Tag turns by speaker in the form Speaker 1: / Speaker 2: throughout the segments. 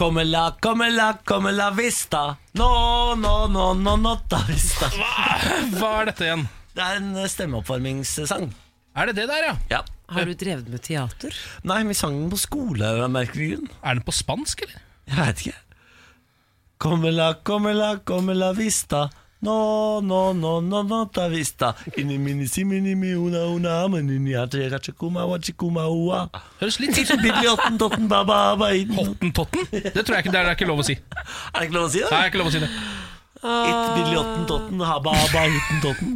Speaker 1: Come la, come la, come la vista. No, no, no, no, notta vista.
Speaker 2: Hva er dette igjen?
Speaker 1: Det er en eh, stemmeoppvarmingssang.
Speaker 2: Er det det der, ja?
Speaker 1: Ja.
Speaker 3: Har du drevet med teater?
Speaker 1: Nei, vi sang den på skole av en merkelig grunn.
Speaker 2: Er den på spansk, eller?
Speaker 1: Jeg veit ikke. Come la, come la, come la vista. No, no, no, no, notta vista. Inni mini si mini mi una una menini ate rachikuma wachikuma ua.
Speaker 2: Høres litt ut som
Speaker 1: Bibliotten dotten baba baiden.
Speaker 2: Hottentotten. Det tror jeg ikke det er, det er ikke lov å si. Nei,
Speaker 1: Er det ikke lov å si
Speaker 2: det
Speaker 1: det?
Speaker 2: er ikke lov å si det.
Speaker 1: It bibliotten dotten haba haba uten dotten.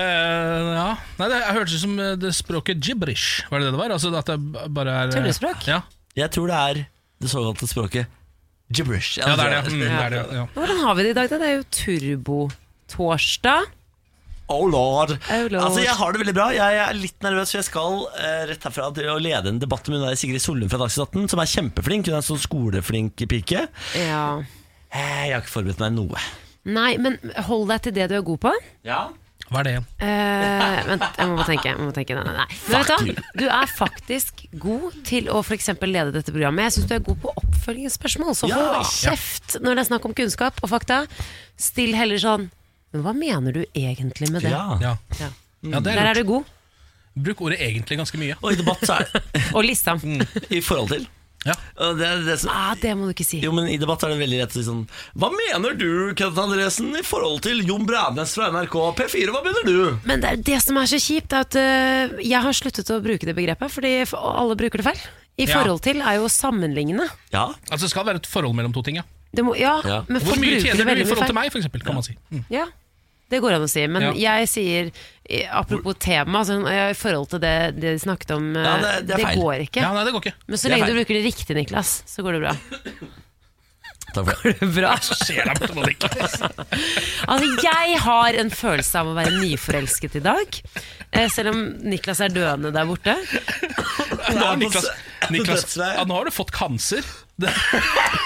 Speaker 2: Eh, ja. Nei, det hørtes ut som eh, det språket gibberish. Var det det det var? Altså at det b- bare er eh,
Speaker 3: Tullespråk?
Speaker 2: Ja.
Speaker 1: Jeg tror det er det såkalte språket gibberish.
Speaker 2: ja, det er
Speaker 1: Altså,
Speaker 2: det. Mm, det, er det ja.
Speaker 3: Hvordan har vi det i dag? da? Det er jo turbo-torsdag.
Speaker 1: Oh lord.
Speaker 3: Oh lord.
Speaker 1: Altså, jeg har det veldig bra. Jeg er litt nervøs, for jeg skal eh, rett herfra til å lede en debatt med hun der Sigrid Sollum fra Dagsnytt 18, som er kjempeflink. Hun er en sånn skoleflink pike.
Speaker 3: Ja.
Speaker 1: Eh, jeg har ikke forberedt meg noe.
Speaker 3: Nei, men hold deg til det du er god på.
Speaker 1: Ja?
Speaker 2: Hva er det igjen?
Speaker 3: Eh, vent, jeg må bare tenke. Jeg må tenke nei, nei, nei. Men vet du, hva? du er faktisk god til å for eksempel lede dette programmet. Jeg syns du er god på oppfølgingsspørsmål, så hold
Speaker 1: Ja.
Speaker 3: kjeft når det er snakk om kunnskap og fakta. Still heller sånn Men hva mener du egentlig med det?
Speaker 2: Ja.
Speaker 3: Ja.
Speaker 2: ja, det er
Speaker 3: Der er
Speaker 2: lurt.
Speaker 3: du god.
Speaker 2: Bruk ordet egentlig ganske mye.
Speaker 1: Og i debatt så er det
Speaker 3: Og Lissam.
Speaker 1: I forhold til
Speaker 2: Ja.
Speaker 1: og det er det som,
Speaker 3: Ah, det må du ikke si.
Speaker 1: Jo, men i debatt er det veldig lett å si sånn Hva mener du, Kent Andresen, i forhold til Jon Brænes fra NRK P4? Hva mener du?
Speaker 3: Men det er det som er så kjipt, er at øh, jeg har sluttet å bruke det begrepet, fordi f- alle bruker det feil. I
Speaker 2: Ja.
Speaker 3: forhold til er jo sammenlignende.
Speaker 1: Ja,
Speaker 2: Altså Det skal være et forhold mellom to ting. ja
Speaker 3: Det må, ja,
Speaker 1: Ja.
Speaker 3: men
Speaker 2: Hvor
Speaker 3: folk
Speaker 2: mye
Speaker 3: bruker
Speaker 2: tjener
Speaker 3: det
Speaker 2: du i
Speaker 3: veldig
Speaker 2: forhold
Speaker 3: feil.
Speaker 2: til meg, for eksempel, kan man si. Mm.
Speaker 3: Ja, det går an å si. Men
Speaker 2: Ja.
Speaker 3: jeg sier, eh, apropos tema, sånn, eh, i forhold til det, det de snakket om, eh,
Speaker 1: Ja, det- det er feil.
Speaker 3: går ikke.
Speaker 2: Ja, nei, det går ikke.
Speaker 3: Men
Speaker 1: Det
Speaker 3: så
Speaker 1: er
Speaker 3: lenge du
Speaker 1: feil.
Speaker 3: bruker det riktig, Niklas, så går det bra.
Speaker 1: takk for det
Speaker 3: bra.
Speaker 2: Så ser jeg på det ikke.
Speaker 3: Altså, jeg har en følelse av å være nyforelsket i dag. eh, Selv om Niklas er døende der borte.
Speaker 2: Nå har Niklas,
Speaker 1: på
Speaker 2: Niklas
Speaker 1: dødsleiet.
Speaker 2: ja, nå har du fått kanser. Det,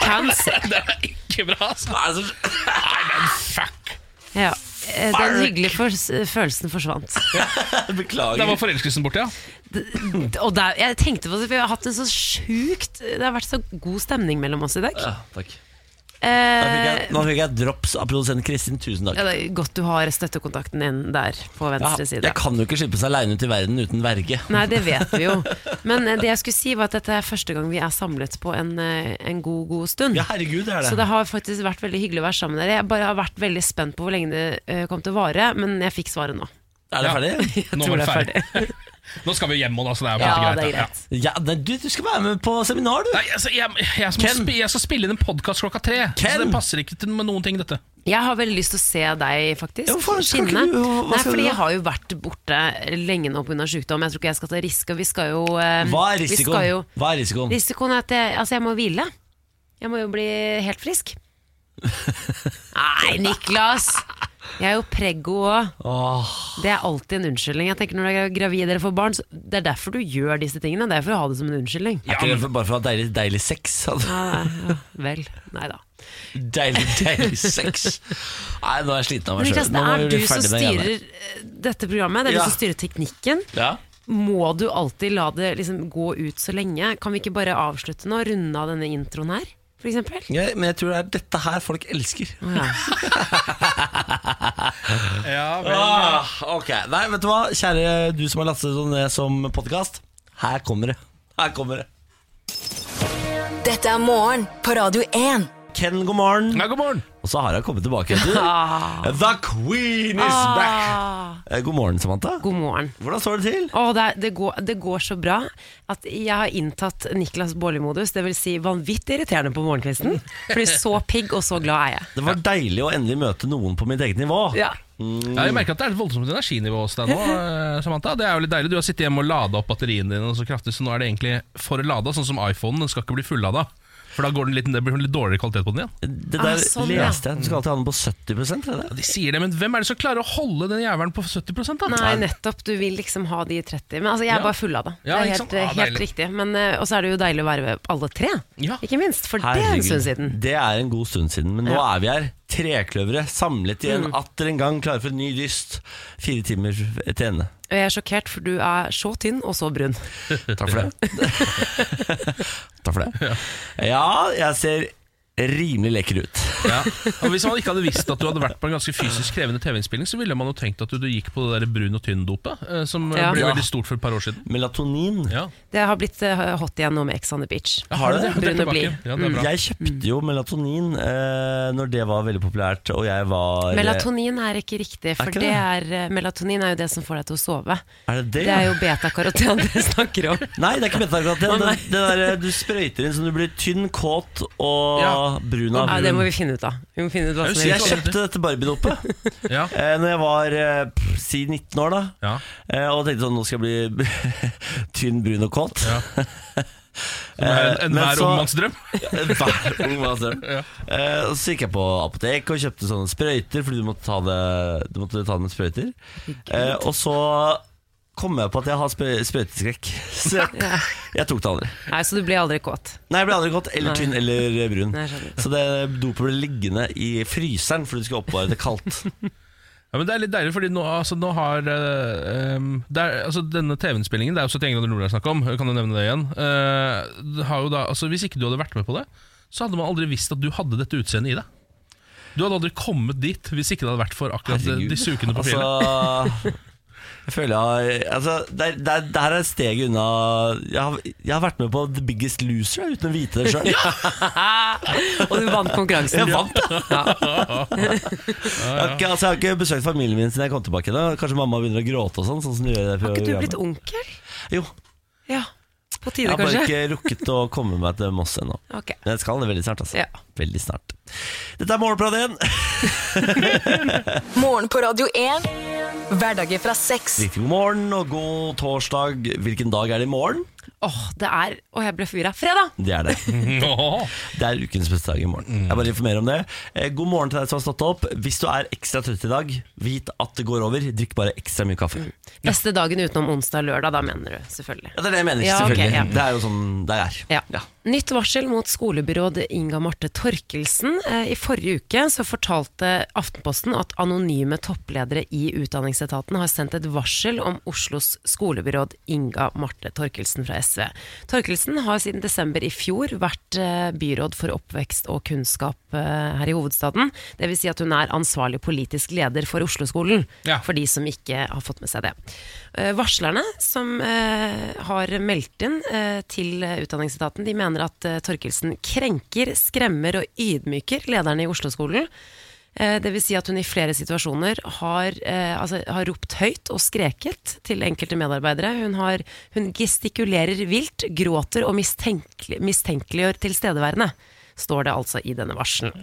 Speaker 3: Cancer.
Speaker 2: det er ikke bra, altså.
Speaker 1: Hva er det som-
Speaker 2: Nei, men fuck.
Speaker 3: Ja. eh, Den
Speaker 1: Fuck.
Speaker 3: hyggelige fors- følelsen forsvant.
Speaker 2: Der
Speaker 1: Beklager
Speaker 2: var forelskelsen borte, ja.
Speaker 3: Og der, jeg tenkte på det, for vi har hatt en så sjukt Det har vært så god stemning mellom oss i dag.
Speaker 1: ja, Takk Nå fikk jeg-
Speaker 3: Eh,
Speaker 1: Nå fikk jeg drops av produsent Kristin Tusen takk
Speaker 3: ja, det er godt du har støttekontakten din der på
Speaker 1: ja,
Speaker 3: venstre side.
Speaker 1: Jeg kan jo ikke slippe seg alene ut i verden uten verge
Speaker 3: Nei, det vet vi jo. Men eh, det jeg skulle si var at dette er første gang vi er samlet på en, eh, en god, god stund.
Speaker 1: Ja, herregud, det er det
Speaker 3: Så det har faktisk vært veldig hyggelig å være sammen med dere. Jeg bare har vært veldig spent på hvor lenge det eh, kom til å vare, men jeg fikk svaret nå.
Speaker 1: Er det ferdig?
Speaker 2: Nå var
Speaker 3: tror
Speaker 2: det
Speaker 3: det er
Speaker 2: ferdig. Nå skal vi hjem, og da, så det er
Speaker 3: Ja,
Speaker 2: ikke
Speaker 3: det er
Speaker 2: ja.
Speaker 3: greit.
Speaker 1: Ja, nei, du, du skal være med på seminar, du
Speaker 2: Nei, altså, jeg, jeg, som må
Speaker 1: Ken.
Speaker 2: spi- jeg skal spille inn en podkast klokka tre.
Speaker 1: Ken.
Speaker 2: Så det passer ikke til med noen ting, dette.
Speaker 3: Jeg har veldig lyst til å se deg, faktisk.
Speaker 1: Ja, hvorfor skal ikke
Speaker 3: Skinne.
Speaker 1: du- hva
Speaker 3: Nei,
Speaker 1: skal du
Speaker 3: fordi
Speaker 1: da?
Speaker 3: jeg har jo vært borte lenge nå pga. sykdom. Jeg tror ikke jeg skal ta risk. Og vi skal jo eh,
Speaker 1: Hva er
Speaker 3: vi skal Jo,
Speaker 1: risikoen? Hva er risikoen?
Speaker 3: risikoen er at jeg, altså jeg må hvile. Jeg må jo bli helt frisk. Nei, Niklas! Jeg er jo preggo òg.
Speaker 1: Åh,
Speaker 3: Det er alltid en unnskyldning. Jeg tenker Når du er gravid eller får barn, så det er derfor du gjør disse tingene. Det er for å ha det som en unnskyldning.
Speaker 1: er ikke det for- bare for å ha deilig, deilig sex? Altså,
Speaker 3: Ja, ja, vel. Nei da.
Speaker 1: Deilig, deilig sex Nei, nå er jeg sliten av meg selv
Speaker 3: Men Niklas,
Speaker 1: Nå
Speaker 3: det
Speaker 1: må
Speaker 3: er
Speaker 1: jeg
Speaker 3: du
Speaker 1: bli
Speaker 3: som
Speaker 1: ferdig med det
Speaker 3: styrer
Speaker 1: greiene.
Speaker 3: eh, dette programmet. Det er
Speaker 1: Ja.
Speaker 3: du som styrer teknikken.
Speaker 1: Ja
Speaker 3: Må du alltid la det liksom gå ut så lenge? Kan vi ikke bare avslutte nå? Runde av denne introen her, for eksempel?
Speaker 1: ja, men jeg tror det er dette her folk elsker
Speaker 3: Ja.
Speaker 2: Ja,
Speaker 1: ah, Ok, nei, vet du hva? Kjære du som har lastet det ned som podcast Her kommer det Her kommer det
Speaker 4: Dette er morgen på Radio 1.
Speaker 1: Ken, god morgen
Speaker 2: God morgen.
Speaker 1: Og så har jeg kommet tilbake vet du. The queen is back
Speaker 3: Ah,
Speaker 1: Eh, God morgen, Samantha
Speaker 3: god morgen.
Speaker 1: Hvordan står det til?
Speaker 3: Å, det, er- det, går, det går så bra at jeg har inntatt Niklas Baarli-modus. Det vil si vanvittig irriterende på morgenkvisten. Fordi så pigg og så glad er jeg.
Speaker 1: Det var deilig å endelig møte noen på mitt eget nivå
Speaker 3: Ja.
Speaker 2: Ja, jeg merker at Det er et voldsomt energinivå hos deg nå. eh, Samantha Det er jo litt deilig Du har sittet hjemme og lada opp batteriene dine så kraftig, så nå er det egentlig for lada, sånn som iPhonen. Den skal ikke bli fullada. For da går den litt, det blir litt dårligere kvalitet på den igjen.
Speaker 1: Det
Speaker 3: Ah,
Speaker 1: der
Speaker 3: sånn, ja.
Speaker 1: leste jeg Du skal alltid ha den på 70% er det det?
Speaker 2: De sier det, Men hvem er det som klarer å holde den jævelen på 70 da?
Speaker 3: Nei, nettopp. Du vil liksom ha de 30. Men altså, jeg er
Speaker 2: Ja.
Speaker 3: bare full av det. Det
Speaker 2: Ja,
Speaker 3: er
Speaker 2: ikke
Speaker 3: helt,
Speaker 2: sant? Ah,
Speaker 3: helt
Speaker 2: deilig.
Speaker 3: riktig. Men, eh, Og så er det jo deilig å være ved alle tre,
Speaker 2: Ja.
Speaker 3: ikke minst. For det er en
Speaker 1: Herregud,
Speaker 3: stund siden.
Speaker 1: Det er en god stund siden Men nå
Speaker 3: Ja. Mm.
Speaker 1: er vi her Trekløvere samlet igjen Atter en gang klare for en ny dyst Fire timer til ende
Speaker 3: Og jeg er sjokkert, for du er så tynn og så brun.
Speaker 1: Takk for det. Takk for det. Ja, jeg ser rimelig lekker ut.
Speaker 2: Ja. Og Hvis man ikke hadde visst at du hadde vært på en ganske fysisk krevende TV-innspilling, så ville man jo tenkt at du, du gikk på det der brun og tynn-dopet, eh, som eh,
Speaker 3: Ja.
Speaker 2: ble
Speaker 1: Ja.
Speaker 2: veldig stort for et par år siden.
Speaker 1: Melatonin.
Speaker 2: Ja,
Speaker 3: Det har blitt eh, hot igjen nå med Ex on the Beach.
Speaker 2: Ja,
Speaker 1: Har det? Mm.
Speaker 2: Det er
Speaker 3: Brun og
Speaker 2: tilbake.
Speaker 3: blid.
Speaker 2: Ja, det er bra.
Speaker 1: Jeg kjøpte jo melatonin eh, når det var veldig populært, og jeg var eh,
Speaker 3: Melatonin er ikke riktig, for
Speaker 1: ikke
Speaker 3: det er, eh, melatonin er jo det som får deg til å sove.
Speaker 1: Er det det?
Speaker 3: Det er jo beta-karoten dere snakker om.
Speaker 1: Nei, det er ikke
Speaker 3: Å,
Speaker 1: betakaroten.
Speaker 3: nei.
Speaker 1: Det, det der eh, du sprøyter inn så du blir tynn, kåt og
Speaker 2: Ja.
Speaker 1: brun av
Speaker 3: Ja, det må
Speaker 1: brun.
Speaker 3: vi finne ut av. Vi må finne ut hva
Speaker 2: Jeg
Speaker 3: som
Speaker 2: vil
Speaker 1: Jeg
Speaker 3: er
Speaker 2: si-
Speaker 3: riktig.
Speaker 1: kjøpte dette barbiedopet
Speaker 2: Ja.
Speaker 1: eh, Når jeg var eh, pff, si 19 år, da.
Speaker 2: Ja.
Speaker 1: Eh, og tenkte sånn Nå skal jeg bli tynn, brun og kåt.
Speaker 2: Ja. Som er
Speaker 1: Eh,
Speaker 2: en-
Speaker 1: men
Speaker 2: Enhver
Speaker 1: så-
Speaker 2: ungmannsdrøm.
Speaker 1: Hver ung manns drøm. Eh, og så gikk jeg på apotek og kjøpte sånne sprøyter, fordi du måtte ta det, du måtte ta det med sprøyter. Eh, og så kom jeg på at jeg har sprø sprøyteskrekk, så jeg, jeg tok det aldri.
Speaker 3: Nei, Så du blir aldri kåt.
Speaker 1: Nei, jeg ble aldri godt eller
Speaker 3: Nei.
Speaker 1: tynn eller brun.
Speaker 3: Nei, jeg skjønner.
Speaker 1: Så det dopet ble liggende i fryseren fordi du skulle oppbevare det kaldt.
Speaker 2: Ja, men Det er litt deilig, fordi nå, altså, nå har eh, em, det er, altså, Denne TV-innspillingen Det er jo 71 grader nord jeg snakker om, jeg kan jo nevne det igjen. Eh, det har jo da, altså, hvis ikke du hadde vært med på det, så hadde man aldri visst at du hadde dette utseendet i deg. Du hadde aldri kommet dit hvis ikke det hadde vært for akkurat
Speaker 1: Herregud.
Speaker 2: disse ukene på fjellet.
Speaker 1: Altså, jeg føler jeg har altså, det, er- det, er- det her er steget unna jeg har, jeg har vært med på The Biggest Loser jeg, uten å vite det sjøl.
Speaker 3: Og du vant konkurransen.
Speaker 1: Jeg
Speaker 3: du.
Speaker 1: vant,
Speaker 3: ja.
Speaker 1: Jeg, har ikke- altså, jeg har ikke besøkt familien min siden jeg kom tilbake. Da. Kanskje mamma begynner å gråte og sånn. sånn som de gjør i det
Speaker 3: Har ikke du blitt
Speaker 1: programmet.
Speaker 3: onkel?
Speaker 1: Jo,
Speaker 3: Ja. På
Speaker 1: jeg
Speaker 3: tide,
Speaker 1: har bare
Speaker 3: kanskje?
Speaker 1: ikke rukket å komme meg til Moss ennå.
Speaker 3: Ok.
Speaker 1: Men jeg skal det veldig snart. altså
Speaker 3: Ja.
Speaker 1: Veldig snart Dette er Morgenpradien.
Speaker 5: Morgen på Radio 1. Hverdager fra seks.
Speaker 1: Riktig god morgen og god torsdag. Hvilken dag er det i morgen?
Speaker 3: Åh, det er Åh, jeg ble forvirra. Fredag!
Speaker 1: Det er det.
Speaker 2: Åh.
Speaker 1: Det er ukens beste dag i
Speaker 3: Mm.
Speaker 1: morgen. Jeg bare informerer om det. Eh, God morgen til deg som har stått opp. Hvis du er ekstra trøtt i dag, vit at det går over. Drikk bare ekstra mye
Speaker 3: Mm.
Speaker 1: kaffe.
Speaker 3: Beste dagen utenom onsdag og lørdag, da mener du selvfølgelig.
Speaker 1: Ja, det er det jeg mener.
Speaker 3: Ja, ok,
Speaker 1: selvfølgelig
Speaker 3: ja.
Speaker 1: Det er jo sånn det er.
Speaker 3: Ja. Nytt varsel mot skolebyråd Inga Marte Torkelsen. Eh, I forrige uke så fortalte Aftenposten at anonyme toppledere i Utdanningsetaten har sendt et varsel om Oslos skolebyråd Inga Marte Torkelsen fra SV. Torkelsen har siden desember i fjor vært eh, byråd for oppvekst og kunnskap eh, her i hovedstaden. Dvs. Si at hun er ansvarlig politisk leder for Oslo-skolen.
Speaker 2: Ja.
Speaker 3: For de som ikke har fått med seg det. Eh, Varslerne som eh, har meldt inn eh, til Utdanningsetaten, de mener at eh, Torkelsen krenker, skremmer og ydmyker lederne i Oslo-skolen. Eh, det vil si at hun i flere situasjoner har, eh, altså, har ropt høyt og skreket til enkelte medarbeidere. Hun, har, hun gestikulerer vilt, gråter og mistenkelig, mistenkeliggjør tilstedeværende, står det altså i denne varselen.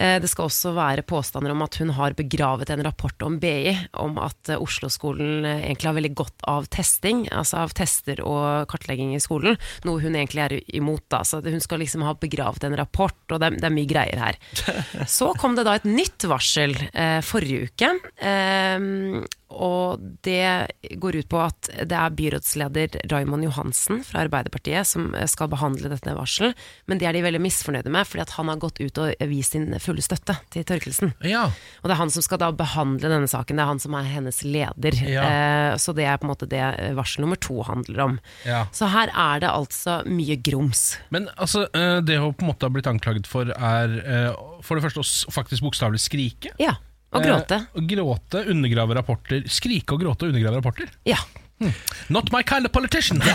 Speaker 3: Eh, Det skal også være påstander om at hun har begravet en rapport om BI, om at eh, Oslo-skolen eh, egentlig har veldig godt av testing, altså av tester og kartlegging i skolen, noe hun egentlig er imot. Da. Så hun skal liksom ha begravet en rapport, og det er, det er mye greier her. Så kom det da et nytt varsel eh, forrige uke. Eh, og det går ut på at det er byrådsleder Raymond Johansen fra Arbeiderpartiet som skal behandle dette varselet, men det er de veldig misfornøyde med, fordi at han har gått ut og vist sin fulle støtte til Torkelsen.
Speaker 2: Ja.
Speaker 3: Og det er han som skal da behandle denne saken, det er han som er hennes leder. Eh, så det er på en måte det varsel nummer to handler om.
Speaker 2: Ja.
Speaker 3: Så her er det altså mye grums.
Speaker 2: Men altså, eh, det hun på en måte har blitt anklaget for, er eh, for det første å s- faktisk bokstavelig skrike.
Speaker 3: Ja. Og gråte.
Speaker 2: Eh, og gråte, undergrave rapporter. Skrike og gråte og undergrave rapporter.
Speaker 3: Ja.
Speaker 2: Not my kind of politician!
Speaker 1: Nei,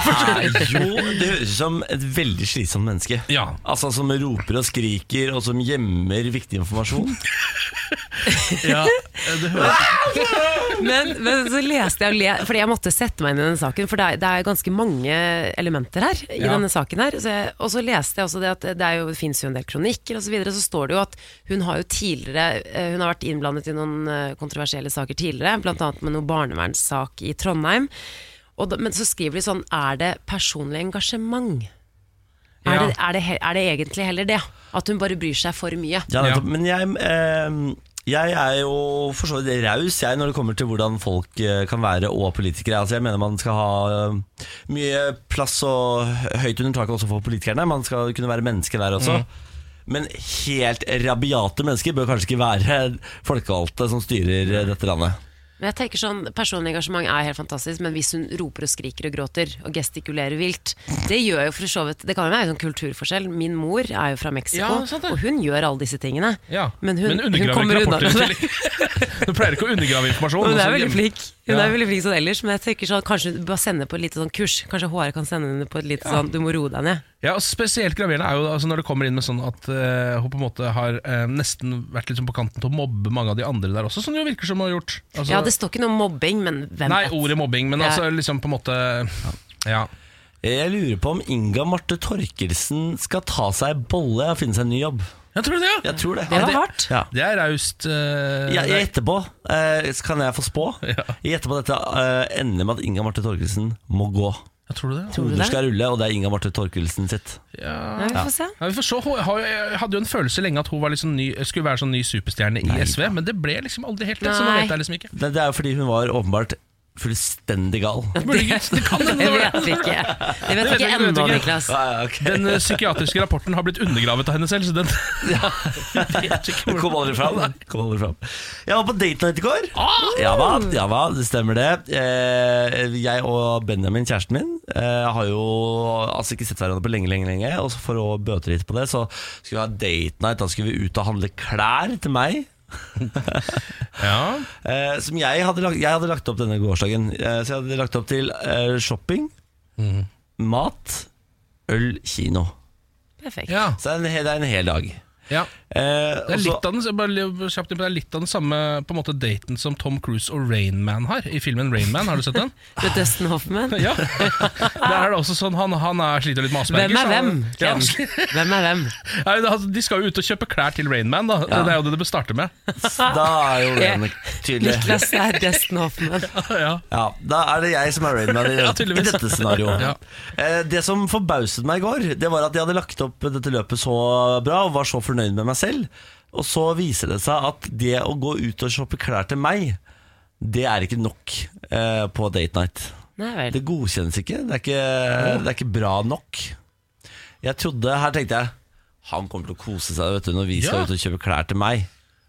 Speaker 1: jo, det høres ut som et veldig slitsomt menneske.
Speaker 2: Ja.
Speaker 1: Altså Som roper og skriker, og som gjemmer viktig informasjon.
Speaker 2: ja, det høres
Speaker 3: Men, men så leste jeg og le, fordi jeg måtte sette meg inn i denne saken, for det er, det er ganske mange elementer her. i
Speaker 2: Ja.
Speaker 3: denne saken her. Så jeg, og så leste jeg også det at det, er jo, det finnes jo en del kronikker osv. Så, videre, så står det jo at hun har jo tidligere eh, Hun har vært innblandet i noen eh, kontroversielle saker tidligere, bl.a. med noen barnevernssak i Trondheim. Og da, men så skriver de sånn Er det personlig engasjement? Er,
Speaker 2: Ja.
Speaker 3: det, er, det, he- er det egentlig heller det? At hun bare bryr seg for
Speaker 1: Ja,
Speaker 3: mye?
Speaker 2: Ja.
Speaker 1: nettopp. Men jeg, eh, jeg er jo for så vidt raus jeg når det kommer til hvordan folk eh, kan være og politikere. Altså Jeg mener man skal ha eh, mye plass og høyt under taket også for politikerne. Man skal kunne være menneske der også. Men helt rabiate mennesker bør kanskje ikke være folkevalgte som styrer eh, dette landet.
Speaker 3: Men jeg tenker sånn, Personlig engasjement er helt fantastisk, men hvis hun roper og skriker og gråter og gestikulerer vilt Det gjør jo for så vidt Det kan jo være en sånn kulturforskjell. Min mor er jo fra Mexico,
Speaker 2: Ja, sant det.
Speaker 3: og hun gjør alle disse tingene.
Speaker 2: Ja,
Speaker 3: Men hun, hun
Speaker 2: undergraver
Speaker 3: kommer
Speaker 2: ikke
Speaker 3: unna
Speaker 2: rapporter
Speaker 3: med det.
Speaker 2: til- Du pleier ikke å undergrave informasjon.
Speaker 3: Hun
Speaker 2: altså,
Speaker 3: er veldig
Speaker 2: hjem-
Speaker 3: flink Hun
Speaker 2: Ja.
Speaker 3: er veldig flink sånn ellers, men jeg tenker sånn, kanskje hun bør sende på et lite sånn kurs. Kanskje HR kan sende henne på et lite sånn Du må roe deg ned.
Speaker 2: Ja, og Spesielt graverende er jo da, altså når det kommer inn med sånn at eh, hun på en måte har eh, nesten vært litt sånn på kanten til å mobbe mange av de andre der også, som det jo virker som hun har gjort. Altså,
Speaker 3: Ja, det står ikke noe om mobbing, men hvem
Speaker 2: nei,
Speaker 3: vet?
Speaker 2: ordet mobbing, men
Speaker 3: Ja.
Speaker 2: altså liksom på en måte Ja.
Speaker 1: Jeg lurer på om Inga Marte Torkelsen skal ta seg en bolle og finne seg en ny jobb.
Speaker 2: Jeg tror det, ja.
Speaker 1: Jeg tror det.
Speaker 3: Det var hardt.
Speaker 1: Ja.
Speaker 2: Det er raust. eh,
Speaker 1: Ja, jeg
Speaker 2: det-
Speaker 1: gjetter på. eh, kan jeg få spå? Jeg gjetter på at dette eh, ender med at Inga Marte Torkelsen må gå.
Speaker 2: ja, tror du det?
Speaker 3: Tror du
Speaker 1: Hoder
Speaker 3: det?
Speaker 1: skal rulle, og det er Inga Marte Torkelsen sitt.
Speaker 2: Ja.
Speaker 3: Nei, vi får se.
Speaker 2: Ja, vi får se. Hun har, jeg hadde jo en følelse lenge at hun var liksom ny, skulle være sånn ny superstjerne i SV, men det ble liksom aldri helt det, så nå
Speaker 3: Nei.
Speaker 2: vet jeg liksom ikke.
Speaker 1: Det, det er jo fordi hun var åpenbart fullstendig gal.
Speaker 2: Burde ikke- Det kan hende
Speaker 3: Det
Speaker 2: det var
Speaker 3: vet vi ikke. Det vet vi
Speaker 2: vi ikke,
Speaker 3: ikke
Speaker 2: det vet vi
Speaker 3: ennå,
Speaker 2: ikke.
Speaker 3: Niklas.
Speaker 1: Ja, ja, ok.
Speaker 2: Den eh, psykiatriske rapporten har blitt undergravet av henne selv, så den Vet ikke
Speaker 1: Kom
Speaker 2: hvor-
Speaker 1: aldri fram. Kom aldri fram. Jeg var på date night i går. Ja da, ja da, det stemmer det. Eh, Jeg og Benjamin, kjæresten min, eh, har jo altså ikke sett hverandre på lenge, lenge, lenge. Og så for å bøte litt på det, så skulle vi ha date night. Da skulle vi ut og handle klær til meg.
Speaker 2: Ja.
Speaker 1: Eh, som jeg hadde, lagt, jeg hadde lagt opp denne gårsdagen. Eh, så jeg hadde lagt opp til eh, shopping,
Speaker 2: Mhm.
Speaker 1: mat, øl, kino.
Speaker 3: Perfekt.
Speaker 2: ja.
Speaker 1: Så det er en, hel- det er en hel dag.
Speaker 2: ja.
Speaker 1: Eh,
Speaker 2: Det
Speaker 1: og
Speaker 2: er
Speaker 1: så-
Speaker 2: litt av den, jeg bare li- kjapt inn på det, det er litt av den samme på en måte, daten som Tom Cruise og Rain Man har i filmen Rain Man. Har du sett den?
Speaker 3: Med Dustin Hoffman.
Speaker 2: Ja. Der er det også sånn, Han, han er sliter litt med Asperger.
Speaker 3: Hvem
Speaker 2: så
Speaker 3: er hvem?
Speaker 2: han- Ja,
Speaker 3: Ken? Hvem er hvem?
Speaker 2: Nei, da- de skal jo ut og kjøpe klær til Rain Man, da. Det er jo det det starter med.
Speaker 1: Da er jo den tydelig.
Speaker 3: Niklas er Dustin Hoffman.
Speaker 2: Ja.
Speaker 1: Ja, Da er det jeg som er Rainman i,
Speaker 2: Ja,
Speaker 1: i
Speaker 2: tydeligvis.
Speaker 1: dette scenarioet.
Speaker 2: Ja.
Speaker 1: Eh, Det som forbauset meg i går, Det var at jeg hadde lagt opp dette løpet så bra og var så fornøyd med meg selv. Og så viser det seg at det å gå ut og shoppe klær til meg, det er ikke nok eh, på date night.
Speaker 3: Nei vel.
Speaker 1: Det godkjennes ikke. Det er ikke, det er ikke bra nok. Jeg trodde, Her tenkte jeg han kommer til å kose seg vet du, når vi skal
Speaker 2: Ja.
Speaker 1: ut og kjøpe klær til meg.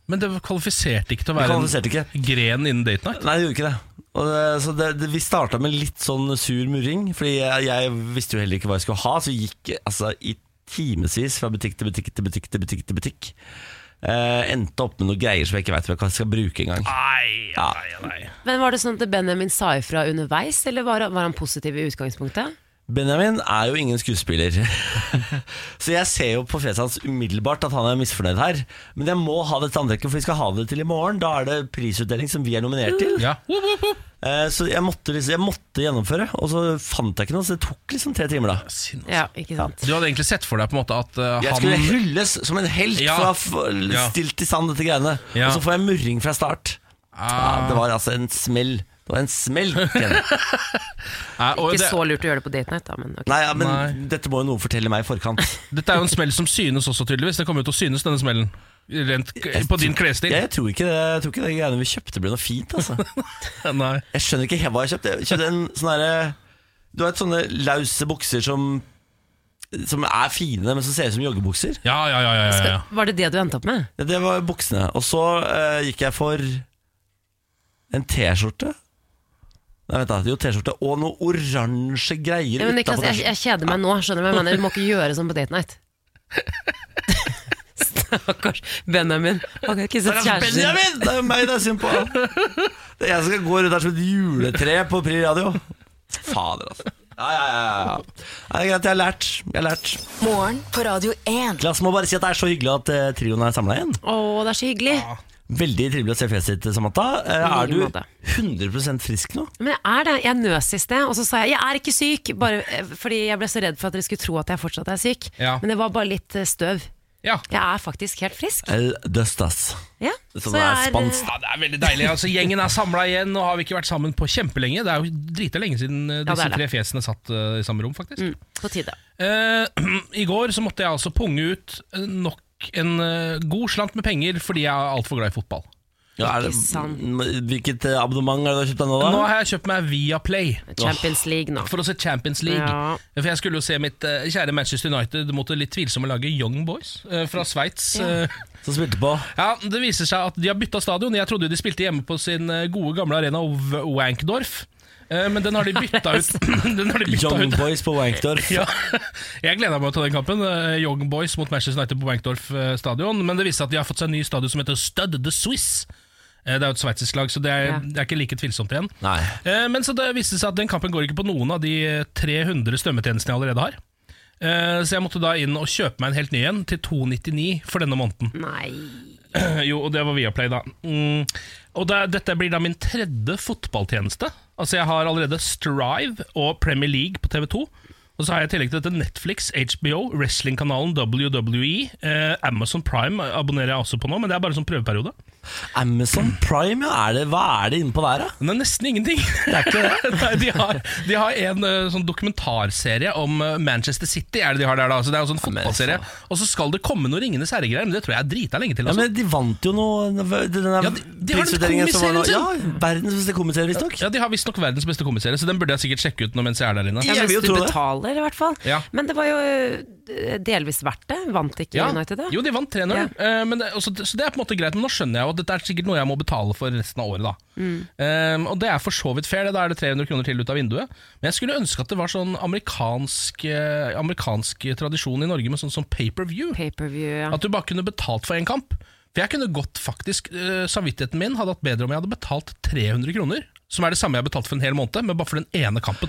Speaker 2: Men det kvalifiserte ikke til å
Speaker 1: Det
Speaker 2: være
Speaker 1: kvalifiserte ikke.
Speaker 2: en gren innen date night.
Speaker 1: Nei, det gjorde ikke det. Og det, så det, det, vi starta med litt sånn sur murring, Fordi jeg, jeg visste jo heller ikke hva jeg skulle ha. Så jeg gikk altså, i timevis fra butikk til butikk til butikk til butikk. til butikk Eh, Endte opp med noen greier som jeg ikke veit hva jeg skal bruke engang.
Speaker 2: Nei,
Speaker 1: Ja.
Speaker 2: nei.
Speaker 3: Men Var det sånn at Benjamin sa ifra underveis, eller var han, var han positiv i utgangspunktet?
Speaker 1: Benjamin er jo ingen skuespiller, så jeg ser jo på fjeset hans umiddelbart at han er misfornøyd her. Men jeg må ha dette antrekket, for vi skal ha det til i morgen. Da er det prisutdeling som vi er nominert til.
Speaker 2: Ja. Whoop, whoop, whoop.
Speaker 1: Eh, Så jeg måtte, liksom- jeg måtte gjennomføre, og så fant jeg ikke noe. Så det tok liksom tre timer, da.
Speaker 2: Sinn, altså.
Speaker 3: Ja, ikke sant?
Speaker 2: Du hadde egentlig sett for deg på en måte at eh,
Speaker 1: Jeg skulle
Speaker 2: han
Speaker 1: hylles som en helt
Speaker 2: Ja.
Speaker 1: for å ha f-
Speaker 2: Ja.
Speaker 1: stilt i stand dette greiene.
Speaker 2: Ja. Ah.
Speaker 1: Og så får jeg murring fra start. Ja, det var altså en smell. Det var en smell. Ken.
Speaker 2: Nei, og
Speaker 3: Ikke
Speaker 2: det-
Speaker 3: så lurt å gjøre det på date night, da, men ok.
Speaker 1: Nei, ja, men
Speaker 2: Nei.
Speaker 1: dette må jo noen fortelle meg i forkant.
Speaker 2: Dette er jo en smell som synes også, tydeligvis. Det kommer jo til å synes, denne smellen. Rent k- på din klesstil.
Speaker 1: Jeg tror ikke det, jeg tror ikke det greiene vi kjøpte ble noe fint, altså.
Speaker 2: Nei.
Speaker 1: Jeg skjønner ikke helt hva jeg kjøpte. Jeg kjøpte en sånn herre Du vet sånne lause bukser som som er fine, men som ser ut som joggebukser.
Speaker 2: Ja, ja, ja, ja, ja, ja.
Speaker 3: Var det det du endte opp med?
Speaker 1: Ja, Det var buksene. Og så eh, gikk jeg for en T-skjorte. Nei, vent da, jo T-skjorte Og noe oransje greier
Speaker 3: Ja, men Niklas,
Speaker 1: utapå
Speaker 3: jeg,
Speaker 1: T-skjorten.
Speaker 3: jeg kjeder meg nå, skjønner du hva jeg mener? Du må ikke gjøre sånn på date night. Stakkars Benjamin. Han kan ikke sette
Speaker 1: Stakkars
Speaker 3: kjæresten sin.
Speaker 1: Benjamin! Det er jo meg det er synd på. Det er jeg som skal gå rundt her som et juletre på Pri Radio. Fader, altså. Ja, ja, ja, ja. Nei, Det er greit, jeg har lært. Jeg har lært.
Speaker 6: Morgen på Radio 1.
Speaker 1: Klass må bare si at det er så hyggelig at eh, trioen er samla igjen.
Speaker 3: Å, det er så hyggelig.
Speaker 1: Veldig trivelig å se fjeset ditt, Samantha. Eh,
Speaker 3: I
Speaker 1: Er
Speaker 3: like
Speaker 1: du
Speaker 3: måte.
Speaker 1: 100 frisk nå?
Speaker 3: Men jeg er det. Jeg nøs i sted, og så sa jeg jeg er ikke syk, bare eh, fordi jeg ble så redd for at dere skulle tro at jeg fortsatt er syk.
Speaker 2: Ja.
Speaker 3: Men det var bare litt eh, støv.
Speaker 2: ja.
Speaker 3: Jeg er faktisk helt frisk.
Speaker 1: El dustas.
Speaker 3: Ja.
Speaker 1: Som er
Speaker 3: eh,
Speaker 1: spansk.
Speaker 2: Ja, det er veldig deilig. Altså, gjengen er samla igjen. Nå har vi ikke vært sammen på kjempelenge. Det er jo drita lenge siden eh,
Speaker 3: Ja, det
Speaker 2: disse
Speaker 3: er det. Mm.
Speaker 2: tre fjesene satt eh, i samme rom, faktisk.
Speaker 3: På tide.
Speaker 2: Eh, I går så måtte jeg altså punge ut eh, nok en eh, god slant med penger fordi jeg er altfor glad i fotball.
Speaker 1: Ja, er det,
Speaker 3: Ikke sant.
Speaker 1: m- hvilket eh, abonnement er det du har kjøpt deg nå, da?
Speaker 2: Nå har jeg kjøpt meg Viaplay.
Speaker 3: Champions League nå.
Speaker 2: For å se Champions League.
Speaker 3: Ja.
Speaker 2: For jeg skulle jo se mitt eh, kjære Manchester United mot det litt tvilsomme laget Young Boys eh, fra Sveits. eh.
Speaker 1: Som spilte på?
Speaker 2: Ja, det viser seg at de har bytta stadion. Jeg trodde jo de spilte hjemme på sin eh, gode gamle arena Ov- Wankdorf, Eh, men den har de bytta ut. den har de bytta
Speaker 1: Young
Speaker 2: ut.
Speaker 1: Boys på Wankdorf.
Speaker 2: Ja. Jeg gleda meg til den kampen. eh, Young Boys mot Manchester United på Wankdorf eh, stadion. Men det viste seg at de har fått seg en ny stadion som heter Stud the Swiss. Eh, Det er jo et sveitsisk lag, så det er,
Speaker 3: Ja.
Speaker 2: det er ikke like tvilsomt igjen.
Speaker 1: Nei.
Speaker 2: Eh, Men så det viste seg at den kampen går ikke på noen av de 300 strømmetjenestene jeg allerede har. Eh, Så jeg måtte da inn og kjøpe meg en helt ny en til 299 for denne måneden.
Speaker 3: Nei
Speaker 2: Eh, Jo, og det var Viaplay, da. Mm. Og da, dette blir da min tredje fotballtjeneste. Altså, jeg har allerede Strive og Premier League på TV2. Og så har jeg i tillegg til dette Netflix, HBO, wrestlingkanalen WWE, eh, Amazon Prime abonnerer jeg også på nå, men det er bare sånn prøveperiode.
Speaker 1: Amazon Prime, ja. Er det, hva er det inne på der, da?
Speaker 2: Men det er nesten ingenting. Det er ikke det. Nei, de, har, de har en eh, sånn dokumentarserie om eh, Manchester City. Er det de har der da Så Det er jo sånn
Speaker 1: men
Speaker 2: fotballserie. Og så skal det komme noe Ringenes herregreier, men det tror jeg er drita lenge til.
Speaker 1: Ja,
Speaker 2: Altså.
Speaker 1: men De vant jo noe den der
Speaker 2: Ja, de- de har den
Speaker 1: prisutdelingen som var nå.
Speaker 2: komiserien sin.
Speaker 1: Ja, verdens beste komiserie, visstnok.
Speaker 2: Ja, De har visstnok verdens beste komiserie, så den burde jeg sikkert sjekke ut nå mens jeg er der inne.
Speaker 3: ja,
Speaker 1: Jeg vil
Speaker 3: Mens
Speaker 1: jo
Speaker 3: du
Speaker 1: tro det.
Speaker 3: betaler, i hvert fall.
Speaker 2: Ja.
Speaker 3: Men det var jo eh, delvis verdt det. Vant ikke
Speaker 2: Ja.
Speaker 3: United det?
Speaker 2: Jo, de vant 3-0, eh, men det, også, så det er på en måte greit. Men nå skjønner jeg jo at dette er sikkert noe jeg må betale for resten av året. da
Speaker 3: Mm.
Speaker 2: Eh, Og det er for så vidt fair, det. da er det 300 kroner til ut av vinduet. Men jeg skulle ønske at det var sånn amerikansk, eh, amerikansk tradisjon i Norge med sånn som pay-per-view.
Speaker 3: Pay-per-view, ja.
Speaker 1: Mm.
Speaker 2: At du bare kunne betalt for én kamp. For jeg kunne godt faktisk eh, Samvittigheten min hadde hatt bedre om jeg hadde betalt 300 kroner, som er det samme jeg har betalt for en hel måned, men bare for den ene kampen.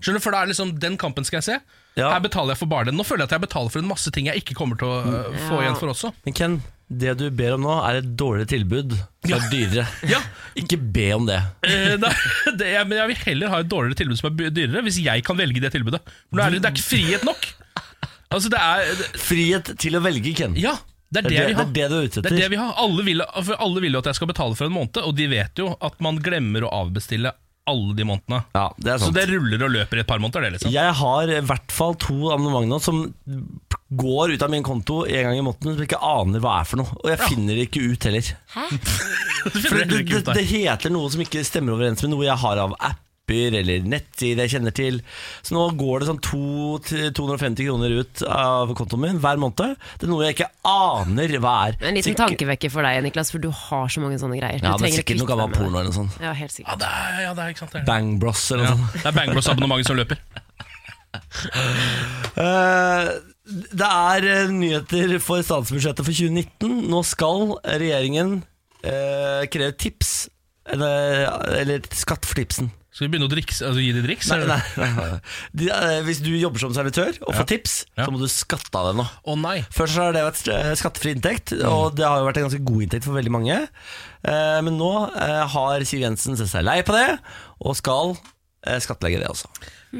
Speaker 2: Skjønner du, For da er det liksom Den kampen skal jeg se.
Speaker 1: Ja.
Speaker 2: Her betaler jeg for bare den. Nå føler jeg at jeg betaler for en masse ting jeg ikke kommer til å eh,
Speaker 1: Mm.
Speaker 2: få
Speaker 3: Ja.
Speaker 2: igjen for også.
Speaker 1: Men Ken, det du ber om nå, er et dårlig tilbud. Så er det dyrere.
Speaker 2: Ja,
Speaker 1: Ikke be om det.
Speaker 2: eh, da, det, jeg, Men jeg vil heller ha et dårligere tilbud som er by- dyrere, hvis jeg kan velge det tilbudet. For nå er det, det er ikke frihet nok. Altså, det er det,
Speaker 1: Frihet til å velge, Ken.
Speaker 2: Ja, det er det,
Speaker 1: det,
Speaker 2: vi
Speaker 1: det
Speaker 2: har.
Speaker 1: er det du er ute
Speaker 2: Det er det
Speaker 1: etter.
Speaker 2: vi har. Alle vil, for alle vil jo at jeg skal betale for en måned, og de vet jo at man glemmer å avbestille alle de månedene.
Speaker 1: Ja, det er
Speaker 2: Så
Speaker 1: sant.
Speaker 2: det ruller og løper i et par måneder, det, liksom.
Speaker 1: Jeg har i hvert fall to abonnement nå som går ut av min konto en gang i måneden som jeg ikke aner hva er for noe. Og jeg finner det ikke ut heller.
Speaker 3: Hæ?
Speaker 2: Det
Speaker 1: For
Speaker 2: finner jeg
Speaker 1: det,
Speaker 2: heller ikke
Speaker 1: det,
Speaker 2: ut av.
Speaker 1: det heter noe som ikke stemmer overens med noe jeg har av apper eller nettsider jeg kjenner til. Så nå går det sånn to, til 250 kroner ut av kontoen min hver måned. Det er noe jeg ikke aner hva er.
Speaker 3: En liten
Speaker 1: Sikkert-
Speaker 3: tankevekker for deg, Niklas, for du har så mange sånne greier.
Speaker 1: Ja,
Speaker 3: du
Speaker 1: det er
Speaker 3: trenger å
Speaker 1: sikkert noe
Speaker 3: kvitte
Speaker 1: gammel
Speaker 3: deg med
Speaker 1: porno eller noe sånt.
Speaker 3: det. Ja, helt
Speaker 2: Ja,
Speaker 3: sikkert.
Speaker 2: det er, ja, det er ikke sant. Det er,
Speaker 1: Bang Bros eller noe
Speaker 2: ja.
Speaker 1: sånt.
Speaker 2: det er Bangbros-abonnementet som løper.
Speaker 1: Eh, Det er eh, nyheter for statsbudsjettet for 2019. Nå skal regjeringen eh, kreve tips, eller, eller skatt for tipsen.
Speaker 2: Skal vi begynne å driks, altså, gi de driks?
Speaker 1: Nei,
Speaker 2: eller?
Speaker 1: nei, nei, nei. De, eh, hvis du jobber som servitør og får tips,
Speaker 2: Ja.
Speaker 1: så må du skatte av det nå.
Speaker 2: Å nei.
Speaker 1: Først så har det vært eh, skattefri inntekt, og det har jo vært en ganske god inntekt for veldig mange. Eh, Men nå eh, har Siv Jensen sett seg lei på det, og skal eh, skattlegge det også.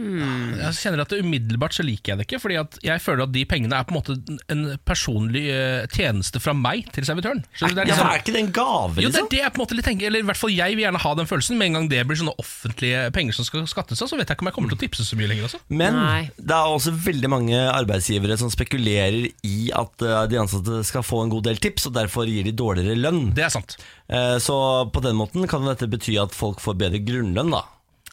Speaker 2: Jeg kjenner at det Umiddelbart så liker jeg det ikke, Fordi at jeg føler at de pengene er på en måte en personlig eh, tjeneste fra meg til servitøren. Skjønner du? Det er
Speaker 1: Ja,
Speaker 2: liksom-
Speaker 1: for er ikke det en gave,
Speaker 2: Jo, det er
Speaker 1: liksom?
Speaker 2: det jeg på en måte litt tenker Eller i hvert fall jeg vil gjerne ha den følelsen Med en gang det blir sånne offentlige penger som skal skattes av, Så vet jeg ikke om jeg kommer til å tipse så mye lenger altså.
Speaker 1: Men
Speaker 3: Nei.
Speaker 1: det er også veldig mange arbeidsgivere som spekulerer i at eh, de ansatte skal få en god del tips, og derfor gir de dårligere lønn.
Speaker 2: Det er sant
Speaker 1: Eh, Så på den måten kan dette bety at folk får bedre grunnlønn, da.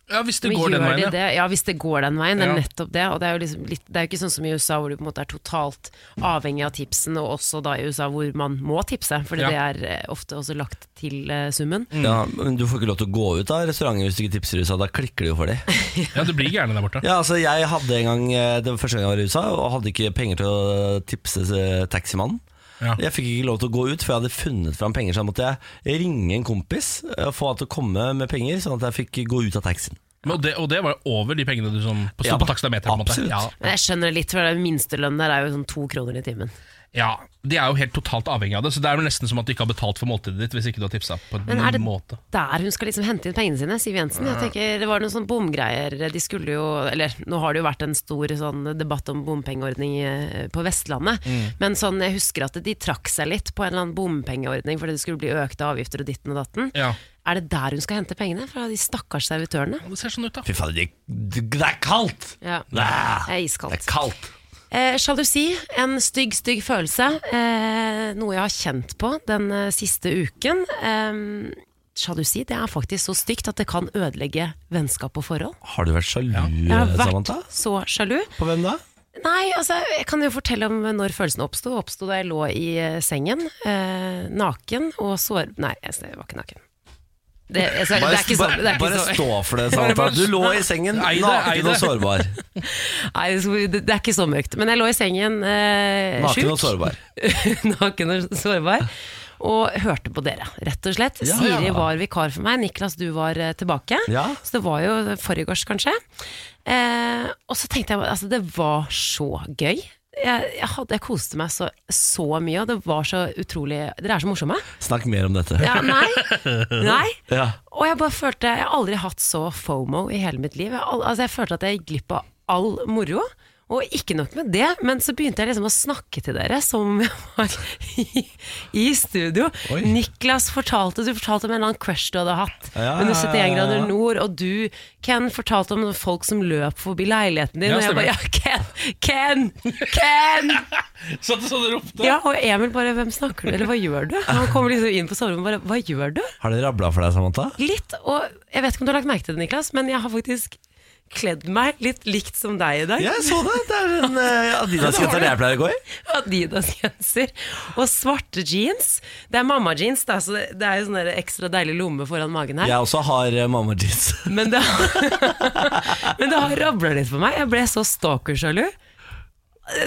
Speaker 2: Ja, hvis det
Speaker 3: Men
Speaker 2: går den
Speaker 3: gjør de
Speaker 2: veien ja.
Speaker 3: det? Ja, hvis det går den veien. Det
Speaker 2: Ja.
Speaker 3: er nettopp det. Og det er jo liksom litt, det er jo ikke sånn som i USA, hvor du på en måte er totalt avhengig av tipsen, og også da i USA hvor man må tipse, fordi
Speaker 2: Ja.
Speaker 3: det er eh, ofte også lagt til eh, summen.
Speaker 2: Mm.
Speaker 1: Ja, men du får ikke lov til å gå ut av restauranten hvis du ikke tipser i USA, da klikker det jo for deg.
Speaker 2: ja, det blir gjerne der borte
Speaker 1: Ja, altså jeg hadde en gang eh, Det var første gang jeg var i USA Og hadde ikke penger til å tipse eh, taximannen
Speaker 2: Ja.
Speaker 1: Jeg fikk ikke lov til å gå ut For jeg hadde funnet fram penger Så da måtte jeg ringe en kompis eh, Og få han til å komme med penger Sånn at jeg fikk gå ut av taxien
Speaker 2: Men, og, det, og det var jo over de pengene du som På,
Speaker 1: Ja,
Speaker 2: på takstameteren på en måte
Speaker 1: absolutt.
Speaker 2: ja.
Speaker 3: Men jeg skjønner det litt, for det minstelønnen der er jo sånn to kroner i timen.
Speaker 2: ja, de er jo helt totalt avhengig av det Så det er jo nesten som at du ikke har betalt for måltidet ditt Hvis ikke du har tipset på
Speaker 3: Men
Speaker 2: en
Speaker 3: er det
Speaker 2: måte
Speaker 3: der hun skal liksom hente inn pengene sine, Siv Jensen? Jeg tenker Det var noen sånne bomgreier. De skulle jo Eller nå har det jo vært en stor sånn debatt om bompengeordning eh, på Vestlandet.
Speaker 2: Mm.
Speaker 3: Men sånn, jeg husker at de trakk seg litt på en eller annen bompengeordning fordi det skulle bli økte avgifter og ditten og datten.
Speaker 2: Ja,
Speaker 3: Er det der hun skal hente pengene? Fra de stakkars servitørene?
Speaker 2: Ja, det ser sånn ut da
Speaker 1: Fy faen, det, det, det er kaldt
Speaker 3: Ja.
Speaker 1: Nei,
Speaker 3: Det er
Speaker 1: Det er
Speaker 3: iskaldt.
Speaker 1: kaldt
Speaker 3: Eh, Sjalusi, en stygg, stygg følelse. Eh, noe jeg har kjent på den eh, siste uken. Eh, sjalusi det er faktisk så stygt at det kan ødelegge vennskap og forhold.
Speaker 7: Har du vært sjalu,
Speaker 3: Jeg har vært
Speaker 7: Samantha?
Speaker 3: så sjalu.
Speaker 7: På hvem da?
Speaker 3: Nei, altså, jeg kan jo fortelle om når følelsen oppsto. Oppsto da jeg lå i eh, sengen, eh, naken og sår... Nei, jeg var ikke naken. Det, jeg, det er ikke sånn. Det er
Speaker 7: bare
Speaker 3: ikke sånn.
Speaker 7: stå for det, Samantha.
Speaker 2: bare-
Speaker 7: Du lå i sengen
Speaker 2: Nei, det- nei,
Speaker 7: naken og
Speaker 2: det-
Speaker 7: sårbar.
Speaker 3: Nei, det det er ikke så mørkt. Men jeg lå i sengen eh,
Speaker 7: Naken og
Speaker 3: sjuk.
Speaker 7: sårbar.
Speaker 3: naken og sårbar. Og hørte på dere, rett og slett.
Speaker 7: Ja.
Speaker 3: Siri var vikar for meg, Niklas du var eh, tilbake.
Speaker 7: Ja.
Speaker 3: Så det var jo forrige års, kanskje. Eh, og så tenkte jeg altså det var så gøy. Jeg, jeg, hadde, jeg koste meg så, så mye, og det var så utrolig Dere er så morsomme.
Speaker 7: Snakk mer om dette.
Speaker 3: Ja, nei. nei.
Speaker 7: Ja.
Speaker 3: Og jeg bare følte Jeg har aldri hatt så fomo i hele mitt liv. Jeg, har al- altså, jeg følte at jeg gikk glipp av all moro. Og ikke nok med det, men så begynte jeg liksom å snakke til dere som om jeg var i, i studio.
Speaker 7: Oi.
Speaker 3: Niklas fortalte Du fortalte om en eller annen crush du hadde hatt
Speaker 7: Ja,
Speaker 3: under 71
Speaker 7: ja, ja, ja.
Speaker 3: grader nord. Og du, Ken, fortalte om folk som løp forbi leiligheten din.
Speaker 2: Ja,
Speaker 3: og jeg bare Ja, Ken! Ken! Ken!
Speaker 2: Satt og sånn og ropte.
Speaker 3: Ja, og Emil bare Hvem snakker du Eller hva gjør du? Han kommer liksom inn på soverommet og bare Hva gjør du?
Speaker 7: Har det rabla for deg, Samantha?
Speaker 3: Litt, og jeg vet ikke om du har lagt merke til det, Niklas, men jeg har faktisk kledd meg litt likt som deg i dag.
Speaker 7: Jeg så det. Det er en uh, Adidas-genser jeg pleier å gå i.
Speaker 3: Adidas-genser og svarte jeans. Det er mamma-jeans, da, så det det er jo sånn der ekstra deilig lomme foran magen her.
Speaker 7: Jeg også har eh, mamma jeans.
Speaker 3: Men det, men det har rabla litt for meg. Jeg ble så stalker-sjalu.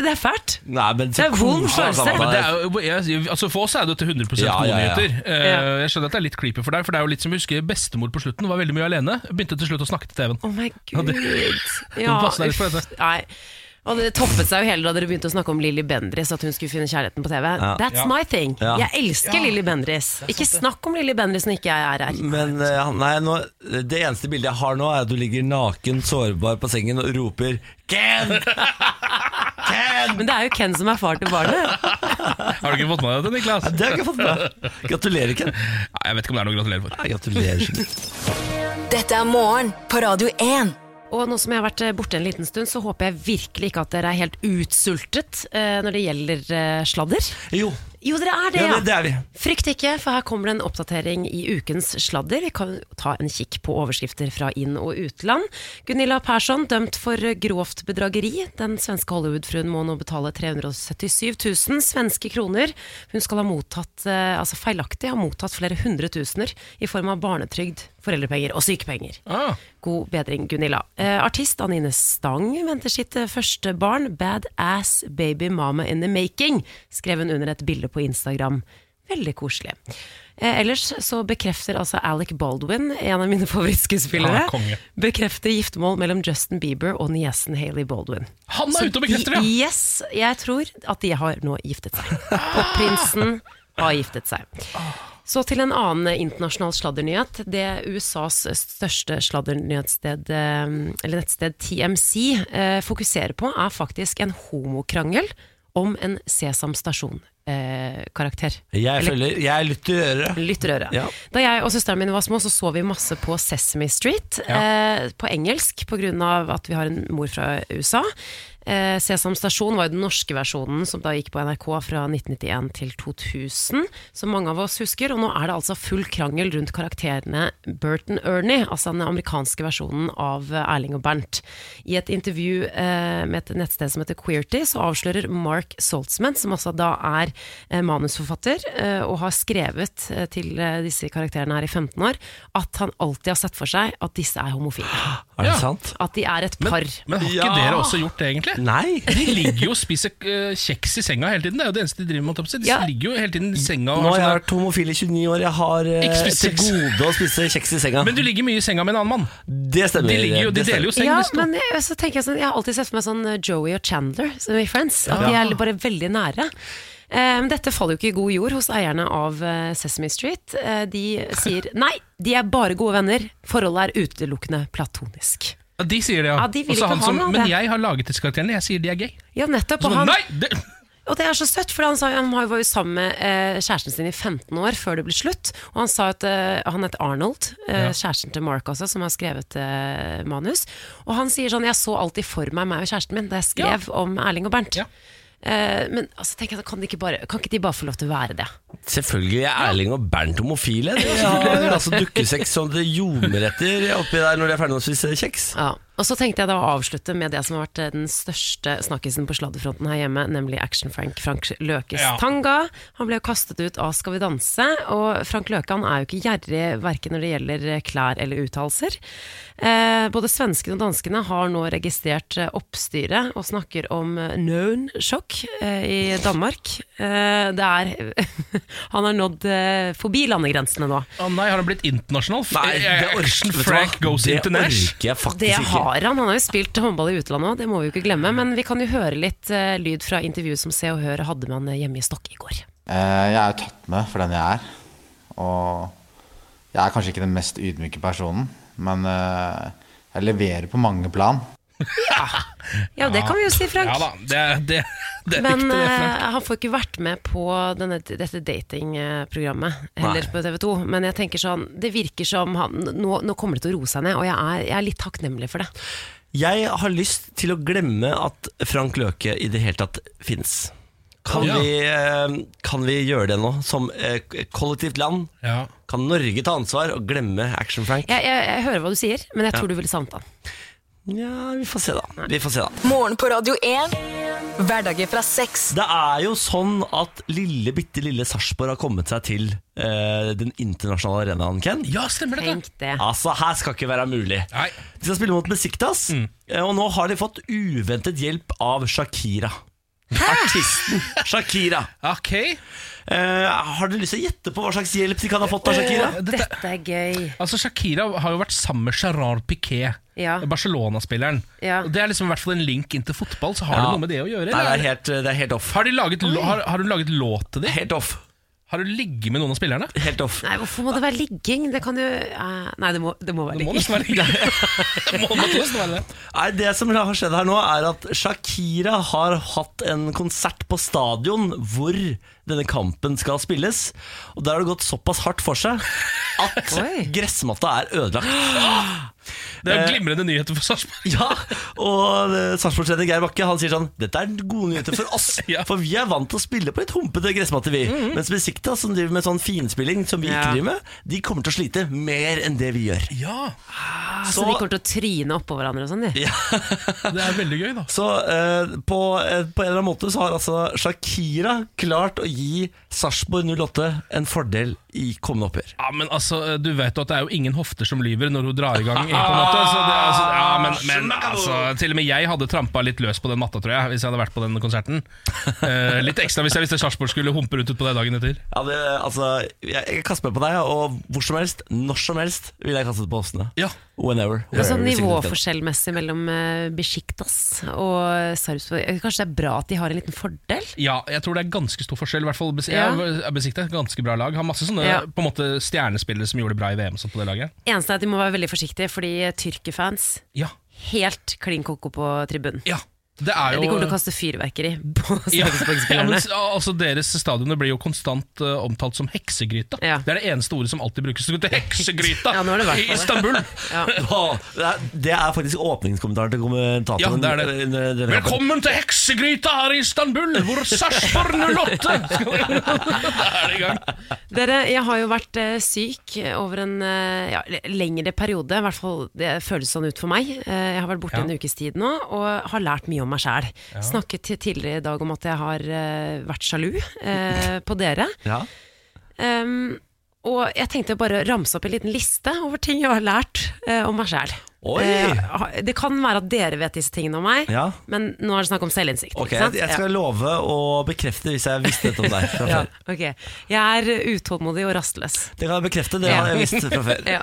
Speaker 3: Det er fælt.
Speaker 7: Nei, men
Speaker 3: Det er vond
Speaker 7: koselig,
Speaker 3: følelse.
Speaker 7: Samantha.
Speaker 2: Men det er jo, jeg, altså for oss er det jo til
Speaker 7: Ja,
Speaker 2: 100
Speaker 7: ja, ja.
Speaker 2: godnyheter. Eh, Jeg skjønner at det er litt creepy for deg, for det er jo litt som jeg husker bestemor på slutten. Var veldig mye alene. Begynte til slutt å snakke til TV-en.
Speaker 3: Å my gud.
Speaker 2: må passe deg litt for
Speaker 3: uff,
Speaker 2: dette.
Speaker 3: Nei. Og det toppet seg jo hele da dere begynte å snakke om Lilly Bendriss, at hun skulle finne kjærligheten på TV. That's
Speaker 2: Ja.
Speaker 3: my thing.
Speaker 7: Ja.
Speaker 3: Jeg elsker Lilly Bendriss. Ikke snakk om Lilly Bendriss når ikke jeg er her.
Speaker 7: Men eh, nei, nå, det eneste bildet jeg har nå, er at du ligger naken, sårbar på sengen og roper 'Ken! Ken!'
Speaker 3: Men det er jo Ken som er far til barnet.
Speaker 2: Har du ikke fått med deg det, Niklas?
Speaker 7: Det har jeg ikke fått med. Gratulerer, Ken.
Speaker 2: Nei, jeg vet ikke om det er noe å gratulere for.
Speaker 7: Nei, gratulerer. Sigurd.
Speaker 6: Dette er morgen på Radio 1.
Speaker 3: Og nå som jeg har vært eh, borte en liten stund, så håper jeg virkelig ikke at dere er helt utsultet eh, når det gjelder eh, sladder.
Speaker 7: Jo,
Speaker 3: Jo, dere er det,
Speaker 7: ja, det, det er vi.
Speaker 3: Frykt ikke, for her kommer det en oppdatering i ukens sladder. Vi kan ta en kikk på overskrifter fra inn- og utland. Gunilla Persson dømt for grovt bedrageri. Den svenske Hollywood-fruen må nå betale 377 000 svenske kroner. Hun skal ha mottatt, eh, altså feilaktig ha mottatt flere hundre tusener i form av barnetrygd, foreldrepenger og sykepenger.
Speaker 2: Ah.
Speaker 3: God bedring, Gunilla. Eh, artist Anine Stang venter sitt eh, første barn. Bad ass baby mama in the making, skrev hun under et bilde på Instagram. Veldig koselig. Eh, ellers så bekrefter altså Alec Baldwin, en av mine favorittskuespillere,
Speaker 2: Ja, konge.
Speaker 3: bekrefter giftermål mellom Justin Bieber og niesen Hailey Baldwin.
Speaker 2: Han er ute og bekrefter,
Speaker 3: de-
Speaker 2: ja!
Speaker 3: Yes, jeg tror at de har nå giftet seg. Popprinsen har giftet seg. Så til en annen internasjonal sladdernyhet. Det USAs største sladdernyhetssted, eh, eller nettsted TMC, eh, fokuserer på, er faktisk en homokrangel om en eh, Sesam Stasjon-karakter.
Speaker 7: Jeg følger. Jeg lytter i øret.
Speaker 3: Lytterøret.
Speaker 7: Ja.
Speaker 3: Da jeg og søsteren min var små, så så vi masse på Sesame Street. Eh, på engelsk, pga. at vi har en mor fra USA. Eh, Sesam Stasjon var jo den norske versjonen som da gikk på NRK fra 1991 til 2000. Som mange av oss husker. Og nå er det altså full krangel rundt karakterene Burton Ernie, altså den amerikanske versjonen av eh, Erling og Bernt. I et intervju eh, med et nettsted som heter Queerty, så avslører Mark Saltzman, som altså da er eh, manusforfatter eh, og har skrevet eh, til eh, disse karakterene her i 15 år, at han alltid har sett for seg at disse er homofile.
Speaker 7: Er det
Speaker 2: Ja.
Speaker 7: sant?
Speaker 3: At de er et par.
Speaker 2: Men har ikke
Speaker 7: Ja.
Speaker 2: dere også gjort det, egentlig?
Speaker 7: Nei.
Speaker 2: De ligger jo og spiser eh, kjeks i senga hele tiden. Det er jo det eneste de driver med. holdt jeg på å si. De
Speaker 3: Ja.
Speaker 2: ligger jo hele tiden i senga og
Speaker 7: Nå har
Speaker 2: har
Speaker 7: jeg
Speaker 2: sånn der-
Speaker 7: vært homofil i 29 år. Jeg har eh,
Speaker 2: Ikke spist
Speaker 7: til
Speaker 2: kjeks.
Speaker 7: gode å spise kjeks i senga.
Speaker 2: Men du ligger mye i senga med en annen mann.
Speaker 7: det stemmer.
Speaker 2: De, ligger jo, de
Speaker 7: det stemmer.
Speaker 2: deler jo seng.
Speaker 3: ja,
Speaker 2: disse to.
Speaker 3: men jeg, så tenker jeg sånn Jeg har alltid sett for meg sånn eh, Joey og Chandler som i Friends. At
Speaker 2: Ja.
Speaker 3: de er bare veldig nære. Eh, men dette faller jo ikke i god jord hos eierne av eh, Sesame Street. Eh, de sier nei, de er bare gode venner. Forholdet er utelukkende platonisk.
Speaker 2: Ja, de sier det, ja.
Speaker 3: Ja, de vil
Speaker 2: Og så
Speaker 3: ikke
Speaker 2: han
Speaker 3: ha
Speaker 2: som,
Speaker 3: noe av
Speaker 2: men
Speaker 3: det.
Speaker 2: jeg har laget disse karakterene. Jeg sier de er gay.
Speaker 3: Ja, nettopp.
Speaker 2: Så,
Speaker 3: Og han,
Speaker 2: nei, det,
Speaker 3: Og det er så søtt, for han, sa, han var jo- var jo sammen med eh, kjæresten sin i 15 år før det ble slutt. Og han sa at eh, han het Arnold, eh, kjæresten til Mark også, som har skrevet eh, manus. Og han sier sånn Jeg så alltid for meg meg og kjæresten min da jeg skrev om Erling og Bernt.
Speaker 2: Ja.
Speaker 3: Eh, men altså, tenk, at kan, de ikke bare, kan ikke de bare få lov til å være det?
Speaker 1: Selvfølgelig er Erling og Bernt homofile. De har altså dukkesex sånn det ljomer etter oppi der når de er ferdig med å spise kjeks.
Speaker 3: Ja. Og så tenkte jeg da å avslutte med det som har vært eh, den største snakkisen på sladderfronten her hjemme, nemlig Action-Frank Frank Løkes
Speaker 2: Ja.
Speaker 3: tanga. Han ble jo kastet ut av Skal vi danse, og Frank Løke han er jo ikke gjerrig verken når det gjelder eh, klær eller uttalelser. Eh, både svenskene og danskene har nå registrert eh, oppstyret og snakker om eh, known shock eh, i Danmark. Eh, det er Han har nådd eh, forbi landegrensene nå.
Speaker 2: Å nei, har han blitt internasjonal?
Speaker 1: Nei, det
Speaker 2: Eh,
Speaker 1: orker,
Speaker 2: Action
Speaker 1: vet du hva?
Speaker 2: Frank goes
Speaker 1: det
Speaker 2: international.
Speaker 1: orker jeg
Speaker 3: Det
Speaker 1: faktisk ikke.
Speaker 3: har han. Han har jo spilt håndball i utlandet òg, det må vi jo ikke glemme. Men vi kan jo høre litt eh, lyd fra intervjuet som Se og Hør hadde med han hjemme i Stokke i går.
Speaker 8: Eh, Jeg er jo tatt med for den jeg er. Og jeg er kanskje ikke den mest ydmyke personen, men eh, jeg leverer på mange plan.
Speaker 3: Ja, det kan vi jo si, Frank.
Speaker 2: Ja da, det, det, det er
Speaker 3: Men
Speaker 2: riktig, det, Frank.
Speaker 3: eh, han får ikke vært med på denne, dette datingprogrammet, heller på TV 2. Men jeg tenker sånn, det virker som han, nå, nå kommer det til å roe seg ned, og jeg er, jeg er litt takknemlig for det.
Speaker 1: Jeg har lyst til å glemme at Frank Løke i det hele tatt fins. Kan,
Speaker 2: Ja.
Speaker 1: vi, eh, kan vi gjøre det nå, som eh, kollektivt land?
Speaker 3: eh,
Speaker 2: Ja.
Speaker 1: Kan Norge ta ansvar og glemme Action-Frank?
Speaker 3: Jeg, jeg, jeg hører hva du sier, men jeg tror du ville savnet han.
Speaker 1: Ja, vi får se, da. Vi får se da
Speaker 6: Morgen på Radio 1. Hverdager fra seks.
Speaker 1: Det er jo sånn at lille, bitte lille Sarpsborg har kommet seg til eh, den internasjonale arenaen, Ken.
Speaker 2: ja, stemmer det.
Speaker 3: Tenk det.
Speaker 1: Altså, her skal ikke være mulig.
Speaker 2: Nei.
Speaker 1: De skal spille mot Besiktas,
Speaker 2: Mm.
Speaker 1: eh, og nå har de fått uventet hjelp av Shakira. Artisten Shakira.
Speaker 2: Ok.
Speaker 1: Eh, har dere lyst til å gjette på hva slags hjelp de kan ha
Speaker 2: Eh,
Speaker 1: fått av Shakira?
Speaker 2: Dette,
Speaker 3: Dette er gøy.
Speaker 2: altså Shakira har jo vært sammen med Gerard Piquet,
Speaker 3: Ja.
Speaker 2: Barcelona-spilleren.
Speaker 3: Ja.
Speaker 2: Og Det er liksom i hvert fall en link inn til fotball, så har
Speaker 1: Ja.
Speaker 2: det noe med det å
Speaker 1: Nei,
Speaker 2: gjøre?
Speaker 1: det er
Speaker 2: eller?
Speaker 1: helt, det er helt off.
Speaker 2: har, de laget, lå- har, har du laget låt til dem?
Speaker 1: Helt off.
Speaker 2: Har du ligget med noen av spillerne?
Speaker 1: Helt off.
Speaker 3: Nei, hvorfor må det være ligging? Det kan jo eh, Nei, det må, det må være
Speaker 2: Det må
Speaker 3: ligging.
Speaker 2: nesten være det. må nesten være det.
Speaker 1: Nei, Det som har skjedd her nå, er at Shakira har hatt en konsert på stadion hvor denne kampen skal spilles. Og der har det gått såpass hardt for seg at
Speaker 3: Oi.
Speaker 1: gressmatta er ødelagt.
Speaker 2: Det er jo glimrende nyheter for Sarpsborg.
Speaker 1: Ja, Og eh, Sarpsborg-trener Geir Bakke han sier sånn Dette er gode nyheter for oss,
Speaker 2: Ja.
Speaker 1: for vi er vant til å spille på litt humpete gressmatte, vi. Mens Besikta, som driver med sånn finspilling som vi
Speaker 3: Mhm. Ja.
Speaker 1: ikke driver med, de kommer til å slite mer enn det vi gjør.
Speaker 2: Ja,
Speaker 3: Ah, Så de kommer til å tryne oppå hverandre og sånn, de.
Speaker 2: det er veldig gøy, da.
Speaker 1: Så eh, på, eh, på en eller annen måte så har altså Shakira klart å gi Sarpsborg 08 en fordel i kommende oppgjør.
Speaker 2: Ja, men altså, Du vet jo at det er jo ingen hofter som lyver når hun drar i gang. på en måte så det, er altså, ja, men, men altså, Til og med jeg hadde trampa litt løs på den matta, tror jeg. Hvis jeg hadde vært på den konserten Eh, Litt ekstra hvis jeg visste Sarpsborg skulle humpe rundt utpå det dagen etter.
Speaker 1: Ja, det, altså, jeg, jeg kaster meg på deg, og hvor som helst, når som helst, vil jeg kaste det på Åsene.
Speaker 2: Ja.
Speaker 1: Whenever.
Speaker 3: Det er sånn
Speaker 1: wherever, sikkert.
Speaker 3: nivåforskjellmessig mellom eh, Besiktas og Sarpsborg. eh, Kanskje det er bra at de har en liten fordel?
Speaker 2: Ja, jeg tror det er ganske stor forskjell. I hvert fall bes-
Speaker 3: Ja.
Speaker 2: jeg er besiktet, et ganske bra lag. Har masse sånne
Speaker 3: Ja.
Speaker 2: på en måte stjernespillere som gjorde det bra i VM. og Sånt på det laget
Speaker 3: Eneste er at de må være veldig forsiktige, fordi eh, tyrkerfans
Speaker 2: Ja,
Speaker 3: helt klin koko på tribunen.
Speaker 2: ja det er jo
Speaker 3: De kommer til å kaste fyrverkeri på
Speaker 2: ja, ja, men,
Speaker 3: Sarpsborg-spillerne.
Speaker 2: s- altså Deres stadioner blir jo konstant eh, omtalt som heksegryta.
Speaker 3: Ja.
Speaker 2: Det er det eneste ordet som alltid brukes. til Heksegryta
Speaker 3: Ja, nå er det i hvert
Speaker 2: i
Speaker 3: fall det.
Speaker 2: Istanbul!
Speaker 1: Å, det, er, det er faktisk åpningskommentaren til kommentatoren.
Speaker 2: Ja, det er det.
Speaker 1: under denne kampen.
Speaker 2: Velkommen til heksegryta her i Istanbul, hvor Sarpsborg 08 skal- Da er det i gang.
Speaker 3: Dere, jeg har jo vært eh, syk over en eh, ja, l- lengre periode, i hvert fall det føles sånn ut for meg. Eh, jeg har vært borte
Speaker 2: Ja.
Speaker 3: en ukes tid nå, og har lært mye om meg sjæl. Snakket ti- tidligere i dag om at jeg har eh, vært sjalu eh, på dere.
Speaker 1: Ja.
Speaker 3: Em, Ehm, og jeg tenkte bare å ramse opp en liten liste over ting jeg har lært eh, om meg sjæl.
Speaker 1: Oi!
Speaker 3: det kan være at dere vet disse tingene om meg,
Speaker 1: Ja.
Speaker 3: men nå er det snakk om selvinnsikt.
Speaker 1: Ok,
Speaker 3: ikke sant?
Speaker 1: jeg, jeg skal love å bekrefte hvis jeg visste dette om deg fra
Speaker 3: ja.
Speaker 1: før.
Speaker 3: Ok. Jeg er utålmodig og rastløs.
Speaker 1: Det kan jeg bekrefte, det
Speaker 3: Ja.
Speaker 1: har jeg visst fra før.
Speaker 3: Ja.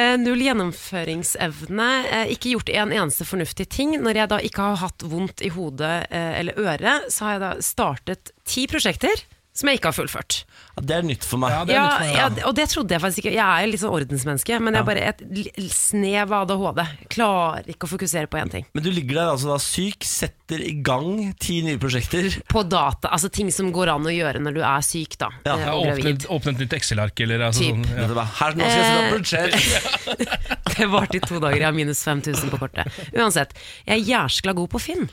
Speaker 3: Eh, null gjennomføringsevne. eh, ikke gjort en eneste fornuftig ting. Når jeg da ikke har hatt vondt i hodet eh, eller øret, så har jeg da startet ti prosjekter som jeg ikke har fullført.
Speaker 1: Ja, det er nytt for meg.
Speaker 2: Ja, det er
Speaker 3: Ja,
Speaker 2: litt for meg,
Speaker 3: ja,
Speaker 2: ja.
Speaker 3: og det trodde jeg faktisk ikke. Jeg er jo litt sånn ordensmenneske, men jeg er bare et l- snev av ADHD. Klarer ikke å fokusere på én ting.
Speaker 1: Men du ligger der altså da syk, setter i gang ti nye prosjekter.
Speaker 3: På data, altså ting som går an å gjøre når du er syk, da.
Speaker 1: Ja,
Speaker 3: eh,
Speaker 2: Jeg har
Speaker 3: og
Speaker 2: åpnet,
Speaker 3: gravid.
Speaker 2: åpnet nytt Excel-ark eller altså,
Speaker 3: Typ.
Speaker 2: sånn. Ja. Eh.
Speaker 1: Dette bare, Her nå skal jeg sette opp budsjett.
Speaker 3: Det varte i to dager, jeg har minus 5000 på kortet. Uansett, jeg er jæskla god på Finn.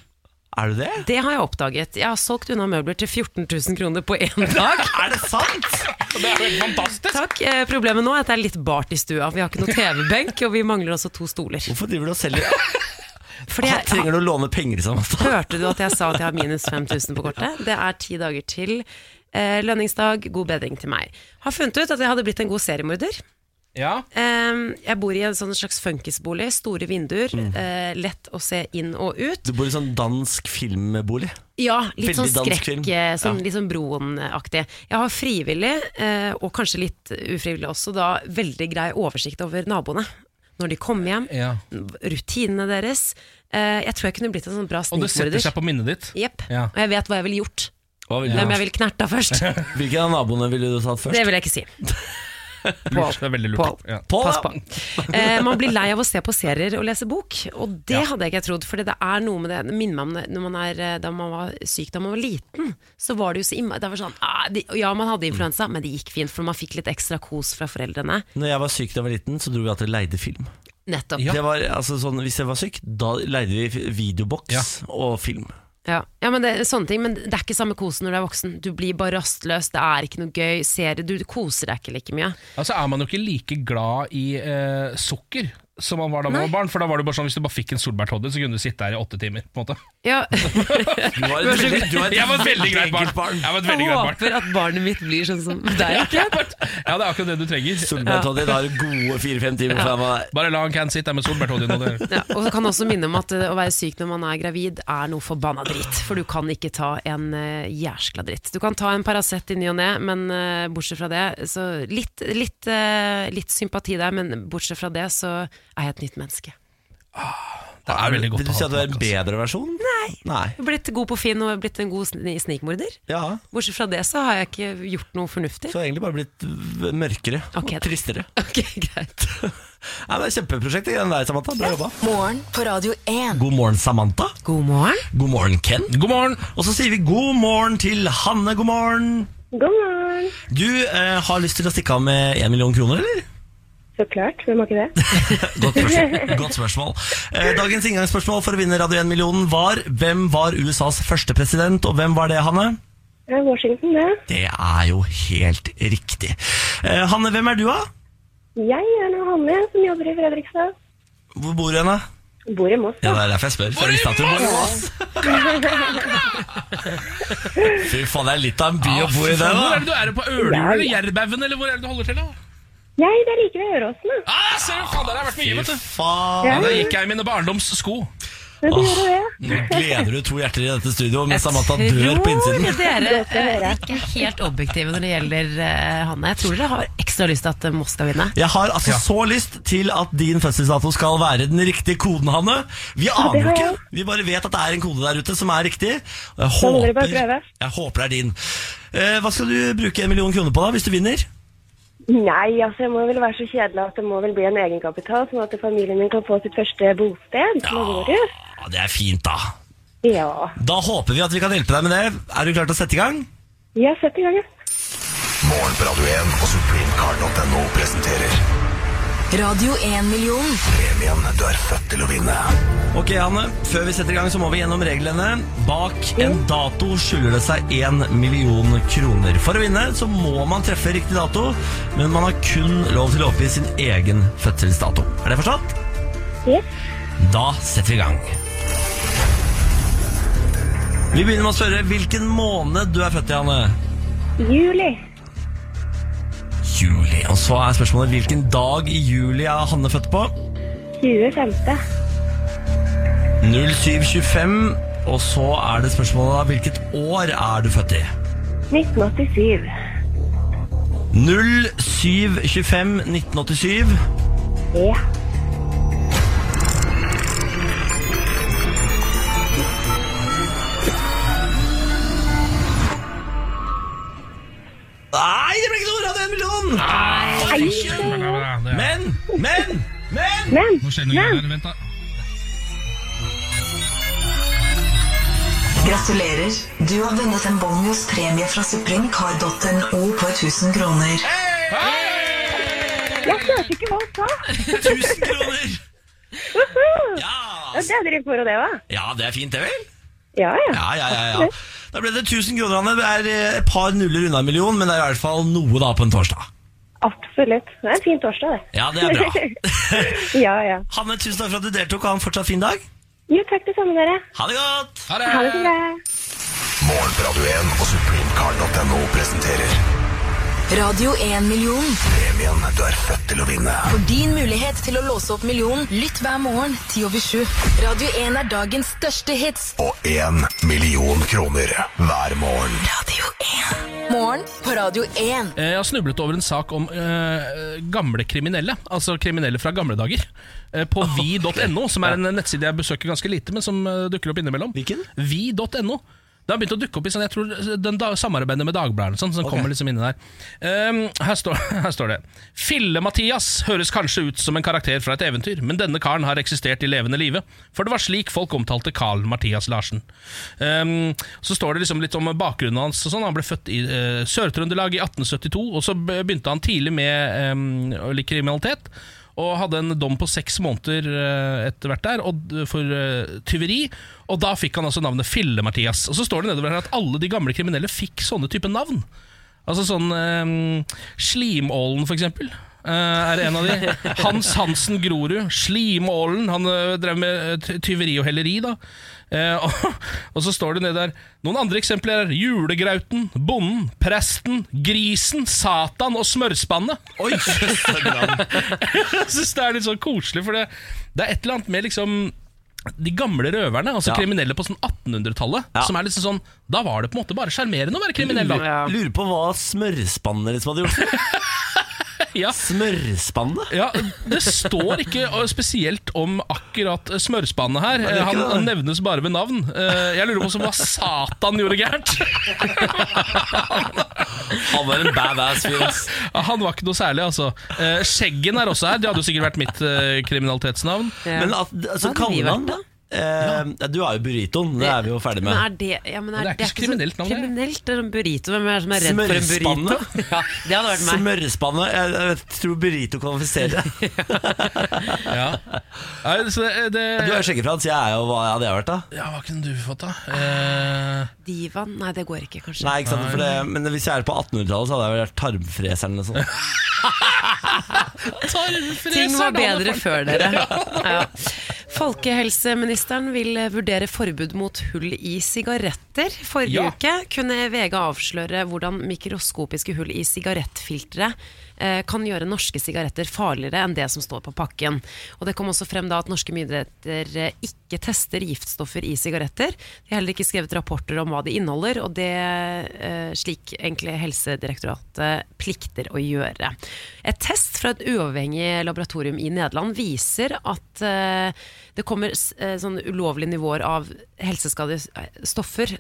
Speaker 1: Er du det?
Speaker 3: Det har jeg oppdaget. Jeg har solgt unna møbler til 14 000 kroner på én dag.
Speaker 1: Er det sant?
Speaker 2: Det er jo helt fantastisk!
Speaker 3: Takk. Eh, problemet nå er at det er litt bart i stua. Vi har ikke noe TV-benk, og vi mangler også to stoler.
Speaker 1: Hvorfor driver du og selger?
Speaker 3: Fordi jeg,
Speaker 1: Trenger du å låne penger i Samantha?
Speaker 3: hørte du at jeg sa at jeg har minus 5000 på kortet? Det er ti dager til eh, lønningsdag. God bedring til meg. Har funnet ut at jeg hadde blitt en god seriemorder.
Speaker 2: Ja.
Speaker 3: Eh, jeg bor i en sånn slags funkisbolig. Store vinduer,
Speaker 2: Mm.
Speaker 3: eh, lett å se inn og ut.
Speaker 1: Du bor i sånn dansk filmbolig.
Speaker 3: Ja, litt
Speaker 1: Veldig
Speaker 3: sånn
Speaker 1: dansk
Speaker 3: skrekk,
Speaker 1: film.
Speaker 3: eh, sånn,
Speaker 1: Ja.
Speaker 3: litt sånn Broen-aktig. Jeg har frivillig, eh, og kanskje litt ufrivillig også, da veldig grei oversikt over naboene. Når de kommer hjem,
Speaker 2: Ja.
Speaker 3: rutinene deres. Eh, jeg tror jeg kunne blitt en sånn bra
Speaker 2: Og det setter seg
Speaker 3: snikmorder.
Speaker 2: på minnet ditt.
Speaker 3: Jepp.
Speaker 2: Ja.
Speaker 3: Og jeg vet hva jeg ville gjort.
Speaker 1: Hva vil du?
Speaker 3: Hvem jeg ville knerta først.
Speaker 1: Hvilken av naboene ville du tatt først?
Speaker 3: Det vil jeg ikke si.
Speaker 2: Lurt. Det er veldig
Speaker 3: Pål.
Speaker 2: lurt. Ja.
Speaker 1: Pål,
Speaker 3: Pass
Speaker 1: ja.
Speaker 3: på. Eh, man blir lei av å se på serier og lese bok, og det hadde jeg ikke trodd. For det er noe med det Det minner meg om det, når man er, eh, da man var syk da man var liten. Så var det jo så imma, det var sånn, ah, de, Ja, man hadde influensa, men det gikk fint, for man fikk litt ekstra kos fra foreldrene.
Speaker 1: Når jeg var syk da jeg var liten, så dro vi alltid og leide film.
Speaker 3: Nettopp.
Speaker 2: Ja.
Speaker 1: Det var, altså, sånn, hvis jeg var syk, da leide vi f- videoboks og film.
Speaker 3: Ja, ja men det, sånne ting, men det er ikke samme kosen når du er voksen. Du blir bare rastløs, det er ikke noe gøy. Serie, du koser deg ikke like mye.
Speaker 2: Altså er man jo ikke like glad i eh, sukker som man var da man var barn. For da var det bare sånn Hvis du bare fikk en solbærtoddy, så kunne du sitte her i åtte timer. På en måte.
Speaker 3: Ja,
Speaker 1: Du var
Speaker 3: Du er så
Speaker 1: veldig-
Speaker 3: glad.
Speaker 1: du var
Speaker 2: Jeg var et veldig greit barn.
Speaker 1: enkelt barn.
Speaker 2: Jeg var et
Speaker 3: jeg
Speaker 2: veldig greit barn.
Speaker 3: håper at barnet mitt blir sånn som deg.
Speaker 2: Ja, det er akkurat det du trenger.
Speaker 1: Solberg-Toddy har gode fire-fem timer før jeg var der.
Speaker 2: Bare la en can sitte her med solbærtoddy nå. det-
Speaker 3: Ja, og så kan jeg også minne om at eh, å være syk når man er gravid er noe forbanna dritt. For du kan ikke ta en uh, jæskla dritt. Du kan ta en Paracet i ny og ne, men eh, bortsett fra det, så litt, litt, eh, litt sympati der, men bortsett fra det så er jeg et nytt menneske.
Speaker 2: Det er veldig godt
Speaker 1: Vil du
Speaker 2: å
Speaker 1: si
Speaker 2: ha
Speaker 1: at du er en
Speaker 2: tilbake, altså.
Speaker 1: bedre versjon? Nei. Nei.
Speaker 3: Jeg har blitt god på Finn og jeg har blitt en god sn- snikmorder.
Speaker 1: Ja,
Speaker 3: Bortsett fra det så har jeg ikke gjort noe fornuftig.
Speaker 1: så har jeg egentlig bare blitt v- mørkere og
Speaker 3: Ok, da.
Speaker 1: tristere.
Speaker 3: Ok, greit.
Speaker 1: Nei, men det er Kjempeprosjekt i den der, Samantha. Bra jobba.
Speaker 6: Morgen på Radio 1.
Speaker 1: God morgen, Samantha.
Speaker 3: God morgen.
Speaker 1: God morgen, Ken.
Speaker 2: God morgen!
Speaker 1: Og så sier vi god morgen til Hanne. God morgen.
Speaker 9: God morgen.
Speaker 1: Du eh, har lyst til å stikke av med én million kroner, eller?
Speaker 9: Så klart, hvem har ikke det?
Speaker 1: Godt spørsmål. Godt spørsmål. Eh, dagens inngangsspørsmål for å vinne Radio 1-millionen var hvem var USAs første president, og hvem var det, Hanne?
Speaker 9: Det er Washington, det.
Speaker 1: Det er jo helt riktig. Eh, Hanne, hvem er du, da?
Speaker 9: Jeg er nå Hanne, som jobber i Fredrikstad.
Speaker 1: Hvor bor du hen, da?
Speaker 9: Bor i Moss.
Speaker 1: Ja,
Speaker 9: da.
Speaker 1: det er derfor jeg spør. For jeg visste at du bor i Ås. Fy faen, det er litt av en by å bo i, det,
Speaker 2: Ah, Hvor er
Speaker 1: da.
Speaker 2: det du er? På Ørnhjul
Speaker 9: Ja, ja.
Speaker 2: eller Jærbaugen, eller hvor er det du holder til? da?
Speaker 9: Jeg, det er like ved Øråsen, da.
Speaker 2: Ah, ser du, faen, der har jeg vært mye,
Speaker 1: Fy
Speaker 2: vet du.
Speaker 1: faen.
Speaker 2: Ja, der gikk jeg i mine barndoms sko.
Speaker 9: Men du gjør jo det.
Speaker 1: Nå gleder du to hjerter i dette studioet, mens Samantha
Speaker 3: Jeg
Speaker 1: dør på innsiden.
Speaker 3: tror dere
Speaker 9: Godt å
Speaker 3: eh,
Speaker 9: høre.
Speaker 3: ikke er helt objektive når det gjelder eh, Hanne. Jeg tror dere har ekstra lyst til at eh, Moss skal vinne.
Speaker 1: Jeg har altså så lyst til at din fødselsdato skal være den riktige koden, Hanne. Vi aner jo
Speaker 9: har
Speaker 1: ikke.
Speaker 9: jeg.
Speaker 1: Vi bare vet at det er en kode der ute som er riktig. Og jeg
Speaker 9: må
Speaker 1: håper,
Speaker 9: dere bare prøve.
Speaker 1: jeg håper det er din. Eh, hva skal du bruke en million kroner på da, hvis du vinner?
Speaker 9: Nei, altså, jeg må vel være så kjedelig at det må vel bli en egenkapital, sånn at familien min kan få sitt første bosted. Ja. Bor i.
Speaker 1: Ja, Det er fint, da.
Speaker 9: ja.
Speaker 1: Da håper vi at vi kan hjelpe deg med det. Er du klar til å sette i gang?
Speaker 9: Vi har sett i gang, ja.
Speaker 10: Morgen på Radio 1 og supremecard.no presenterer
Speaker 6: Radio 1-million.
Speaker 10: premien du er født til å vinne.
Speaker 1: Ok, Hanne. Før vi setter i gang, så må vi gjennom reglene. Bak en dato skjuler det seg én million kroner. For å vinne så må man treffe riktig dato, men man har kun lov til å oppgi sin egen fødselsdato. Er det forstått?
Speaker 9: Yes.
Speaker 1: Da setter vi i gang. Vi begynner med å spørre hvilken måned du er født i, Hanne.
Speaker 9: Juli.
Speaker 1: Juli. Og så er spørsmålet hvilken dag i juli er Hanne født på?
Speaker 9: 25.
Speaker 1: 0725. Og så er det spørsmålet da hvilket år er du født i?
Speaker 9: 1987.
Speaker 1: 0725-1987.
Speaker 9: Ja.
Speaker 1: Nei, det ble ikke noe Radio 1 million!
Speaker 2: Men
Speaker 1: Men, men, men
Speaker 9: Men,
Speaker 2: Nå skjer det noe greier
Speaker 9: men
Speaker 2: her. Vent, da.
Speaker 6: Gratulerer. Du har vunnet en bonuspremie fra supremecard.no på 1000 kroner.
Speaker 9: jeg hørte ikke hva han sa.
Speaker 1: 1000 kroner! Ja,
Speaker 9: Ja, det er dere for og det, hva?
Speaker 1: ja, det er fint, det vel?
Speaker 9: Ja, ja.
Speaker 1: Ja, ja, ja, ja. Da ble det 1000 kroner. Anne. Det er eh, et par nuller unna en million, men det er i hvert fall noe da på en torsdag.
Speaker 9: Absolutt. Det er en fin torsdag, det.
Speaker 1: Ja, det er bra.
Speaker 9: Ja, ja.
Speaker 1: Hanne, tusen takk for at du deltok, og ha en fortsatt fin dag.
Speaker 9: Jo, takk det samme, dere.
Speaker 1: Ha det godt!
Speaker 2: Ha
Speaker 9: Ha det så bra.
Speaker 10: Morgen på Radio 1 og supremecard.no presenterer
Speaker 6: Radio 1 million.
Speaker 10: premien du er født til å vinne.
Speaker 6: For din mulighet til å låse opp millionen, lytt hver morgen 10 over 7. Radio 1 er dagens største hits.
Speaker 10: Og én million kroner hver morgen.
Speaker 6: Radio 1. Morgen på Radio 1.
Speaker 2: Eh, Jeg har snublet over en sak om eh, gamle kriminelle, altså kriminelle fra gamle dager, eh, på vi.no, som er en nettside jeg besøker ganske lite, men som eh, dukker opp innimellom.
Speaker 1: Hvilken?
Speaker 2: Vi.no. Det har begynt å dukke opp i sånn, jeg tror, den da, samarbeidet med Dagbladet. eller Sånn, som kommer liksom inni der. Ehm, her, står, her står det Fille-Mathias høres kanskje ut som en karakter fra et eventyr, men denne karen har eksistert i levende live. For det var slik folk omtalte Carl Mathias Larsen. Ehm, så står det liksom litt om bakgrunnen hans. og Sånn. Han ble født i eh, Sør-Trøndelag i 1872, og så be- begynte han tidlig med ehm, litt kriminalitet. Og hadde en dom på seks måneder eh, etter hvert der og, d- for eh, tyveri. Og da fikk han altså navnet Fille-Mathias. Og så står det nedover her at alle de gamle kriminelle fikk sånne type navn. Altså sånn ehm, Slimålen, for eksempel. eh, er en av de. Hans Hansen Grorud. Slimålen. Han eh, drev med eh, ty- tyveri og helleri, da. Eh, og, og så står det nede der Noen andre eksempler er julegrauten, bonden, presten, grisen, Satan og smørspannet.
Speaker 1: Oi,
Speaker 2: Jeg synes det er litt sånn koselig, for det, det er et eller annet med liksom de gamle røverne, altså
Speaker 1: Ja.
Speaker 2: kriminelle på sånn 1800-tallet,
Speaker 1: Ja.
Speaker 2: som er liksom sånn Da var det på en måte bare sjarmerende å være kriminell, da.
Speaker 3: Ja.
Speaker 1: Lurer på hva smørspannet liksom hadde gjort.
Speaker 2: Ja.
Speaker 1: Smørspannet?
Speaker 2: Ja, Det står ikke eh, spesielt om akkurat eh, smørspannet her.
Speaker 1: det er
Speaker 2: Eh,
Speaker 1: ikke
Speaker 2: Han,
Speaker 1: det.
Speaker 2: han nevnes bare ved navn. Eh, Jeg lurer på også hva Satan gjorde gærent.
Speaker 1: Han var en badass fyr, ass.
Speaker 2: Ja, Han var ikke noe særlig, altså. Eh, Skjeggen er også her. Det hadde jo sikkert vært mitt eh, kriminalitetsnavn.
Speaker 3: Ja.
Speaker 1: Men at, altså,
Speaker 3: Hva hadde vi
Speaker 1: kallenavn,
Speaker 3: vært
Speaker 1: da? Eh, ja, du er jo burritoen, det er vi jo ferdig
Speaker 3: Men
Speaker 1: med.
Speaker 3: er det, ja, men er,
Speaker 2: Det er ikke så kriminelt navn, det.
Speaker 3: kriminelt, det er sånn burrito. Hvem er det som er redd for en burrito?
Speaker 1: Smørspanne?
Speaker 3: Ja, det hadde vært meg.
Speaker 1: Smørspannet? Jeg, jeg vet- tror burrito kvalifiserer.
Speaker 2: Ja. Nei, så det, det
Speaker 1: Du er skjeggefrans, jeg er jo hva hadde jeg vært, da?
Speaker 2: Ja, hva kunne du fått, da? Eh,
Speaker 3: Divan? Nei, det går ikke, kanskje.
Speaker 1: Nei, ikke sant, for det, Men hvis jeg er på 1800-tallet, så hadde jeg vel vært tarmfreseren eller noe sånt.
Speaker 3: Ting var bedre før dere. Ja. Folkehelseministeren vil eh, vurdere forbud mot hull i sigaretter. Forrige
Speaker 2: Ja.
Speaker 3: uke kunne VG avsløre hvordan mikroskopiske hull i sigarettfiltre eh, kan gjøre norske sigaretter farligere enn det som står på pakken. Og Det kom også frem da at norske myndigheter eh, ikke tester giftstoffer i sigaretter. De har heller ikke skrevet rapporter om hva de inneholder, og det eh, slik egentlig Helsedirektoratet plikter å gjøre. Et test fra et uavhengig laboratorium i Nederland viser at eh, det kommer s- eh, sånne ulovlige nivåer av helseskadelige s- eh, stoffer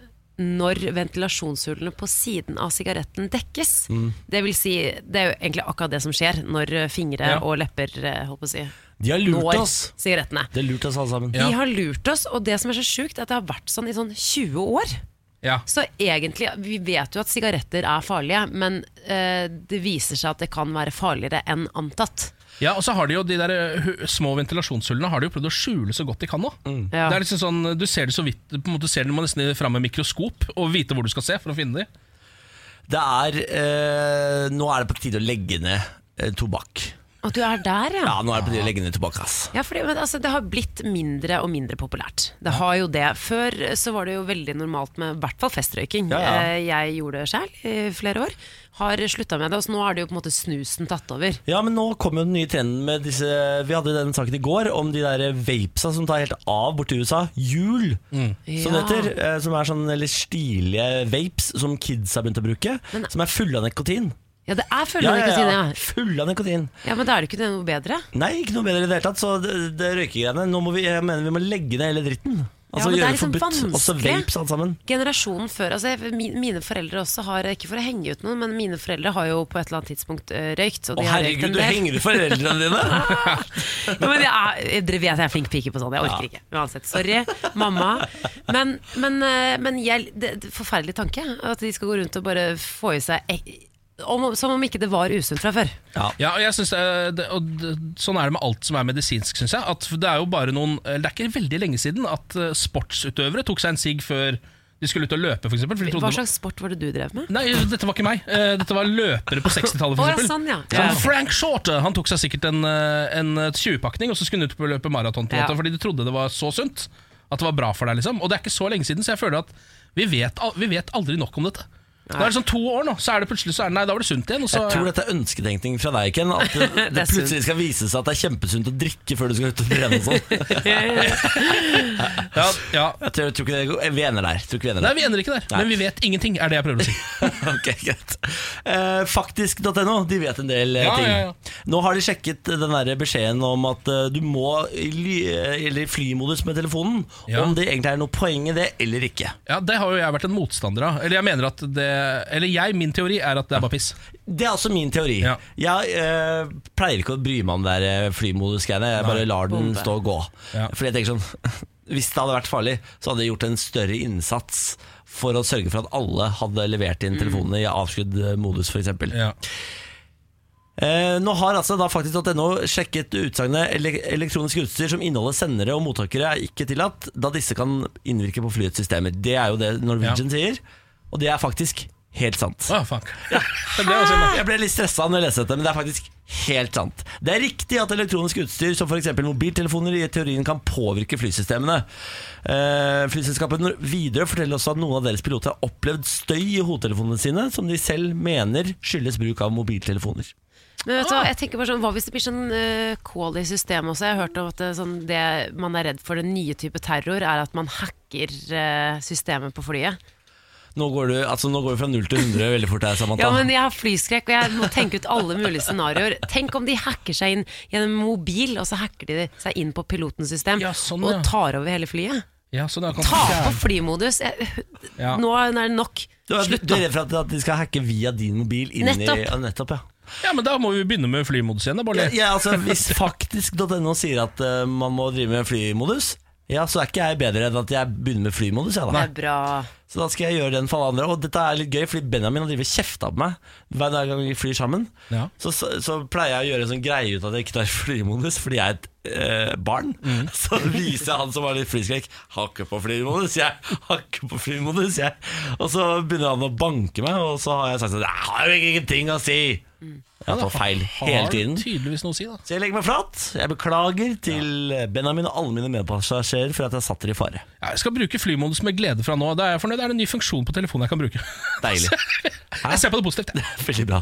Speaker 3: når ventilasjonshullene på siden av sigaretten dekkes.
Speaker 2: Mm.
Speaker 3: Det vil si, det er jo egentlig akkurat det som skjer når eh, fingre
Speaker 2: Ja.
Speaker 3: og lepper eh, holdt på å si,
Speaker 1: De har
Speaker 3: når
Speaker 1: lurt oss.
Speaker 3: sigarettene.
Speaker 1: Det er lurt oss alle sammen.
Speaker 2: Ja.
Speaker 3: De har lurt oss, og det som er så sjukt, er at det har vært sånn i sånn 20 år.
Speaker 2: ja.
Speaker 3: Så egentlig, Vi vet jo at sigaretter er farlige, men eh, det viser seg at det kan være farligere enn antatt.
Speaker 2: Ja, og så har de jo de der eh, hu- små ventilasjonshullene Har de jo prøvd å skjule så godt de kan nå
Speaker 3: Ja.
Speaker 2: Det er liksom sånn, du ser det så vidt På en måte ser det, du må nesten fram med mikroskop Og vite hvor du skal se for å finne de
Speaker 1: Det er eh, Nå er det på tide å legge ned eh, tobakk.
Speaker 3: At du er der, ja.
Speaker 1: Ja, nå er det på tide å legge ned tobakk, ass.
Speaker 3: Ja, fordi, men, altså, Det har blitt mindre og mindre populært. Det har jo det. Før eh, så var det jo veldig normalt med i hvert fall festrøyking.
Speaker 1: Ja, ja.
Speaker 3: Eh, Jeg gjorde det sjæl i flere år. Har slutta med det. Og så nå er det jo på en måte snusen tatt over.
Speaker 1: Ja, men nå kom jo den nye trenden med disse Vi hadde den saken i går om de der vapesa som tar helt av borti USA. Hjul, som det
Speaker 3: Ja.
Speaker 1: heter. eh, Som er sånn litt stilige vapes som kids har begynt å bruke. som er fulle av nikotin.
Speaker 3: Ja, det er følgende ja, ja, ja.
Speaker 1: Fulle av nikotin.
Speaker 3: ja, men da er det ikke det noe bedre.
Speaker 1: Nei, ikke noe bedre i det hele tatt. Så det, det røykegreiene Nå må vi, jeg mener vi må legge ned hele dritten. Altså
Speaker 3: men det er
Speaker 1: gjøre
Speaker 3: liksom
Speaker 1: forbudt. Også
Speaker 3: vanskelig.
Speaker 1: vapes, alt sammen.
Speaker 3: Generasjonen før altså jeg, mi- Mine foreldre også har Ikke for å henge ut noen, men mine foreldre har jo på et eller annet tidspunkt eh, røykt. Og
Speaker 1: Å
Speaker 3: de har røykt
Speaker 1: herregud,
Speaker 3: en
Speaker 1: du
Speaker 3: del.
Speaker 1: henger ut foreldrene dine!
Speaker 3: Ja, men jeg, er- dere vet jeg er flink pike på sånn. Jeg orker ikke. Uansett. Sorry, mamma. Men, men, eh, men jeg, det, det er forferdelig tanke. At de skal gå rundt og bare få i seg ek- om, Som om ikke det var usunt fra før.
Speaker 2: Ja, og jeg synes, eh, det, og d- Sånn er det med alt som er medisinsk, syns jeg. At det er jo bare noen eh, Det er ikke veldig lenge siden at eh, sportsutøvere tok seg en sigg før de skulle ut og løpe, f.eks.
Speaker 3: Hva slags sport var det du drev med?
Speaker 2: Nei, dette var ikke meg. Eh, Dette var løpere på 60-tallet,
Speaker 3: Å, ja,
Speaker 2: f.eks.
Speaker 3: sånn, ja.
Speaker 2: Sånn
Speaker 3: Ja.
Speaker 2: Frank Shorter Han tok seg sikkert en, eh, en 20-pakning, og så skulle han ut på å løpe maraton. på en
Speaker 3: Ja.
Speaker 2: måte, Fordi de trodde det var så sunt. At det var bra for deg, liksom. Og det er ikke så lenge siden, så jeg føler at vi vet, al- vi vet aldri nok om dette. Da er det sånn to år nå, så er det plutselig så er det, Nei, da var det sunt igjen. Og så,
Speaker 1: Jeg tror dette er ønsketenkning fra deg, Ken. At det, det,
Speaker 3: Det er sunt.
Speaker 1: plutselig skal vise seg at det er kjempesunt å drikke før du skal ut og trene og sånn.
Speaker 2: ja, ja.
Speaker 1: Jeg tror, jeg tror ikke det går. Vi er ener der. Jeg Tror ikke vi er ener
Speaker 2: Nei,
Speaker 1: der.
Speaker 2: vi ender ikke der.
Speaker 1: Nei.
Speaker 2: Men vi vet ingenting, er det jeg prøver å si.
Speaker 1: ok, greit. Eh, Faktisk.no, de vet en del eh,
Speaker 2: Ja,
Speaker 1: ting.
Speaker 2: ja, ja.
Speaker 1: Nå har de sjekket eh, den der beskjeden om at eh, du må i ly- eh, eller flymodus med telefonen.
Speaker 2: Ja.
Speaker 1: Om det egentlig er noe poeng i det eller ikke.
Speaker 2: Ja, Det har jo jeg vært en motstander av. Eller jeg mener at det Eller jeg, min teori er at det er bare piss.
Speaker 1: Det er også min teori.
Speaker 2: Ja.
Speaker 1: Jeg eh, pleier ikke å bry meg om det der, eh, flymodus-greiene. Jeg bare lar den stå og gå.
Speaker 2: Ja.
Speaker 1: Fordi jeg tenker sånn Hvis det hadde vært farlig, så hadde jeg gjort en større innsats for å sørge for at alle hadde levert
Speaker 2: Mm.
Speaker 1: inn telefonene i avskudd eh, modus, f.eks.
Speaker 2: Ja.
Speaker 1: Eh, nå har altså da faktisk.no sjekket utsagnet ele elektronisk utstyr som inneholder sendere og mottakere er ikke tillatt, da disse kan innvirke på flyets systemer. Det er jo det Norwegian sier, og det er faktisk helt sant.
Speaker 2: Å, fuck. Det sånn ble også en
Speaker 1: Jeg ble litt stressa når jeg leste dette, men det er faktisk helt sant. Det er riktig at elektronisk utstyr som f.eks. mobiltelefoner i teorien kan påvirke flysystemene. Eh, Flyselskapet Nor- Widerøe forteller også at noen av deres piloter har opplevd støy i hodetelefonene sine, som de selv mener skyldes bruk av mobiltelefoner.
Speaker 3: Men vet du
Speaker 2: Ah!
Speaker 3: hva, jeg tenker bare sånn, Hva hvis det blir sånn eh, kål i systemet også? Jeg har hørt om at det, er sånn, det man er redd for den nye type terror, er at man hacker eh, systemet på flyet.
Speaker 1: Nå går du, altså, nå går du fra 0 til 100 veldig fort her, Samantha.
Speaker 3: Ja, men Jeg har flyskrekk, og jeg må tenke ut alle mulige scenarioer. Tenk om de hacker seg inn gjennom mobil, og så hacker de seg inn på pilotens system
Speaker 2: Ja, sånn, ja.
Speaker 3: og tar over hele flyet.
Speaker 2: Ja, sånn, ja, kan-
Speaker 3: Ta på flymodus! Jeg,
Speaker 2: Ja.
Speaker 3: Nå er det nok.
Speaker 1: du, er- du er redd for at, at de skal hacke via din mobil inn i
Speaker 3: Nettopp.
Speaker 1: ja, Nettopp. ja
Speaker 2: ja, men da må vi begynne med flymodus igjen. da,
Speaker 1: ja,
Speaker 2: Bårdli.
Speaker 1: ja, altså, Hvis faktisk.no sier at eh, man må drive med flymodus, ja, så er ikke jeg bedre enn at jeg begynner med flymodus. Jeg, da.
Speaker 3: Det er bra.
Speaker 1: Så da skal jeg gjøre den for alle andre. Og dette er litt gøy, fordi Benjamin har drivet og kjefta på meg hver gang vi flyr sammen.
Speaker 2: Ja.
Speaker 1: Så, så, så pleier jeg å gjøre en sånn greie ut av at jeg ikke tar flymodus, fordi jeg er et eh, barn.
Speaker 2: Mm.
Speaker 1: Så viser jeg han som har litt flyskrekk, har ikke på flymodus, jeg har ikke på flymodus, jeg. Og så begynner han å banke meg, og så har jeg sagt sånn Jeg har jo ingenting å si! Jeg tar feil hele tiden.
Speaker 2: Har tydeligvis noe å si, da.
Speaker 1: Så jeg legger meg flat. Jeg beklager til eh, Benjamin og alle mine medpassasjerer for at jeg satte dere i fare.
Speaker 2: Ja, jeg skal bruke flymodus med glede fra nå. Da er jeg fornøyd. Det er en ny funksjon på telefonen jeg kan bruke.
Speaker 1: Deilig.
Speaker 2: Jeg ser på det positivt. jeg.
Speaker 1: Veldig bra.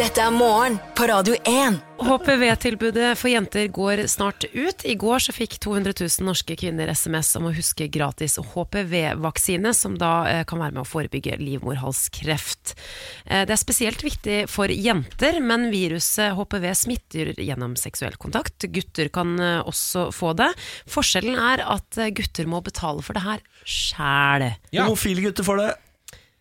Speaker 6: Dette er morgen på Radio 1.
Speaker 3: HPV-tilbudet for jenter går snart ut. I går så fikk 200 000 norske kvinner SMS om å huske gratis HPV-vaksine, som da eh, kan være med å forebygge livmorhalskreft. Eh, Det er spesielt viktig for jenter, men viruset HPV smitter gjennom seksuell kontakt. Gutter kan eh, også få det. Forskjellen er at eh, gutter må betale for det her sjæl.
Speaker 2: Ja.
Speaker 1: Homofile gutter får det.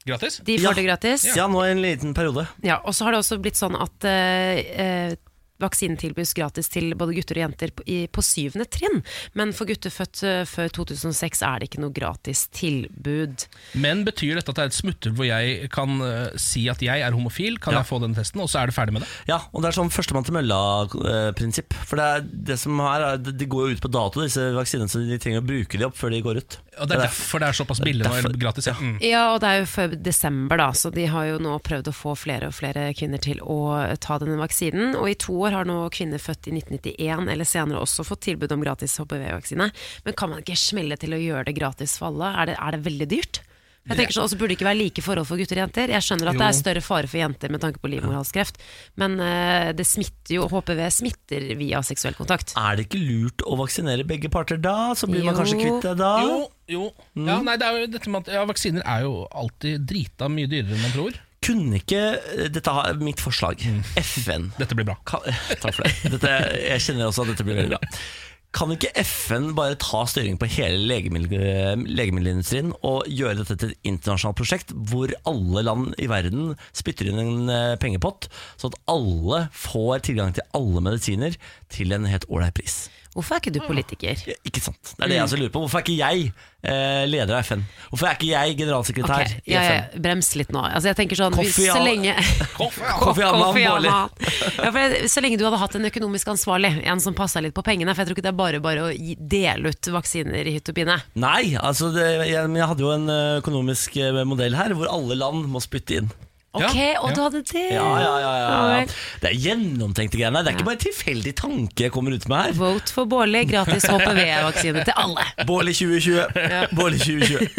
Speaker 2: Gratis.
Speaker 3: De får det gratis.
Speaker 1: Ja, nå i en liten periode.
Speaker 3: Ja, og så har det også blitt sånn at eh, eh, Vaksinen tilbys gratis til både gutter og jenter på, i, på syvende trinn, men for gutter født eh, før 2006 er det ikke noe gratis tilbud.
Speaker 2: Men betyr dette at det er et smutthull hvor jeg kan eh, si at jeg er homofil, kan jeg få den testen, og så er det ferdig med det?
Speaker 1: Ja, og det er sånn førstemann til mølla-prinsipp. For det er det som her er, de går jo ut på dato, disse vaksinene, så de trenger å bruke de opp før de går ut.
Speaker 2: Og det er derfor det er såpass billig nå, eller gratis. Ja. Mm.
Speaker 3: Ja, og det er jo før desember, da, så de har jo nå prøvd å få flere og flere kvinner til å ta denne vaksinen. Og i to år har nå kvinner født i 1991 eller senere også fått tilbud om gratis HPV-vaksine. Men kan man ikke smelle til å gjøre det gratis for alle? Er det, er det veldig dyrt? Jeg tenker sånn, også burde det ikke være like forhold for gutter og jenter. Jeg skjønner at det er større fare for jenter med tanke på livmorhalskreft, men eh, det smitter jo, HPV smitter via seksuell kontakt.
Speaker 1: Er det ikke lurt å vaksinere begge parter da? Så blir man
Speaker 3: Jo.
Speaker 1: kanskje kvitt det da?
Speaker 2: Jo, jo. Ja, nei, det er jo dette med at ja, vaksiner er jo alltid drita mye dyrere enn man tror.
Speaker 1: Kunne ikke eh, Dette er mitt
Speaker 2: Mm.
Speaker 1: forslag. FN.
Speaker 2: Dette blir bra.
Speaker 1: Kan, takk for det. Dette, jeg kjenner også at dette blir veldig bra. Kan ikke FN bare ta styring på hele legemiddel, legemiddelindustrien og gjøre dette til et internasjonalt prosjekt hvor alle land i verden spytter inn en eh, pengepott, sånn at alle får tilgang til alle medisiner til en helt ålreit pris?
Speaker 3: Hvorfor er ikke du politiker?
Speaker 1: Ja, Ikke sant? Det er det jeg også lurer på. Hvorfor er ikke jeg eh, leder av FN? Hvorfor er ikke jeg generalsekretær
Speaker 3: Ok,
Speaker 1: i
Speaker 3: ja, ja,
Speaker 1: FN?
Speaker 3: brems litt nå. Altså, jeg tenker sånn, hvis,
Speaker 1: Kofi
Speaker 3: så
Speaker 1: Annan.
Speaker 3: lenge
Speaker 1: Kofi Annan,
Speaker 3: Kofi
Speaker 1: Bårli.
Speaker 3: Annan. ja, for jeg- Så lenge du hadde hatt en økonomisk ansvarlig, en som passa litt på pengene. For jeg tror ikke det er bare bare å gi- dele ut vaksiner i hytt og pine.
Speaker 1: Nei, altså det, jeg, men jeg hadde jo en eh, økonomisk eh, modell her hvor alle land må spytte inn.
Speaker 3: Ok,
Speaker 2: Ja,
Speaker 3: og du hadde det!
Speaker 1: Ja, ja, ja, ja, ja.
Speaker 3: Alright.
Speaker 1: Det er gjennomtenkte greiene. Det er ikke bare tilfeldig tanke jeg kommer ut med her.
Speaker 3: Vote for Bårli, gratis HPV-vaksine til alle.
Speaker 1: Bål i 2020. Bål i 2020.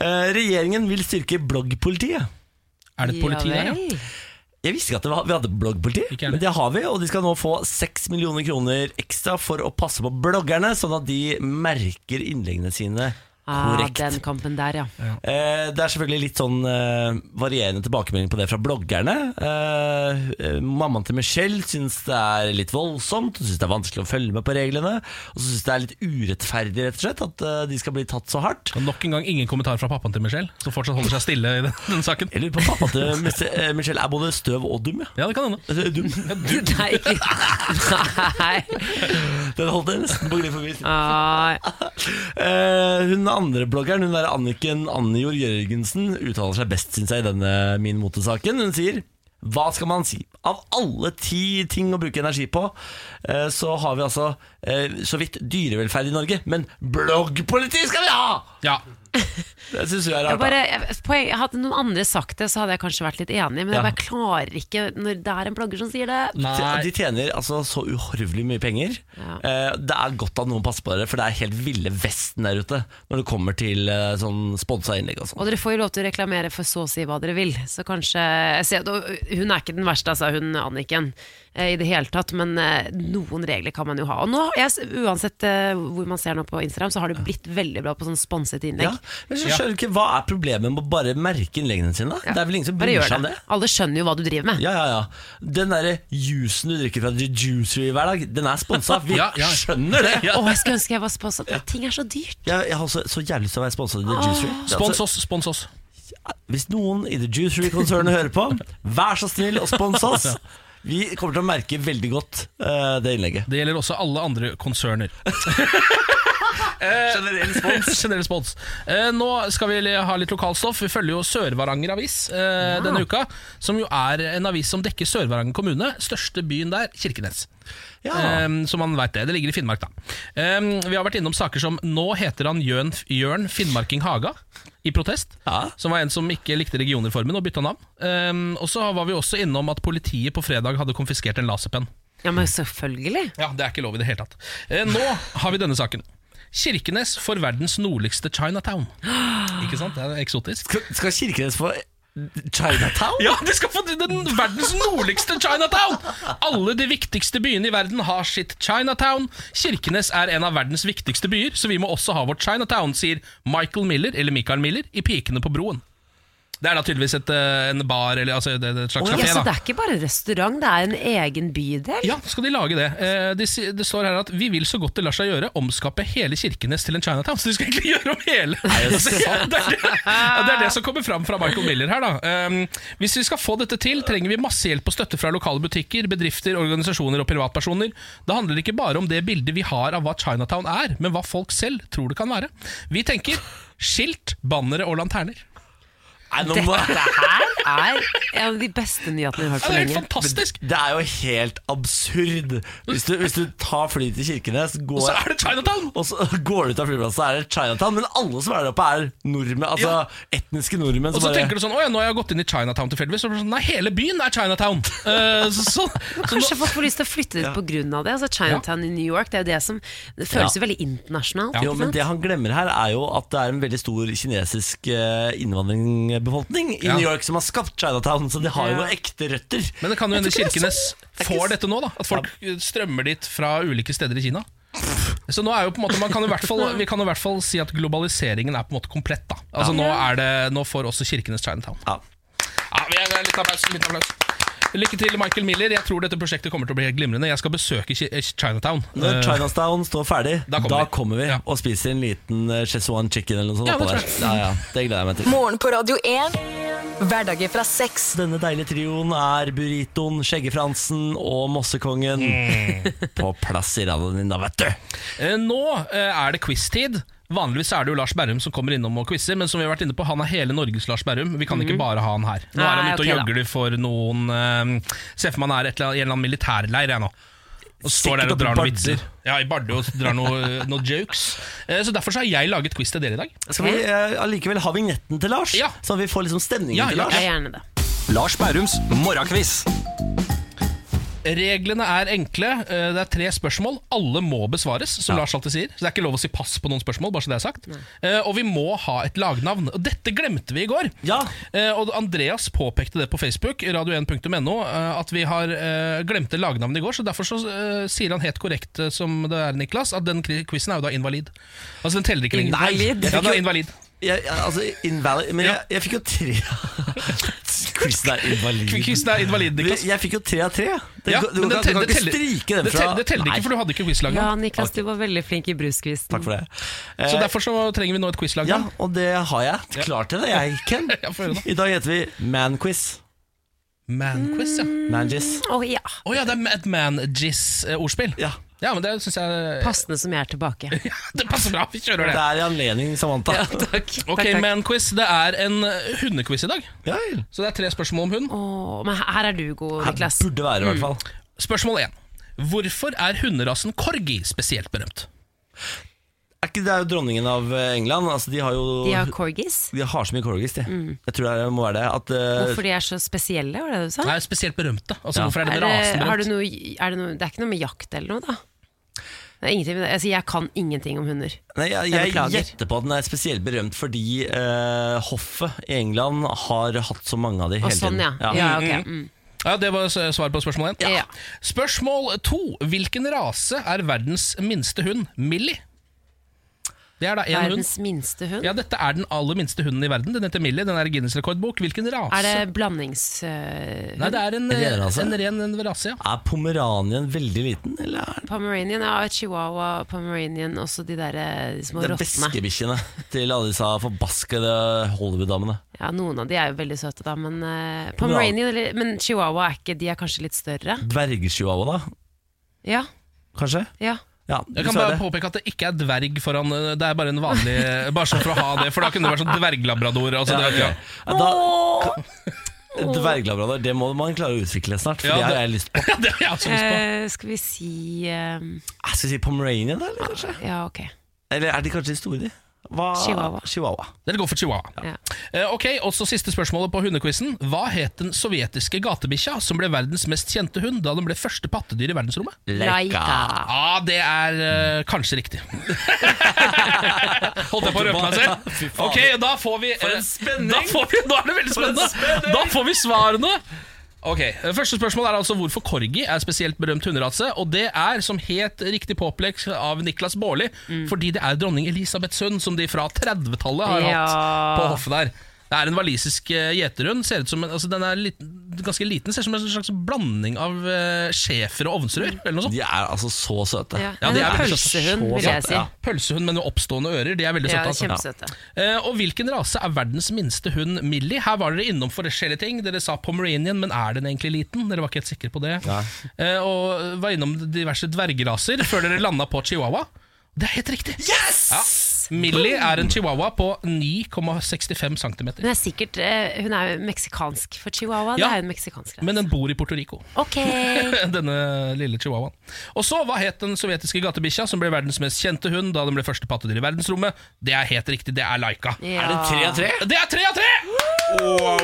Speaker 1: Eh, Regjeringen vil styrke bloggpolitiet.
Speaker 2: Er det et politi der, ja?
Speaker 3: vel.
Speaker 1: Jeg visste ikke at det var, vi hadde bloggpoliti,
Speaker 2: Ikke jeg
Speaker 1: men det har vi. Og de skal nå få 6 millioner kroner ekstra for å passe på bloggerne, sånn at de merker innleggene sine
Speaker 3: Ah,
Speaker 1: korrekt.
Speaker 3: den kampen der, ja.
Speaker 1: Eh, det er selvfølgelig litt sånn eh, varierende tilbakemelding på det fra bloggerne. Eh, eh, mammaen til Michelle syns det er litt voldsomt, hun syns det er vanskelig å følge med på reglene. Og så syns det er litt urettferdig rett og slett at eh, de skal bli tatt så hardt.
Speaker 2: Og nok en gang ingen kommentar fra pappaen til Michelle, som fortsatt holder seg stille i den, den saken.
Speaker 1: Jeg lurer på pappa til Mis- eh, Michelle er både støv og dum. Ja.
Speaker 2: Ja, det kan hende.
Speaker 1: Eh, Dum.
Speaker 3: Nei, ikke Nei.
Speaker 1: Den holdt jeg nesten på glid forbi.
Speaker 3: Ah,
Speaker 1: Eh, hun andre bloggeren, hun der Anniken Annijord Jørgensen, uttaler seg best, syns jeg, i denne Min motesaken. Hun sier hva skal man si? Av alle ti ting å bruke energi på, eh, så har vi altså eh, så vidt dyrevelferd i Norge, men bloggpoliti skal vi ha!
Speaker 2: Ja.
Speaker 1: Det syns jeg er
Speaker 3: jeg
Speaker 1: rart.
Speaker 3: bare,
Speaker 1: da.
Speaker 3: jeg, poeng, hadde noen andre sagt det, så hadde jeg kanskje vært litt enig, men jeg
Speaker 1: Ja.
Speaker 3: bare klarer ikke når det er en blogger som sier det.
Speaker 1: De de tjener altså så uhorvelig mye penger. Eh, det er godt at noen passer på dere, for det er helt ville Vesten der ute når det kommer til eh, sånn sponsa innlegg og sånn.
Speaker 3: Og dere får jo lov til å reklamere for så å si hva dere vil, så kanskje jeg ser, at Hun er ikke den verste, altså, hun Anniken, eh, i det hele tatt, men eh, noen regler kan man jo ha. Og nå, jeg, s- uansett eh, hvor man ser nå på Instagram, så har det blitt veldig bra på sånn sponset
Speaker 1: Ja,
Speaker 3: innlegg.
Speaker 1: men så skjønner jeg ikke Hva er problemet med å bare merke innleggene sine? da? Det er vel ingen som
Speaker 3: Bare
Speaker 1: bryr
Speaker 3: gjør
Speaker 1: seg om det?
Speaker 3: Alle skjønner jo hva du driver med.
Speaker 1: Ja, ja, ja Den derre juicen du drikker fra The Juicery hver dag, den er sponsa. Vi
Speaker 2: Ja, ja.
Speaker 1: skjønner det!
Speaker 3: Å, jeg skulle ønske jeg var sponset. Ting er så dyrt.
Speaker 1: Jeg, jeg har så, så jævlig lyst til å være sponsa av The Juicery. Det er
Speaker 2: Ah. Spons oss, spons oss.
Speaker 1: Altså, hvis noen i The Juicery-konsernet hører på, vær så snill og spons oss. Vi kommer til å merke veldig godt eh, det innlegget.
Speaker 2: Det gjelder også alle andre konserner. Eh,
Speaker 1: Generell
Speaker 2: Generell spons. Eh, nå skal vi le- ha litt lokalstoff. Vi følger jo Sør-Varanger Avis eh, denne uka. Som jo er en avis som dekker Sør-Varanger kommune. Største byen der, Kirkenes.
Speaker 1: Ja.
Speaker 2: Eh, så man veit det. Det ligger i Finnmark, da. Eh, vi har vært innom saker som 'Nå heter han Jørn, Jørn Finnmarking Haga'. I protest.
Speaker 1: Ja.
Speaker 2: Som var en som ikke likte regionreformen og bytta navn. Eh, og så var vi også innom at politiet på fredag hadde konfiskert en laserpenn.
Speaker 3: Ja, men selvfølgelig.
Speaker 2: Ja, Det er ikke lov i det hele tatt. Eh, nå har vi denne saken. Kirkenes for verdens nordligste Chinatown. Ikke sant? Det er eksotisk.
Speaker 1: Skal, skal Kirkenes få Chinatown?
Speaker 2: Ja, de skal få den verdens nordligste Chinatown! Alle de viktigste byene i verden har sitt Chinatown. Kirkenes er en av verdens viktigste byer, så vi må også ha vårt Chinatown, sier Michael Miller, eller Michael Miller, i Pikene på broen. Det er da tydeligvis et, eh, en bar, eller altså, et et slags
Speaker 3: Ja,
Speaker 2: kafé.
Speaker 3: så
Speaker 2: da.
Speaker 3: det er ikke bare restaurant, det er en egen bydel.
Speaker 2: Ja, skal de lage det. Eh, de si- det står her at vi vil så godt det lar seg gjøre omskape hele Kirkenes til en Chinatown. Så de skal egentlig gjøre om hele Altså, det, er det, ja, det er det som kommer fram fra Michael Miller her, da. Um, hvis vi skal få dette til, trenger vi masse hjelp og støtte fra lokale butikker, bedrifter, organisasjoner og privatpersoner. Da handler det ikke bare om det bildet vi har av hva Chinatown er, men hva folk selv tror det kan være. Vi tenker skilt, bannere og lanterner.
Speaker 1: Nei, nå må,
Speaker 3: Dette her er en av de beste nyhetene jeg har hørt
Speaker 2: Ja,
Speaker 3: på
Speaker 2: det er helt
Speaker 3: lenge.
Speaker 2: fantastisk!
Speaker 1: det er jo helt absurd. Hvis du, hvis du tar fly til Kirkenes, går
Speaker 2: Og så er det Chinatown!
Speaker 1: Og så går du ut av flyplassen, så er det Chinatown. Men alle som er der oppe, er nordmenn. Altså
Speaker 2: Ja.
Speaker 1: etniske nordmenn.
Speaker 2: Og så tenker du sånn, åja, nå har jeg gått inn i Chinatown tilfeldigvis Så blir det sånn, nei, hele byen er Chinatown Eh, så, så, så
Speaker 3: Kanskje
Speaker 2: nå,
Speaker 3: folk får lyst til å flytte dit på grunn av det. Altså Chinatown i New York, det er jo det som det føles jo veldig internasjonalt.
Speaker 1: jo,
Speaker 3: ikke
Speaker 1: men
Speaker 3: sant?
Speaker 1: Det han glemmer her, er jo at det er en veldig stor kinesisk eh, innvandringbefolkning i
Speaker 2: Ja.
Speaker 1: New York som har skapt Chinatown, så de har jo
Speaker 3: Ja.
Speaker 1: noen ekte røtter.
Speaker 2: Men det kan jo hende Kirkenes får dette nå da At folk
Speaker 1: Ja.
Speaker 2: eh, strømmer dit fra ulike steder i Kina så nå er jo på en måte, man kan jo i hvert fall, vi kan jo i hvert fall si at globaliseringen er på en måte komplett da Altså nå, er det, nå får også Kirkenes Chinatown
Speaker 1: Ja.
Speaker 2: Ja, vi er litt applaus, litt applaus. Lykke til, Michael Miller. Jeg tror dette prosjektet kommer til å bli helt glimrende. Jeg skal besøke Ki- eh, Chinatown.
Speaker 1: Når
Speaker 2: Eh,
Speaker 1: Chinatown står ferdig,
Speaker 2: Da
Speaker 1: da
Speaker 2: kommer
Speaker 1: kommer,
Speaker 2: vi.
Speaker 1: vi
Speaker 2: Ja.
Speaker 1: og spiser en liten eh, Szechuan chicken eller noe sånt.
Speaker 2: Ja, det
Speaker 1: oppå
Speaker 2: tror
Speaker 1: der. Ja, ja, det gleder jeg meg til.
Speaker 6: Morgen på Radio 1. Hverdager fra seks.
Speaker 1: Denne deilige trioen er Burritoen, Skjeggefransen og Mossekongen
Speaker 2: Mm.
Speaker 1: på plass i radioen din, da, vet du.
Speaker 2: eh, Nå eh, er det quiz-tid. Vanligvis er det jo Lars Berrum som kommer innom og quizer, men som vi har vært inne på, han er hele Norges Lars Berrum. Vi kan ikke
Speaker 1: Mhm.
Speaker 2: bare ha han her. Nå er han
Speaker 3: Nei,
Speaker 2: ute
Speaker 3: ok
Speaker 2: og
Speaker 3: da.
Speaker 2: gjøgler for noen eh, Se for meg han er et eller annet, i en eller annen militærleir jeg nå. Og
Speaker 1: Sikkert
Speaker 2: står der og
Speaker 1: oppe i
Speaker 2: drar noen
Speaker 1: Bardu.
Speaker 2: vitser. Ja, i Bardu og drar noen noe jokes. Eh, Så derfor så har jeg laget quiz til dere i dag.
Speaker 1: Skal vi eh, allikevel ha vignetten til Lars?
Speaker 2: Ja.
Speaker 1: Så vi får liksom stemningen
Speaker 2: Ja,
Speaker 1: til
Speaker 2: ja,
Speaker 1: Lars?
Speaker 3: Ja, gjerne det.
Speaker 11: Lars Bærums morgenkviss.
Speaker 2: Reglene er enkle. Eh, Det er tre spørsmål. Alle må besvares, som Lars alltid sier. Så det er ikke lov å si pass på noen spørsmål. bare så det er sagt. Eh, Og vi må ha et lagnavn. Og dette glemte vi i går.
Speaker 1: Ja.
Speaker 2: Eh, Og Andreas påpekte det på Facebook, radio1.no, eh, at vi har eh, glemte lagnavnet i går. Så derfor så eh, sier han helt korrekt eh, som det er, Niklas, at den quizen er jo da invalid. Altså den teller ikke lenger.
Speaker 1: Nei, jeg fikk
Speaker 2: Ja, den
Speaker 1: jo-
Speaker 2: er invalid.
Speaker 1: Jeg, jeg- altså, invalid Men
Speaker 2: Ja.
Speaker 1: jeg, jeg fikk jo tre Quizen er invalid.
Speaker 2: Quizen er invalid,
Speaker 1: Du,
Speaker 2: Niklas.
Speaker 1: jeg fikk jo tre av tre. Det,
Speaker 2: Ja,
Speaker 1: du, du,
Speaker 2: men
Speaker 1: kan,
Speaker 2: det
Speaker 1: du kan
Speaker 2: teller-
Speaker 1: ikke
Speaker 2: det teller-
Speaker 1: stryke den
Speaker 2: Det
Speaker 1: fra
Speaker 2: teller, det teller ikke, for du hadde ikke quizlagnavn.
Speaker 3: Ja, Niklas, du var veldig flink i bruskvisten.
Speaker 1: Takk for det.
Speaker 2: Så
Speaker 1: Eh,
Speaker 2: derfor så trenger vi nå et
Speaker 1: ja,
Speaker 2: quizlagnavn.
Speaker 1: og det har jeg. Klar til det, jeg, Ken.
Speaker 2: Ja, få høre da.
Speaker 1: I dag heter vi Manquiz.
Speaker 2: Manquiz, ja.
Speaker 1: Mangiz.
Speaker 3: Å ja.
Speaker 2: Å ja, det er et man-jizz-ordspill.
Speaker 1: Ja.
Speaker 2: Ja, men det syns jeg
Speaker 3: Passende som jeg er tilbake.
Speaker 2: Det passer bra, vi kjører
Speaker 1: Det
Speaker 2: det.
Speaker 1: er i anledning Samantha.
Speaker 3: Ja, takk.
Speaker 2: Ok,
Speaker 3: takk, takk.
Speaker 2: Man-quiz. Det er en eh, hundequiz i dag.
Speaker 1: Ja, vel.
Speaker 2: Så det er tre spørsmål om hund.
Speaker 3: Å, men her er du god,
Speaker 1: Her
Speaker 3: Niklas.
Speaker 1: burde være, i
Speaker 2: Mm.
Speaker 1: hvert fall.
Speaker 2: Spørsmål én. Hvorfor er hunderasen corgi spesielt berømt?
Speaker 1: Er ikke det er jo dronningen av eh, England? Altså, de har jo
Speaker 3: De har corgis.
Speaker 1: de har så mye corgis, de. Jeg tror det må være det. At, eh,
Speaker 3: Mm. Hvorfor de er så spesielle, var det du sa?
Speaker 2: Nei, spesielt berømt, da. Altså,
Speaker 1: Ja.
Speaker 2: Hvorfor er den
Speaker 3: Er det,
Speaker 2: rasen
Speaker 3: har du
Speaker 2: berømt?
Speaker 3: noe, er det, noe, det er ikke noe med jakt eller noe, da? Det er ingenting med det. Altså, jeg kan ingenting om hunder.
Speaker 1: Nei, jeg,
Speaker 3: Jeg
Speaker 1: jeg
Speaker 3: beklager.
Speaker 1: gjetter på at den er spesielt berømt fordi eh, hoffet i England har hatt så mange av de
Speaker 3: Og
Speaker 1: hele
Speaker 3: sånn, ja.
Speaker 1: tiden.
Speaker 3: ja. ok. Mm.
Speaker 2: Ja, Det var s- svar på spørsmål én.
Speaker 3: Ja.
Speaker 2: Spørsmål to. Hvilken rase er verdens minste hund? Millie. Det er da én hund.
Speaker 3: Verdens minste hund.
Speaker 2: Ja, Dette er den aller minste hunden i verden. Den heter Millie. Den er i Guinness rekordbok. Hvilken rase?
Speaker 3: Er det eh, blandingshund?
Speaker 2: Nei, det er en,
Speaker 1: ren rase?
Speaker 2: en ren en rase, ja.
Speaker 1: Er pomeranien veldig liten, eller er
Speaker 3: Pomeranian, ja, chihuahua, pomeranian, også de der eh, de små
Speaker 1: den
Speaker 3: rottene.
Speaker 1: væskebikkjene til alle disse forbaskede Hollywood-damene?
Speaker 3: Ja, noen av de er jo veldig søte, da, men eh, Pomeranian eller, Men chihuahua er ikke De er kanskje litt større?
Speaker 1: Dvergsjuava, da?
Speaker 3: Ja.
Speaker 1: Kanskje?
Speaker 3: ja.
Speaker 1: Ja,
Speaker 2: Jeg kan bare
Speaker 1: dessverre.
Speaker 2: påpeke at det ikke er dverg foran eh, Det er bare en vanlig Bare sånn for å ha det, for da kunne det vært sånn dverglabrador. Altså,
Speaker 1: Ja,
Speaker 2: det, ja.
Speaker 1: Ja, da, dverglabrador, det må man klare å utvikle snart. For
Speaker 2: Ja,
Speaker 1: det
Speaker 2: det-
Speaker 1: har jeg lyst på.
Speaker 2: ja, det har jeg også lyst på.
Speaker 3: Eh, skal vi si eh,
Speaker 1: Jeg skal vi si pomeranian, da? Eller, kanskje?
Speaker 3: Ja, ok.
Speaker 1: eller er de kanskje de store, de? Hva-
Speaker 3: Chihuahua.
Speaker 1: Chihuahwa.
Speaker 2: Dere går for chihuahua.
Speaker 3: Ja.
Speaker 2: Eh, Ok, også Siste spørsmålet på hundequizen. Hva het den sovjetiske gatebikkja som ble verdens mest kjente hund da den ble første pattedyr i verdensrommet?
Speaker 3: Laika.
Speaker 2: Ja, ah, Det er eh, kanskje riktig. Holdt jeg på å røpe meg selv? Ok, Da får vi
Speaker 1: Eh,
Speaker 2: eh, For en spenning! Da får vi, nå er det veldig spennende! Da får vi svarene. Ok, eh, Første spørsmål er altså hvorfor corgi er spesielt berømt hunderase. Og det er, som helt riktig påpekt av Niklas Baarli, fordi det er dronning Elisabeths hund, som de fra 30-tallet har
Speaker 3: Ja.
Speaker 2: hatt på hoffet der. Det er en walisisk eh, gjeterhund. Ser ut som en, altså den er litt, ganske liten, ser ut som en slags blanding av eh, schæfer og ovnsrør. Eller noe sånt.
Speaker 1: De er altså så søte.
Speaker 3: Ja,
Speaker 2: Ja,
Speaker 3: men
Speaker 2: det
Speaker 3: en
Speaker 2: er veldig
Speaker 3: pølsehund,
Speaker 2: søtt.
Speaker 3: vil jeg si.
Speaker 2: Ja, Pølsehund med noe oppstående ører, de er veldig
Speaker 3: Ja,
Speaker 2: søte. altså.
Speaker 3: kjempesøte.
Speaker 2: Eh, og hvilken rase er verdens minste hund, Millie? Her var dere innom forskjellige ting. Dere sa Pomeranian, men er den egentlig liten? Dere var ikke helt sikre på det. Eh, og var innom diverse dvergraser før dere landa på chihuahua. Det er helt riktig! Yes! Ja. Millie er en chihuahua på 9,65 cm.
Speaker 3: Hun er sikkert eh, Hun er jo meksikansk for chihuahua.
Speaker 2: Ja.
Speaker 3: Det er jo en meksikansk rase.
Speaker 2: Men den bor i Puerto Rico.
Speaker 3: Ok.
Speaker 2: Denne lille chihuahuaen. Og så, hva het den sovjetiske gatebikkja som ble verdens mest kjente hund da den ble første pattedyr i verdensrommet? Det er helt riktig, det er Laika.
Speaker 3: Ja. Er det tre av tre?
Speaker 2: Det er tre av tre! Ja,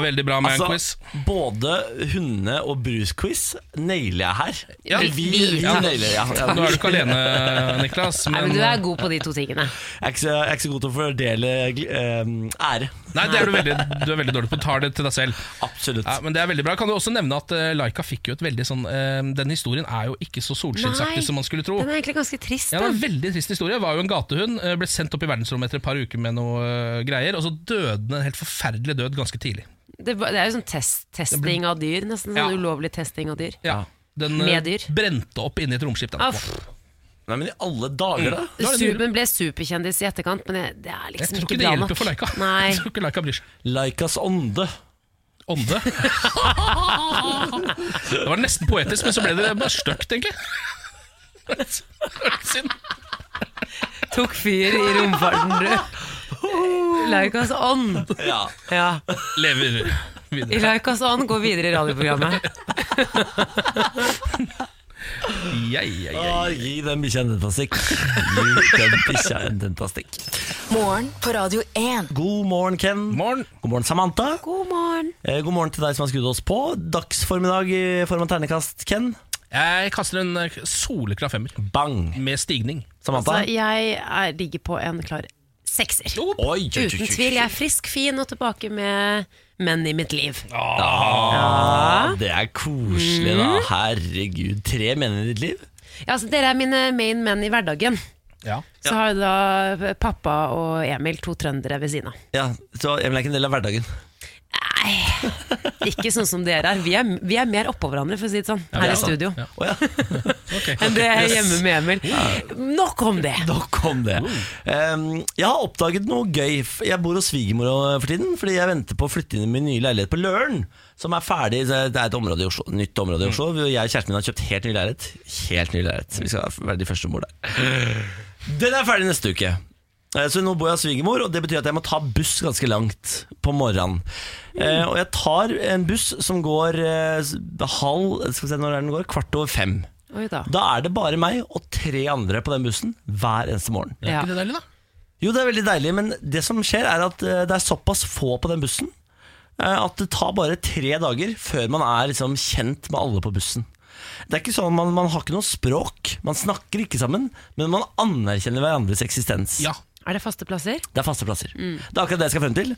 Speaker 2: veldig bra med en quiz.
Speaker 1: Altså, både hunde- og brusquiz nailer jeg her.
Speaker 2: Ja.
Speaker 1: vi, vi
Speaker 3: Ja.
Speaker 1: nailer ja. Ja,
Speaker 2: Nå er du ikke alene, Niklas.
Speaker 3: Nei,
Speaker 2: Men, eh,
Speaker 3: men du er god på de to tingene.
Speaker 1: Jeg er ikke så- jeg er ikke så god til å fordele gl- eh, ære.
Speaker 2: Nei, det er du, veldig, du er veldig dårlig på. Tar det til deg selv.
Speaker 1: Absolutt.
Speaker 2: Ja, men det er veldig bra. Kan du også nevne at eh, Laika fikk jo et veldig sånn eh, Den historien er jo ikke så solskinnsaktig
Speaker 3: Nei.
Speaker 2: som man skulle tro.
Speaker 3: Den er egentlig ganske trist.
Speaker 2: Ja, det var
Speaker 3: Da.
Speaker 2: en veldig trist historie. Var jo en gatehund. eh, Ble sendt opp i verdensrommet etter et par uker med noe eh, greier, og så døde den en helt forferdelig død ganske tidlig.
Speaker 3: Det, var- det er jo sånn test, testing av dyr. Nesten sånn
Speaker 2: Ja.
Speaker 3: ulovlig testing av dyr.
Speaker 2: Ja. Den eh,
Speaker 3: Med dyr.
Speaker 2: brente opp inni et romskip. Da.
Speaker 3: Aff,
Speaker 1: Nei, men i alle dager, da.
Speaker 2: Da er det
Speaker 3: Suben ble superkjendis i etterkant, men det, det er
Speaker 2: Jeg
Speaker 3: liksom
Speaker 2: tror
Speaker 3: ikke
Speaker 2: ikke det
Speaker 3: bra nok.
Speaker 2: hjelper for Laika.
Speaker 3: Nei.
Speaker 2: Jeg tror ikke Laika bryr seg.
Speaker 1: Laikas ånde.
Speaker 2: Ånde. Det var nesten poetisk, men så ble det bare stygt, egentlig. Synd.
Speaker 3: Tok fyr i romfarten, du. Laukas ånd.
Speaker 1: Ja.
Speaker 3: Ja.
Speaker 2: Lever videre.
Speaker 3: I Laukas ånd går videre i radioprogrammet.
Speaker 2: Ja, ja, ja.
Speaker 1: Ah, gi den bikkja en tentastikk. Gi den bikkja en tentastikk.
Speaker 6: Morgen på Radio 1.
Speaker 1: God morgen, Ken.
Speaker 2: Morgen.
Speaker 1: God morgen, Samantha.
Speaker 3: God morgen.
Speaker 1: Eh, God morgen til deg som har skrudd oss på. Dagsformiddag i form av ternekast, Ken.
Speaker 2: Jeg kaster en eh, soleklar femmer
Speaker 1: Bang.
Speaker 2: med stigning.
Speaker 1: Samantha.
Speaker 3: Altså, jeg er, ligger på en klar sekser.
Speaker 1: Oi, oi, oi, oi,
Speaker 3: Uten
Speaker 1: oi.
Speaker 3: tvil. Jeg er frisk, fin og tilbake med menn i mitt liv.
Speaker 1: Ah, det er koselig, da.
Speaker 3: Mhm.
Speaker 1: Herregud. Tre menn i ditt liv?
Speaker 3: Ja, altså, dere er mine main menn i hverdagen.
Speaker 2: Ja.
Speaker 3: Så har jo da pappa og Emil to trøndere ved siden av.
Speaker 1: Ja, så Emil er ikke en del av hverdagen.
Speaker 3: Ikke sånn som dere er. Vi er, vi er mer oppå hverandre, for å si det sånn, her
Speaker 2: ja,
Speaker 3: i studio.
Speaker 2: ja.
Speaker 1: Å ja.
Speaker 2: ok.
Speaker 3: Enn det er
Speaker 1: Yes.
Speaker 3: hjemme med Emil. Nok om det!
Speaker 1: Nok om det. Um, jeg har oppdaget noe gøy. F- Jeg bor hos svigermor eh, for tiden, fordi jeg venter på å flytte inn i min nye leilighet på Løren. Som er ferdig. Det er et område i Oslo, nytt område i Oslo. Jeg og kjæresten min har kjøpt helt ny leilighet. Helt ny leilighet. Vi skal være de første som bor der. Den er ferdig neste uke. Eh, Så nå bor jeg hos svigermor, og det betyr at jeg må ta buss ganske langt på morgenen. Eh, og jeg tar en buss som går eh, s- halv Skal vi se når er den går? Kvart over fem.
Speaker 3: Oi da.
Speaker 1: Da er det bare meg og tre andre på den bussen hver eneste morgen.
Speaker 2: Er
Speaker 3: Ja.
Speaker 2: ikke det deilig, da?
Speaker 1: Jo, det er veldig deilig, men det som skjer er at eh, det er såpass få på den bussen eh, at det tar bare tre dager før man er liksom kjent med alle på bussen. Det er ikke sånn at man, man har ikke noe språk, man snakker ikke sammen, men man anerkjenner hverandres eksistens.
Speaker 2: Ja.
Speaker 3: Er det faste plasser?
Speaker 1: Det er faste plasser.
Speaker 3: Mm.
Speaker 1: Det er akkurat det jeg skal frem til.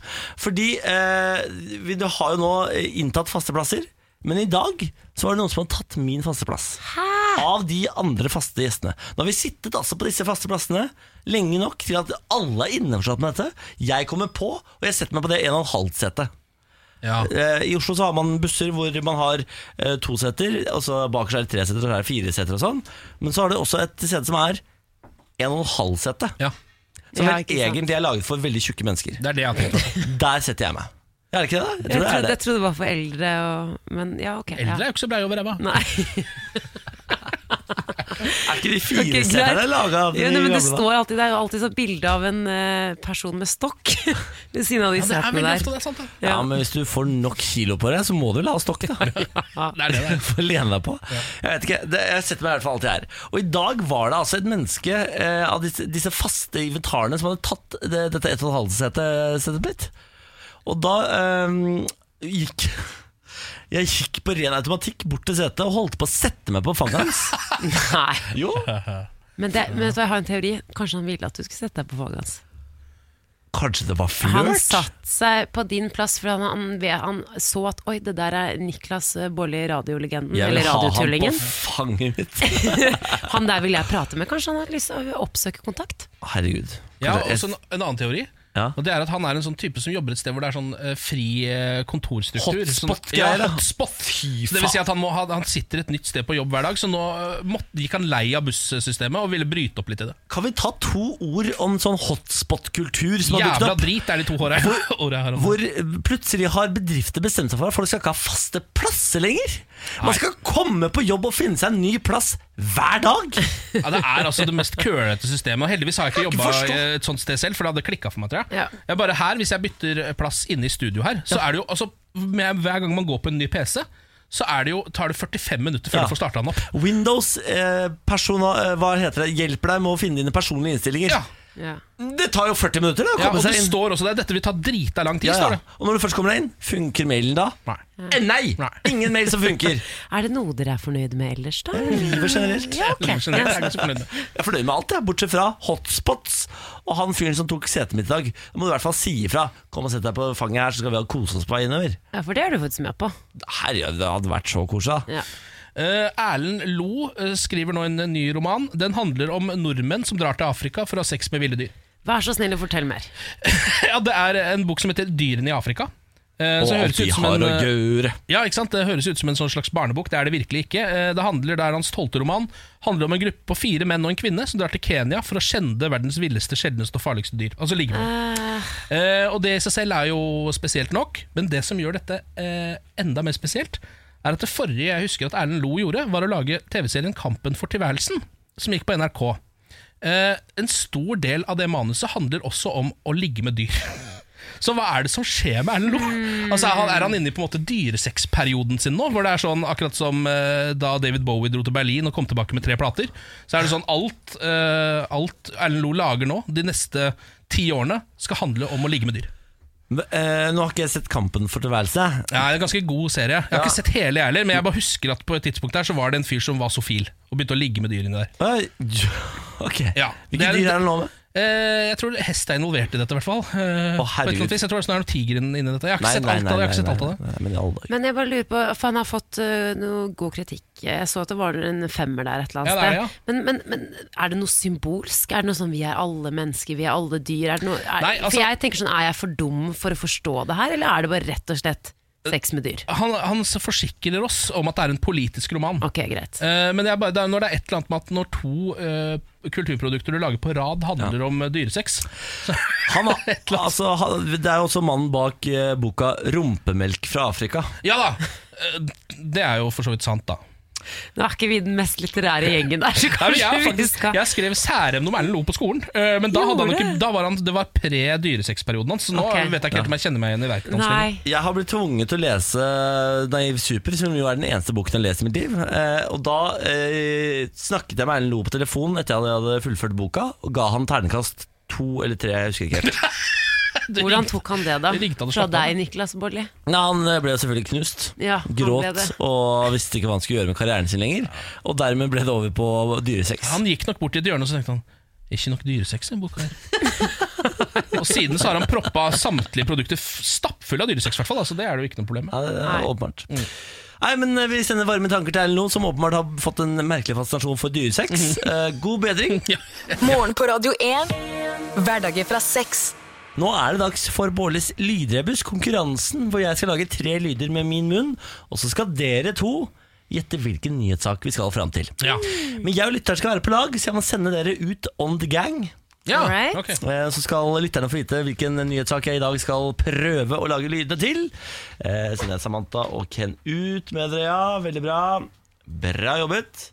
Speaker 1: Fordi eh, vi du har jo nå eh, inntatt faste plasser, men i dag så var det noen som hadde tatt min faste plass. Av de andre faste gjestene. Nå har vi sittet altså på disse faste plassene lenge nok til at alle er innforstått med dette. Jeg kommer på, og jeg setter meg på det 1,5-setet.
Speaker 2: ja.
Speaker 1: Eh, I Oslo så har man busser hvor man har eh, to seter, og så bak seg er det tre seter, og så er det fire seter og sånn. Men så har det også et sete som er 1,5-setet.
Speaker 2: ja.
Speaker 1: Som
Speaker 3: Ja,
Speaker 1: vel
Speaker 3: ikke sant.
Speaker 1: egentlig er laget for veldig tjukke mennesker.
Speaker 2: Det er det jeg har tenkt på.
Speaker 1: Der setter jeg meg. Er det ikke det? da? Jeg tror
Speaker 3: Jeg trodde,
Speaker 1: det
Speaker 3: jeg
Speaker 1: er det.
Speaker 3: trodde det var for eldre og Men ja, ok.
Speaker 2: Eldre er
Speaker 3: Ja.
Speaker 2: jo ikke så bleie over ræva.
Speaker 3: Nei.
Speaker 1: Er ikke de
Speaker 3: Ok,
Speaker 1: fire
Speaker 3: greit.
Speaker 1: seterne laga av de
Speaker 3: Ja, nei, men
Speaker 1: gamle?
Speaker 3: det,
Speaker 1: da?
Speaker 3: står alltid, det er jo alltid sånn bilde av en eh, person med stokk ved siden av de
Speaker 2: Ja, det er
Speaker 3: setene
Speaker 2: veldig
Speaker 3: der.
Speaker 2: ofte det, er sant det.
Speaker 1: Ja, men hvis du får nok kilo på deg, så må du la stokk, da.
Speaker 2: Det er det det er.
Speaker 1: Få lene deg på. Jeg vet ikke, det, jeg setter meg i hvert fall alltid her. Og i dag var det altså et menneske eh, av disse, disse faste inventarene som hadde tatt det, dette 1,5-setet mitt. Og da eh, gikk jeg gikk på ren automatikk bort til setet og holdt på å sette meg på fanget hans.
Speaker 3: Nei.
Speaker 1: Jo,
Speaker 3: Men, det, men vet du, hva, jeg har en teori. Kanskje han ville at du skulle sette deg på faget hans.
Speaker 1: kanskje det var
Speaker 3: Han
Speaker 1: flørt?
Speaker 3: satte seg på din plass, for han, han, ve- han så at Oi, det der er Niklas eh, Baarli,
Speaker 2: Mm.
Speaker 3: radiolegenden.
Speaker 1: Jeg vil
Speaker 3: Eller
Speaker 1: ha han på
Speaker 3: radiotullingen.
Speaker 1: fanget mitt.
Speaker 3: Han, der vil jeg prate med. Kanskje han har lyst til å oppsøke kontakt?
Speaker 1: Herregud.
Speaker 2: Ja,
Speaker 1: Kanskje-
Speaker 2: og sånn- så en, en annen teori.
Speaker 1: Ja.
Speaker 2: Og det er at Han er en sånn type som jobber et sted hvor det er sånn eh, fri eh, kontorstruktur.
Speaker 1: Hotspot-greier,
Speaker 2: Sånn, ja,
Speaker 1: da.
Speaker 2: hotspot.
Speaker 1: Fy
Speaker 2: Så det vil si at han, må, ha- han sitter et nytt sted på jobb hver dag, så nå eh, måtte, gikk han lei av bussystemet og ville bryte opp litt i det.
Speaker 1: Kan vi ta to ord om sånn hotspot-kultur som har dukket
Speaker 2: Jævla
Speaker 1: opp?
Speaker 2: drit er de to håra jeg åra jeg har. om.
Speaker 1: Hvor eh, plutselig har bedrifter bestemt seg for at folk skal ikke ha faste plasser lenger. Man skal komme på jobb og finne seg en ny plass hver dag.
Speaker 2: Ja, det er altså det mest kølete systemet. Og heldigvis har jeg ikke
Speaker 1: Jeg kan
Speaker 2: jobba
Speaker 1: ikke forstå.
Speaker 2: et sånt sted selv, for det hadde klikka for meg. tror jeg.
Speaker 3: Ja.
Speaker 2: jeg bare her, Hvis jeg bytter plass inne i studio her, så er det jo altså, med, Hver gang man går på en ny PC, så er det jo, tar det 45 minutter før
Speaker 1: Ja.
Speaker 2: du får starta den opp.
Speaker 1: Windows eh, persona, eh, hva heter det, hjelper deg med å finne dine personlige innstillinger.
Speaker 2: Ja.
Speaker 3: Ja.
Speaker 1: Det tar jo 40 minutter da, å
Speaker 2: Ja,
Speaker 1: komme
Speaker 2: og det
Speaker 1: seg inn.
Speaker 2: står også der. Dette vil ta drita lang tid,
Speaker 1: Ja,
Speaker 2: står
Speaker 1: ja.
Speaker 2: det.
Speaker 1: Og når du først kommer deg inn, funker mailen da?
Speaker 2: Nei.
Speaker 1: Eh, Nei!
Speaker 2: Nei.
Speaker 1: Ingen mail som funker.
Speaker 3: Er det noe dere er fornøyd med ellers, da?
Speaker 1: Eh, Livet generelt.
Speaker 3: Ja, ok.
Speaker 2: Skjønner jeg, jeg er ikke så fornøyd med.
Speaker 1: Jeg er fornøyd med alt, jeg, bortsett fra hotspots. Og han fyren som tok setet mitt i dag, da må du i hvert fall si ifra. Kom og sett deg på fanget her, så skal vi ha kose oss på vei innover.
Speaker 3: Ja, for det er du faktisk med på.
Speaker 1: Herregud, det hadde vært så koselig. da.
Speaker 3: Ja.
Speaker 2: Eh, Erlend Lo eh, skriver nå en ny roman. Den handler om nordmenn som drar til Afrika for å ha sex med ville dyr.
Speaker 3: Vær så snill å fortelle mer.
Speaker 2: ja, det er en bok som heter Dyrene i Afrika. Eh, Eh,
Speaker 1: Og
Speaker 2: så
Speaker 1: alt
Speaker 2: det høres
Speaker 1: de
Speaker 2: ut som
Speaker 1: har
Speaker 2: en,
Speaker 1: å
Speaker 2: eh,
Speaker 1: gjøre.
Speaker 2: Ja, ikke sant? Det høres ut som en sånn slags barnebok. Det er det virkelig ikke. Eh, Det handler, det er hans tolvte roman. handler om en gruppe på fire menn og en kvinne som drar til Kenya for å skjende verdens villeste, sjeldneste og farligste dyr. Altså liggemål. Eh, og det i seg selv er jo spesielt nok, men det som gjør dette eh, enda mer spesielt, er at det forrige jeg husker at Erlend Loe gjorde, var å lage TV-serien Kampen for tilværelsen, som gikk på NRK. Eh, en stor del av det manuset handler også om å ligge med dyr. Så hva er det som skjer med Erlend Loe?
Speaker 1: Mm.
Speaker 2: Altså, er, han, er han inne i på en måte dyresexperioden sin nå? Hvor det er sånn, akkurat som eh, da David Bowie dro til Berlin og kom tilbake med tre plater, så er det sånn alt, eh, alt Erlend Loe lager nå, de neste ti årene, skal handle om å ligge med dyr.
Speaker 1: Eh, nå har ikke jeg sett Kampen for tilværelse.
Speaker 2: Ja, det er en ganske god serie. Jeg har ikke sett hele, jeg heller, men jeg bare husker at på et tidspunkt der så var det en fyr som var sofil, og begynte å ligge med dyr inni der.
Speaker 1: Oi, ja, Ok.
Speaker 2: Ja, det
Speaker 1: Hvilke
Speaker 2: er-
Speaker 1: dyr er det nå med?
Speaker 2: Eh, jeg tror hest er involvert i dette, i hvert fall. Eh,
Speaker 1: Å,
Speaker 2: på et eller
Speaker 1: herregud.
Speaker 2: annet vis. Jeg tror det er noen tiger inni dette. Jeg har ikke sett alt av det. Jeg har ikke sett alt av det.
Speaker 1: nei, men i alle dager.
Speaker 3: Men jeg bare lurer på, for han har fått øh, noe god kritikk. Jeg så at det var en femmer der et eller annet
Speaker 2: Ja, det er det, ja.
Speaker 3: sted. Men, men, men er det noe symbolsk? Er det noe sånn vi er alle mennesker, vi er alle dyr? Er det noe, er,
Speaker 2: Nei, altså-
Speaker 3: for jeg tenker sånn, er jeg for dum for å forstå det her, eller er det bare rett og slett sex med dyr?
Speaker 2: han, han så forsikrer oss om at det er en politisk roman.
Speaker 3: Ok, greit.
Speaker 2: Eh, men jeg bare, det er, når det er et eller annet med at når to eh, kulturprodukter du lager på rad, handler om eh, dyresex
Speaker 1: Han, har- altså, han, det er jo også mannen bak eh, boka 'Rumpemelk fra Afrika'.
Speaker 2: Ja da! eh, det er jo for så vidt sant, da.
Speaker 3: Nå er ikke vi den mest litterære gjengen der, så
Speaker 2: Nei, men
Speaker 3: kanskje
Speaker 2: jeg, har
Speaker 3: vi
Speaker 2: faktisk,
Speaker 3: skal
Speaker 2: jeg skrev særemne om Erlend Loe på skolen, eh, men da, hadde han
Speaker 3: Gjorde
Speaker 2: ikke,
Speaker 3: det?
Speaker 2: da var han, det var pre-dyresexperioden hans. Så nå
Speaker 3: Ok.
Speaker 2: vet jeg ikke helt om jeg kjenner meg igjen i verket hans. lenger.
Speaker 3: Nei.
Speaker 1: Jeg har blitt tvunget til å lese Naiv Super, som jo er den eneste boken jeg leser i mitt liv. Eh, og da eh, snakket jeg med Erlend Loe på telefon etter at jeg hadde fullført boka, og ga han ternekast to eller tre, jeg husker ikke helt.
Speaker 2: Det-
Speaker 3: Hvordan tok han det, da?
Speaker 2: Det ringte han og
Speaker 3: Fra
Speaker 2: slapp av.
Speaker 3: deg, Niklas Baarli?
Speaker 1: Nei, han eh, ble jo selvfølgelig knust.
Speaker 3: Ja, han ble
Speaker 1: gråt
Speaker 3: det.
Speaker 1: og visste ikke hva han skulle gjøre med karrieren sin lenger. Og dermed ble det over på dyresex.
Speaker 2: Han gikk nok bort til et hjørne og så tenkte han ikke nok dyresex i den boka her. og siden så har han proppa samtlige produkter f- stappfulle av dyresex, i hvert fall. Altså, det er det jo ikke noe problem med.
Speaker 1: Ja, det
Speaker 3: Nei. Mm.
Speaker 1: er åpenbart. Nei, men eh, Vi sender varme tanker til Erlend Loe, som åpenbart har fått en merkelig fascinasjon for dyresex. Eh, God bedring.
Speaker 6: Morgen på Radio 1. Hverdager fra seks.
Speaker 1: Nå er det dags for Bårlis lydrebus, konkurransen hvor jeg skal lage tre lyder med min munn, og så skal dere to gjette hvilken nyhetssak vi skal fram til.
Speaker 2: Ja.
Speaker 1: Men jeg og lytteren skal være på lag, så jeg må sende dere ut on the gang.
Speaker 2: Ja,
Speaker 3: Alright.
Speaker 2: ok.
Speaker 1: Eh, Så skal lytterne få vite hvilken nyhetssak jeg i dag skal prøve å lage lydene til. Eh, Sender jeg Samantha og Ken ut med dere, ja. Veldig bra. Bra jobbet.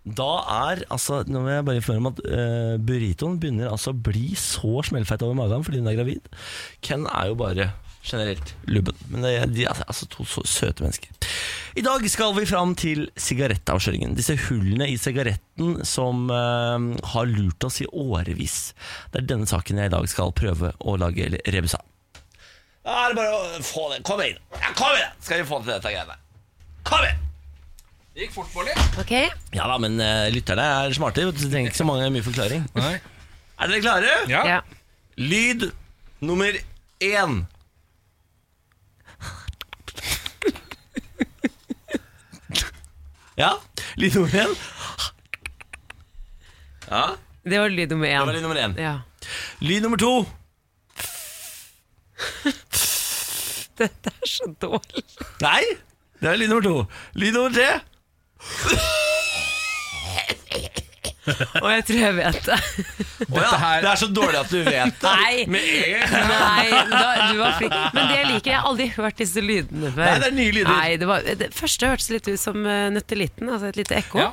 Speaker 1: Da er altså Nå må jeg bare informere om at eh, burritoen begynner altså å bli så smellfeit over magen fordi hun er gravid. Ken er jo bare generelt lubben. Men det, de er altså to så søte mennesker. I dag skal vi fram til sigarettavsløringen. Disse hullene i sigaretten som eh, har lurt oss i årevis. Det er denne saken jeg i dag skal prøve å lage rebus av. Da er det bare å få det. Kom inn. Ja, kom inn! Skal vi få til dette greiene. Kom inn!
Speaker 2: Det gikk fort, Bolli.
Speaker 3: Ok,
Speaker 1: Ja da, men eh, lytterne er smarte. vet du, så De trenger ikke så mange, mye forklaring.
Speaker 2: Nei.
Speaker 1: Er dere klare?
Speaker 2: Ja.
Speaker 3: ja.
Speaker 1: Lyd nummer én. Ja, lyd nummer én. Ja,
Speaker 3: Det var lyd nummer
Speaker 1: det var lyd
Speaker 3: én.
Speaker 1: nummer én.
Speaker 3: Ja.
Speaker 1: Lyd nummer to.
Speaker 3: Dette er så dårlig.
Speaker 1: Nei, det er lyd nummer to. Lyd nummer tre.
Speaker 3: Og jeg tror jeg vet det.
Speaker 1: Å ja,
Speaker 2: her-
Speaker 1: Det er så dårlig at du vet det.
Speaker 3: Nei, Nei da, du var flink. Men det jeg liker, jeg har aldri hørt disse lydene før.
Speaker 1: Nei, det er nye lyder.
Speaker 3: Nei, det, var, det første hørtes litt ut som eh, nøtteliten, altså et lite ekko.
Speaker 2: Ja.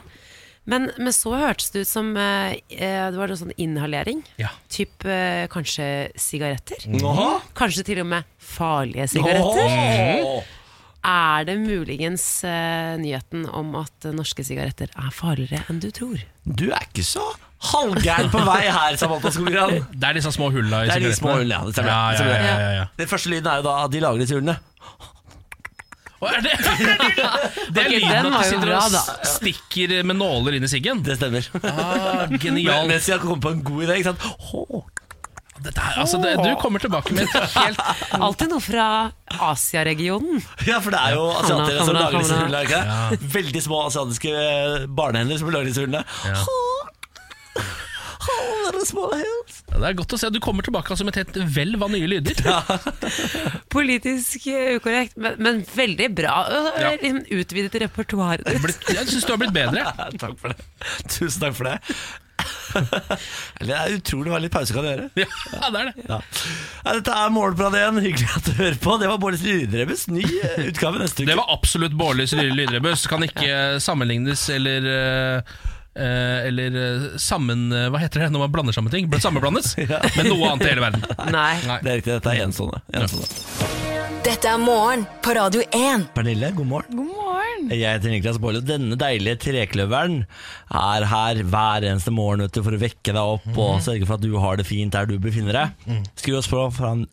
Speaker 3: Men, men så hørtes det ut som eh, eh, det var noe sånn inhalering.
Speaker 2: Ja.
Speaker 3: Typ eh, kanskje sigaretter.
Speaker 1: Åhå.
Speaker 3: Kanskje til og med farlige sigaretter.
Speaker 1: Åhå.
Speaker 3: Er det muligens eh, nyheten om at eh, norske sigaretter er farligere enn du tror?
Speaker 1: Du er ikke så halvgæren på vei her, Samantha Skogran.
Speaker 2: Det er disse små hulla i
Speaker 1: Det er de
Speaker 2: sigarettene.
Speaker 1: små hullene, ja. Det stemmer.
Speaker 2: ja,
Speaker 1: Det
Speaker 2: ja,
Speaker 1: stemmer.
Speaker 2: ja, ja, ja,
Speaker 1: Den første lyden er jo da at de lager disse hullene.
Speaker 2: Å, er det, det er
Speaker 3: Ok, den
Speaker 2: lyden at
Speaker 3: var
Speaker 2: du
Speaker 3: jo
Speaker 2: sitter
Speaker 3: bra,
Speaker 2: og
Speaker 3: da.
Speaker 2: s- stikker med nåler inn i siggen.
Speaker 1: Det stemmer.
Speaker 2: Ah,
Speaker 1: Men,
Speaker 2: genial.
Speaker 1: mens jeg kom på en god idé, ikke sant. Åh.
Speaker 2: Dette her, altså, det, du kommer tilbake med et helt
Speaker 3: Alltid noe fra Asiaregionen.
Speaker 1: Ja, for det er jo asiatere som
Speaker 3: Hamna,
Speaker 1: lager disse
Speaker 3: hamna.
Speaker 1: hullene. ikke det? Veldig små asiatiske eh, barnehender som lager disse hullene. Åh, åh, dere små helt.
Speaker 2: Ja, det er godt å se at du kommer tilbake som et helt vel av nye lyder.
Speaker 3: Politisk eh, ukorrekt, men, men veldig bra. Øh,
Speaker 2: Ja.
Speaker 3: liksom Utvidet repertoaret ditt.
Speaker 2: Blitt- Jeg syns du har blitt bedre.
Speaker 1: Takk for det. Tusen takk for det. Eller, det er utrolig hva litt pause kan gjøre.
Speaker 2: Ja, det er det.
Speaker 1: Ja. Ja, dette er Morgenbladet igjen. Hyggelig at du hører på. Det var Bårdis Lydrebes ny eh, utgave neste uke.
Speaker 2: Det var absolutt Bårdlys lydrebuss. Kan ikke sammenlignes eller eh, eh, eller eh, sammen... eh, Hva heter det når man blander sammen ting? Bl- Sammenblandes med noe annet i hele verden.
Speaker 3: Nei.
Speaker 2: Nei.
Speaker 1: Det er riktig, dette er ensomme. ensomme.
Speaker 6: Dette er morgen på Radio 1.
Speaker 1: Pernille, god morgen.
Speaker 12: God morgen.
Speaker 1: Jeg heter Niklas Baarli, og denne deilige trekløveren er her hver eneste morgen vet du, for å vekke deg opp
Speaker 12: Mm.
Speaker 1: og sørge for at du har det fint der du befinner deg. Skru oss på fra en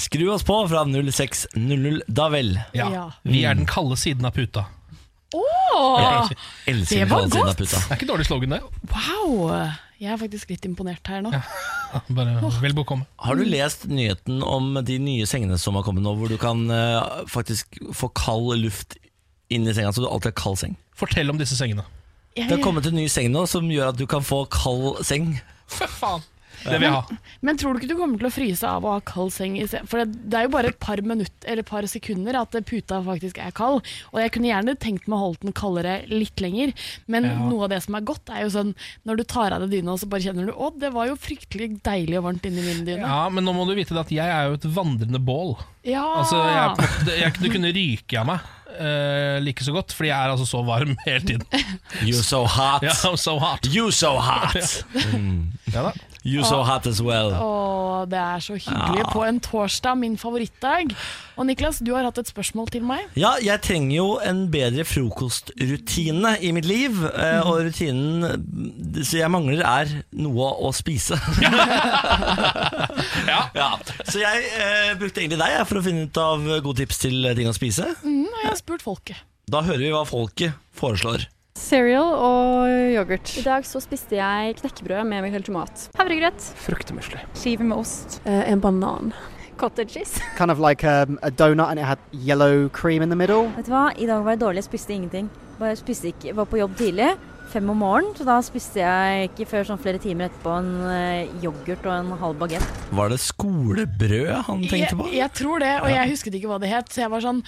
Speaker 1: Skru oss på fra 06.00, da vel.
Speaker 2: Ja. Vi er den kalde siden av puta.
Speaker 12: Åh,
Speaker 1: Elsker
Speaker 12: Det var
Speaker 1: den kalde siden av
Speaker 12: godt.
Speaker 1: puta.
Speaker 2: Det er ikke dårlig slogan, det.
Speaker 12: wow! Jeg er faktisk litt imponert her nå.
Speaker 2: Bare vel bekomme.
Speaker 1: Har du lest nyheten om de nye sengene som har kommet nå, hvor du kan eh, faktisk få kald luft inn i senga, så du alltid har kald seng?
Speaker 2: Fortell om disse sengene.
Speaker 12: Jeg,
Speaker 1: Det har kommet en ny seng nå som gjør at du kan få kald seng.
Speaker 2: For faen. Det vil jeg ha.
Speaker 12: men tror du ikke du kommer til å fryse av å ha kald seng? i se- For det, det er jo bare et par, minutt, eller et par sekunder at puta faktisk er kald. Og jeg kunne gjerne tenkt meg å holde den kaldere litt lenger, men
Speaker 2: Ja.
Speaker 12: noe av det som er godt, er jo sånn når du tar av deg dyna, og så bare kjenner du å, det var jo fryktelig deilig og varmt inni min dyne.
Speaker 2: Ja, Men nå må du vite det at jeg er jo et vandrende bål.
Speaker 12: Ja!
Speaker 2: Altså, jeg, det- jeg, Du kunne ryke av meg eh, like så godt, fordi jeg er altså så varm hele tiden.
Speaker 1: You so hot.
Speaker 2: Ja, I'm so hot.
Speaker 1: You so hot.
Speaker 2: Ja, da.
Speaker 1: You so hot as well.
Speaker 12: Åh, det er så hyggelig på en torsdag, min favorittdag. Og Niklas, du har hatt et spørsmål til meg.
Speaker 1: Ja, jeg trenger jo en bedre frokostrutine i mitt liv, eh,
Speaker 12: Mm.
Speaker 1: og rutinen så jeg mangler er noe å spise.
Speaker 2: Ja.
Speaker 1: Så jeg eh, brukte egentlig deg jeg, for å finne ut av gode tips til eh, ting å spise.
Speaker 12: Mm, og jeg har spurt folket.
Speaker 1: Da hører vi hva folket foreslår.
Speaker 13: Cereal og yoghurt. I dag så spiste jeg knekkebrød med Michael tomat. Havregrøt.
Speaker 14: Fruktemusler.
Speaker 13: Skive med ost.
Speaker 14: en banan.
Speaker 13: Cottage cheese.
Speaker 14: Kind of like um, a donut and it had yellow cream in the middle.
Speaker 13: Vet du hva, i dag var jeg dårlig, jeg spiste ingenting. Bare spiste ikke, var på jobb tidlig, fem om morgenen, så da spiste jeg ikke før sånn flere timer etterpå en eh, yoghurt og en halv bagett.
Speaker 1: Var det skolebrød han tenkte på?
Speaker 12: Jeg, jeg tror det, og jeg husket ikke hva det het, så jeg var sånn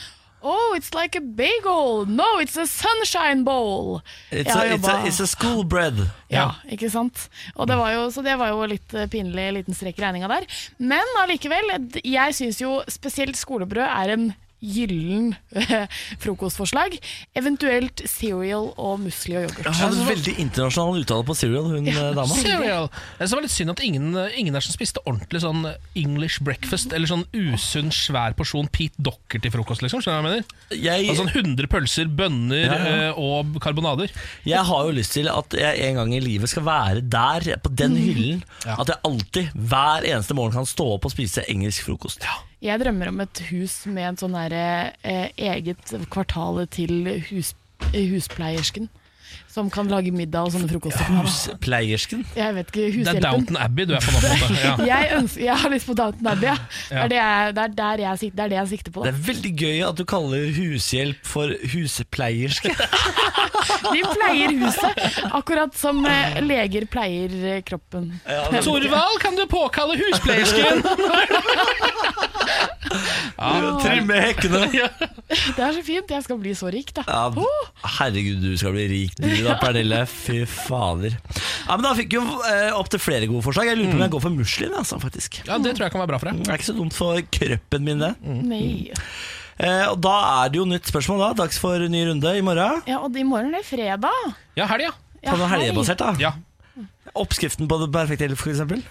Speaker 12: Oh, it's like a bagel! No, it's a sunshine bowl!
Speaker 1: It's a,
Speaker 12: Jeg har
Speaker 1: it's a,
Speaker 12: jobba-
Speaker 1: it's a school bread.
Speaker 12: Ja, ikke sant? Og det var jo, så det var jo litt eh, pinlig liten strek i regninga der. Men allikevel, d- jeg syns jo spesielt skolebrød er en gyllen frokostforslag. Eventuelt cereal og musli og yoghurt.
Speaker 1: Hun hadde en veldig internasjonal uttale på cereal, hun eh, dama.
Speaker 2: Cereal. Det som var litt synd at ingen, ingen der som spiste ordentlig sånn English breakfast, eller sånn usunn, svær porsjon Pete Docker til frokost, liksom. Skjønner du hva jeg mener?
Speaker 1: Jeg,
Speaker 2: Altså sånn 100 pølser, bønner
Speaker 1: Ja, ja.
Speaker 2: eh, og karbonader.
Speaker 1: jeg har jo lyst til at jeg en gang i livet skal være der, på den hyllen. At jeg alltid, hver eneste morgen, kan stå opp og spise engelsk frokost.
Speaker 12: Jeg drømmer om et hus med en sånn her, eh, eget kvartale til hus, eh, huspleiersken. Som kan lage middag og sånne frokoster. for meg, da.
Speaker 1: Huspleiersken.
Speaker 12: Jeg vet ikke,
Speaker 2: Det er
Speaker 12: hushjelpen.
Speaker 2: Downton Abbey du er på nå, på en måte. Ja.
Speaker 12: Jeg, ønsker, jeg har lyst på Downton Abbey. Ja. Det, er det, jeg, det, er der jeg, sik- det er det jeg sikter på.
Speaker 1: Det
Speaker 12: Da.
Speaker 1: er veldig gøy at du kaller hushjelp for huspleierske.
Speaker 12: De pleier huset, akkurat som eh, leger pleier eh, kroppen.
Speaker 2: Torvald, kan du påkalle huspleiersken?
Speaker 1: Trimme hekkene.
Speaker 12: Det er så fint. Jeg skal bli så rik, da.
Speaker 1: Ja, herregud, du skal bli rik du da, Pernille. Fy fader. Ja, men Da fikk vi jo eh, opptil flere gode forslag. Jeg lurer på om jeg går for muslin, altså, faktisk.
Speaker 2: Ja, Det tror jeg kan være bra for deg.
Speaker 1: Det er ikke så dumt for krøppen min, det.
Speaker 12: Mm. Nei.
Speaker 1: Eh, og Da er det jo nytt spørsmål. da Dags for ny runde i morgen.
Speaker 12: Ja, og i morgen er det fredag.
Speaker 2: Ja, helg, ja.
Speaker 12: Ja,
Speaker 1: Ta noe
Speaker 12: hei.
Speaker 1: helgebasert, da.
Speaker 2: ja.
Speaker 1: Oppskriften på det perfekte helg, for eksempel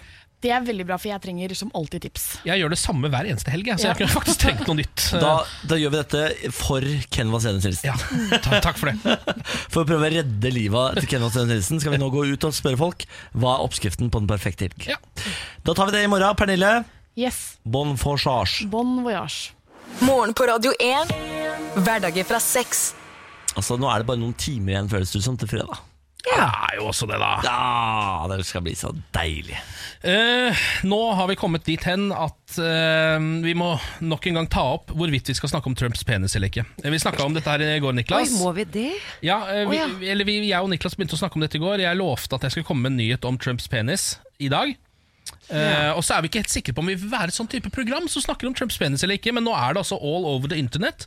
Speaker 12: Det er veldig bra, for jeg trenger som alltid tips.
Speaker 2: Jeg gjør det samme hver eneste helg, jeg, så jeg
Speaker 12: Ja.
Speaker 2: kunne faktisk trengt noe nytt. Eh,
Speaker 1: Da, da gjør vi dette for Ken Vasenius Nilsen.
Speaker 2: Ja, ta, takk for det.
Speaker 1: For å prøve å redde livet til Ken Vasenius Nilsen skal vi nå gå ut og spørre folk hva er oppskriften på den perfekte helg.
Speaker 2: Ja.
Speaker 1: Da tar vi det i morgen. Pernille,
Speaker 12: Yes.
Speaker 1: bon forsage.
Speaker 12: Bon voyage.
Speaker 6: Morgen på Radio 1. Hverdager fra seks.
Speaker 1: Altså, nå er det bare noen timer igjen, føles det som, til fredag.
Speaker 2: Det er jo også det, da.
Speaker 1: Ja, det skal bli så deilig.
Speaker 2: Eh, nå har vi kommet dit hen at eh, vi må nok en gang ta opp hvorvidt vi skal snakke om Trumps penis eller ikke. Eh, Vi snakka om dette her i går, Niklas.
Speaker 3: Oi, må vi det?
Speaker 2: Ja, eh, vi,
Speaker 3: Å, ja.
Speaker 2: vi- Eller vi, jeg og Niklas begynte å snakke om dette i går. Jeg lovte at jeg skulle komme med en nyhet om Trumps penis i dag. Eh, og så er vi ikke helt sikre på om vi vil være et sånn type program som snakker om Trumps penis eller ikke, men nå er det altså all over the internet.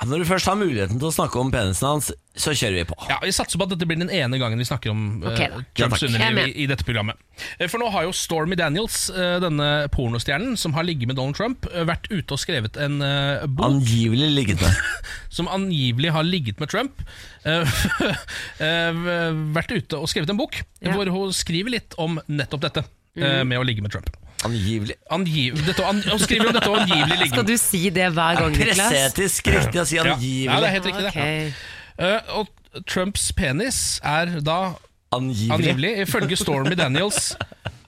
Speaker 1: Ja, Når du først har muligheten til å snakke om penisen hans, så kjører vi på.
Speaker 2: Ja, Vi satser på at dette blir den ene gangen vi snakker om eh,
Speaker 1: Ok da. Ja,
Speaker 2: Trumps
Speaker 1: takk. Jeg er
Speaker 2: underliv
Speaker 1: med.
Speaker 2: i, i dette programmet. Eh, For nå har jo Stormy Daniels, eh, denne pornostjernen som har ligget med Donald Trump, eh, vært ute og skrevet en eh, bok
Speaker 1: Angivelig ligget med.
Speaker 2: som angivelig har ligget med Trump. eh, eh, vært ute og skrevet en bok
Speaker 1: Ja.
Speaker 2: hvor hun skriver litt om nettopp dette. eh,
Speaker 3: Mm.
Speaker 2: Med å ligge med Trump.
Speaker 1: Angivelig.
Speaker 2: Angiv, dette, an, hun skriver om dette og angivelig ligge
Speaker 3: Skal du si det hver gang, Niklas?
Speaker 1: Presseetisk riktig å si
Speaker 2: Ja.
Speaker 1: angivelig.
Speaker 2: Ja, det er helt riktig, det. Eh, og Trumps penis er da
Speaker 1: angivelig,
Speaker 2: ifølge Stormy Daniels,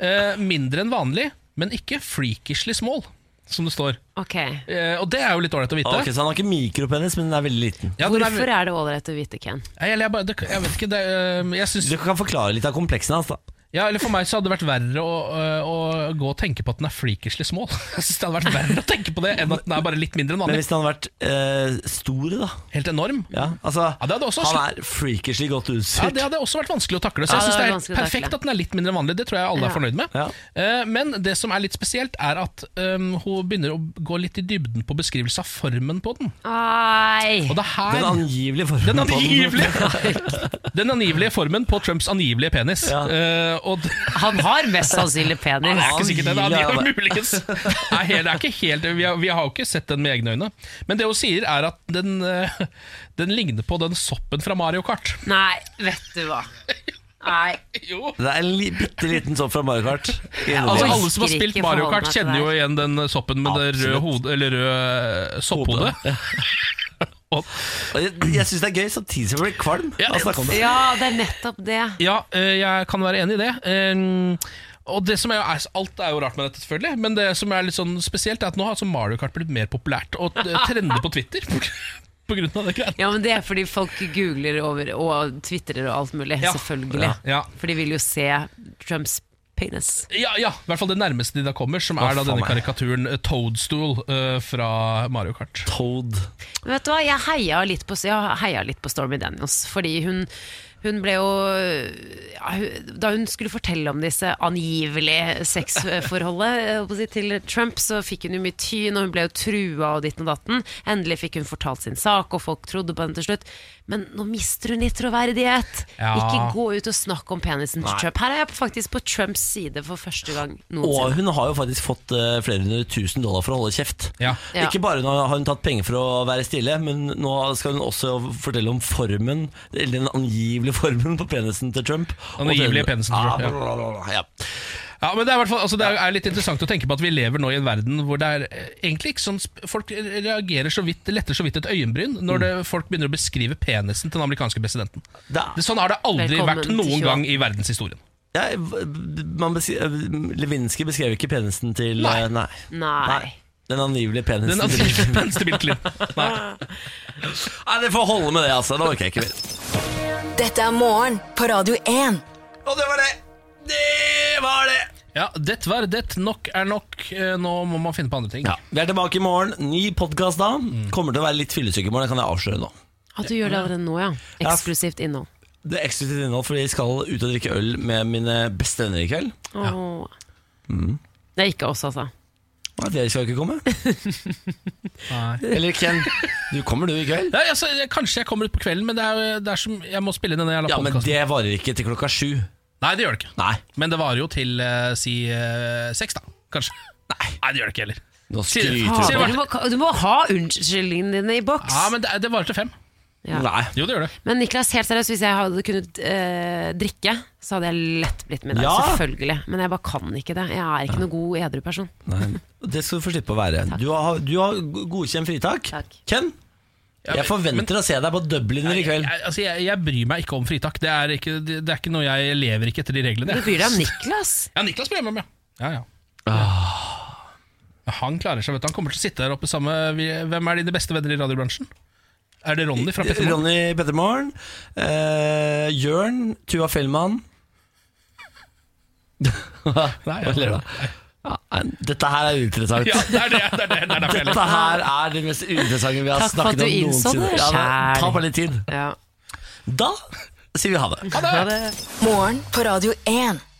Speaker 2: eh, mindre enn vanlig, men ikke freakishly small, som det står.
Speaker 3: Ok.
Speaker 2: Eh, og det er jo litt ålreit å vite.
Speaker 1: Ok, Så han har ikke mikropenis, men den er veldig liten.
Speaker 2: Ja, den er-
Speaker 3: Ah, Hvorfor er det ålreit å vite, Ken?
Speaker 2: Nei, eller jeg, bare, det, jeg vet ikke det, eh, jeg syns-
Speaker 1: Du kan forklare litt av kompleksen hans, da.
Speaker 2: ja, eller For meg så hadde det vært verre å, eh, å gå og tenke på at den er freakishly small. Jeg synes Det hadde vært verre å tenke på det enn at den er bare litt mindre enn
Speaker 1: Men hvis
Speaker 2: vanlig.
Speaker 1: den hadde vært eh, stor, da
Speaker 2: Helt enorm?
Speaker 1: Ja, altså
Speaker 2: også
Speaker 1: Han
Speaker 2: sl-
Speaker 1: er freakishly godt
Speaker 2: Ja,
Speaker 1: utstyrt.
Speaker 2: Det hadde også vært vanskelig å takle.
Speaker 1: Ja,
Speaker 2: Så jeg
Speaker 1: det
Speaker 2: synes
Speaker 1: hadde vært
Speaker 2: det er helt
Speaker 1: vanskelig å
Speaker 2: perfekt
Speaker 1: takle.
Speaker 2: at den er litt mindre enn vanlig. Det tror jeg alle
Speaker 1: Ja.
Speaker 2: er fornøyd med. Eh, Men det som er litt spesielt, er at eh, hun begynner å gå litt i dybden på beskrivelse av formen på den.
Speaker 3: Nei!
Speaker 2: Og det her
Speaker 1: Den angivelige formen
Speaker 2: Den
Speaker 1: på den.
Speaker 2: angivelige, den angivelige formen på Trumps angivelige penis. Eh, og d-
Speaker 3: Han har mest sannsynlig penis.
Speaker 2: Nei, Det er ikke sikkert det. da.
Speaker 3: Angivelig,
Speaker 2: De
Speaker 3: ja,
Speaker 2: har
Speaker 3: da.
Speaker 2: muligens Nei, helt- det er ikke helt, vi, har, vi har jo ikke sett den med egne øyne. Men det hun sier, er at den, eh, den ligner på den soppen fra Mario Kart.
Speaker 3: Nei, vet du hva. Nei.
Speaker 2: Jo.
Speaker 1: Det er en li bitte liten sopp fra Mario Kart.
Speaker 2: Altså, alle som har
Speaker 3: Orker
Speaker 2: spilt
Speaker 3: ikke
Speaker 2: Mario
Speaker 3: forholde
Speaker 2: Kart,
Speaker 3: meg til
Speaker 2: kjenner
Speaker 3: det
Speaker 2: jo
Speaker 3: her.
Speaker 2: igjen den soppen med det røde,
Speaker 1: Absolutt.
Speaker 2: hode, eller røde eh, sopphodet.
Speaker 1: Og Jeg, jeg syns det er gøy, samtidig som jeg blir kvalm Altså, av å snakke om det.
Speaker 3: Ja, det er nettopp det.
Speaker 2: Ja, eh, jeg kan være enig i det. Eh, Og det som er, er- Alt er jo rart med dette, selvfølgelig, men det som er litt sånn spesielt, er at nå har altså Mario Kart blitt mer populært og eh, trender på Twitter. På grunn av det greiene.
Speaker 3: Ja, men Det er fordi folk googler over og twitrer og alt mulig.
Speaker 2: Ja.
Speaker 3: Selvfølgelig.
Speaker 2: Ja, ja.
Speaker 3: For de vil jo se Trumps penis.
Speaker 2: Ja, ja, i hvert fall det nærmeste de da kommer, som
Speaker 1: Å,
Speaker 2: er da
Speaker 1: faen
Speaker 2: denne
Speaker 1: meg.
Speaker 2: karikaturen eh, Toadstool eh, fra Mario Kart.
Speaker 1: Toad.
Speaker 3: Men Vet du hva, jeg heia litt på, jeg heia litt på Stormy Daniels, fordi hun hun ble jo ja, hun- Da hun skulle fortelle om disse angivelige sexforholdet jeg holdt på å si, til Trump, så fikk hun jo mye tyn, og hun ble jo trua og ditten og datten. Endelig fikk hun fortalt sin sak, og folk trodde på henne til slutt. Men nå mister hun litt troverdighet!
Speaker 1: Ja.
Speaker 3: Ikke gå ut og snakk om penisen til
Speaker 1: Nei.
Speaker 3: Trump. Her er jeg faktisk på Trumps side for første gang
Speaker 1: Og
Speaker 3: noensinne.
Speaker 1: hun har jo faktisk fått eh, flere hundre tusen dollar for å holde kjeft.
Speaker 3: Ja.
Speaker 1: Ikke bare nå har hun tatt penger for å være stille, men nå skal hun også fortelle om formen, eller den angivelige formen på penisen til Trump. Ah,
Speaker 2: Den angivelige penisen til Trump, ja.
Speaker 1: Trump. Ja.
Speaker 2: Ja, men Det er, i hvert fall, altså, det er, er litt interessant å tenke på at vi lever nå i en verden hvor det er eh, egentlig ikke sånn sp- Folk reagerer så vidt, letter så vidt et øyenbryn
Speaker 1: Mm.
Speaker 2: når det, folk begynner å beskrive penisen til den amerikanske presidenten. Det, sånn har det aldri
Speaker 1: Velkommen
Speaker 2: vært
Speaker 1: til
Speaker 2: noen
Speaker 1: tjue.
Speaker 2: gang i verdenshistorien.
Speaker 1: Ja, man beskri- Lewinsky beskrev ikke penisen til
Speaker 2: Nei.
Speaker 1: eh, Nei.
Speaker 3: Nei.
Speaker 1: Den angivelige penisen
Speaker 2: Den altså, angivelige penisen til Bill Nei.
Speaker 1: Nei, det får holde med det, altså. Det orker jeg ikke mer.
Speaker 6: Dette er morgen på Radio 1.
Speaker 1: Og det var det. Det var det.
Speaker 2: Ja, det var det. Nok er nok. Eh, Nå må man finne på andre ting.
Speaker 1: Vi er tilbake i morgen. Ny podkast da. Kommer til å være litt fyllesyk i morgen, det kan jeg avsløre nå.
Speaker 3: At du gjør det allerede nå, ja. Eksklusivt innhold.
Speaker 1: Det er eksklusivt innhold, for jeg skal ut og drikke øl med mine beste venner i kveld.
Speaker 3: Åh.
Speaker 1: Mm.
Speaker 3: Det er ikke oss, altså.
Speaker 1: Nei, dere skal ikke komme. Eller Ken, du kommer du i kveld?
Speaker 2: Ja, altså, jeg- kanskje jeg kommer ut på kvelden, men det er, jo- det er som, jeg må spille inn denne jævla
Speaker 1: Ja, men
Speaker 2: podcasten.
Speaker 1: det varer ikke til klokka sju.
Speaker 2: Nei, det gjør det ikke.
Speaker 1: Nei.
Speaker 2: Men det varer jo til eh, si eh, seks, da. Kanskje. Nei. det gjør det ikke heller.
Speaker 1: Nå
Speaker 2: Sier-
Speaker 1: skryter
Speaker 2: sier det
Speaker 3: Fader,
Speaker 2: var-
Speaker 3: du, må, du må ha unnskyldningene dine i boks.
Speaker 2: Ja, men det, det varer til fem.
Speaker 3: Ja.
Speaker 1: Nei.
Speaker 2: Jo, det gjør det.
Speaker 3: Men Niklas, helt seriøst, hvis jeg hadde kunnet eh, drikke, så hadde jeg lett blitt med deg.
Speaker 1: Ja.
Speaker 3: Selvfølgelig. Men jeg bare kan ikke det. Jeg er ikke noen god edru person.
Speaker 1: Nei, det skal du få slippe å være. Du har, du har godkjent fritak. Ken,
Speaker 2: Ja,
Speaker 1: jeg
Speaker 2: men-
Speaker 1: forventer å se deg på Dublin i kveld.
Speaker 2: Jeg, altså, jeg, jeg bryr meg ikke om fritak. Det er ikke, det, det er ikke noe jeg lever ikke etter de reglene.
Speaker 3: Du bryr deg om Niklas.
Speaker 2: Ja, Niklas bryr jeg meg om, ja. ja, ja. Han klarer seg, vet du. Han kommer til å sitte der oppe sammen med vi- Hvem er dine beste venner i radiobransjen? Er det Ronny fra Petter Moen?
Speaker 1: Ronny Pettermoren. Eh, Jørn. Tuva Fellmann. Nei,
Speaker 2: jeg ler da.
Speaker 1: Ja, nei, dette her er uinteressant.
Speaker 2: Ja, det er det, det er det, det er derfor jeg ler.
Speaker 1: dette her er det mest uinteressante vi har
Speaker 2: Takk for at
Speaker 1: snakket
Speaker 2: du
Speaker 1: om
Speaker 2: innså
Speaker 1: noensinne.
Speaker 2: det
Speaker 1: Ja, men
Speaker 2: selv.
Speaker 1: ta bare litt tid.
Speaker 3: Ja.
Speaker 1: Da sier vi ha det.
Speaker 6: Morgen på Radio 1.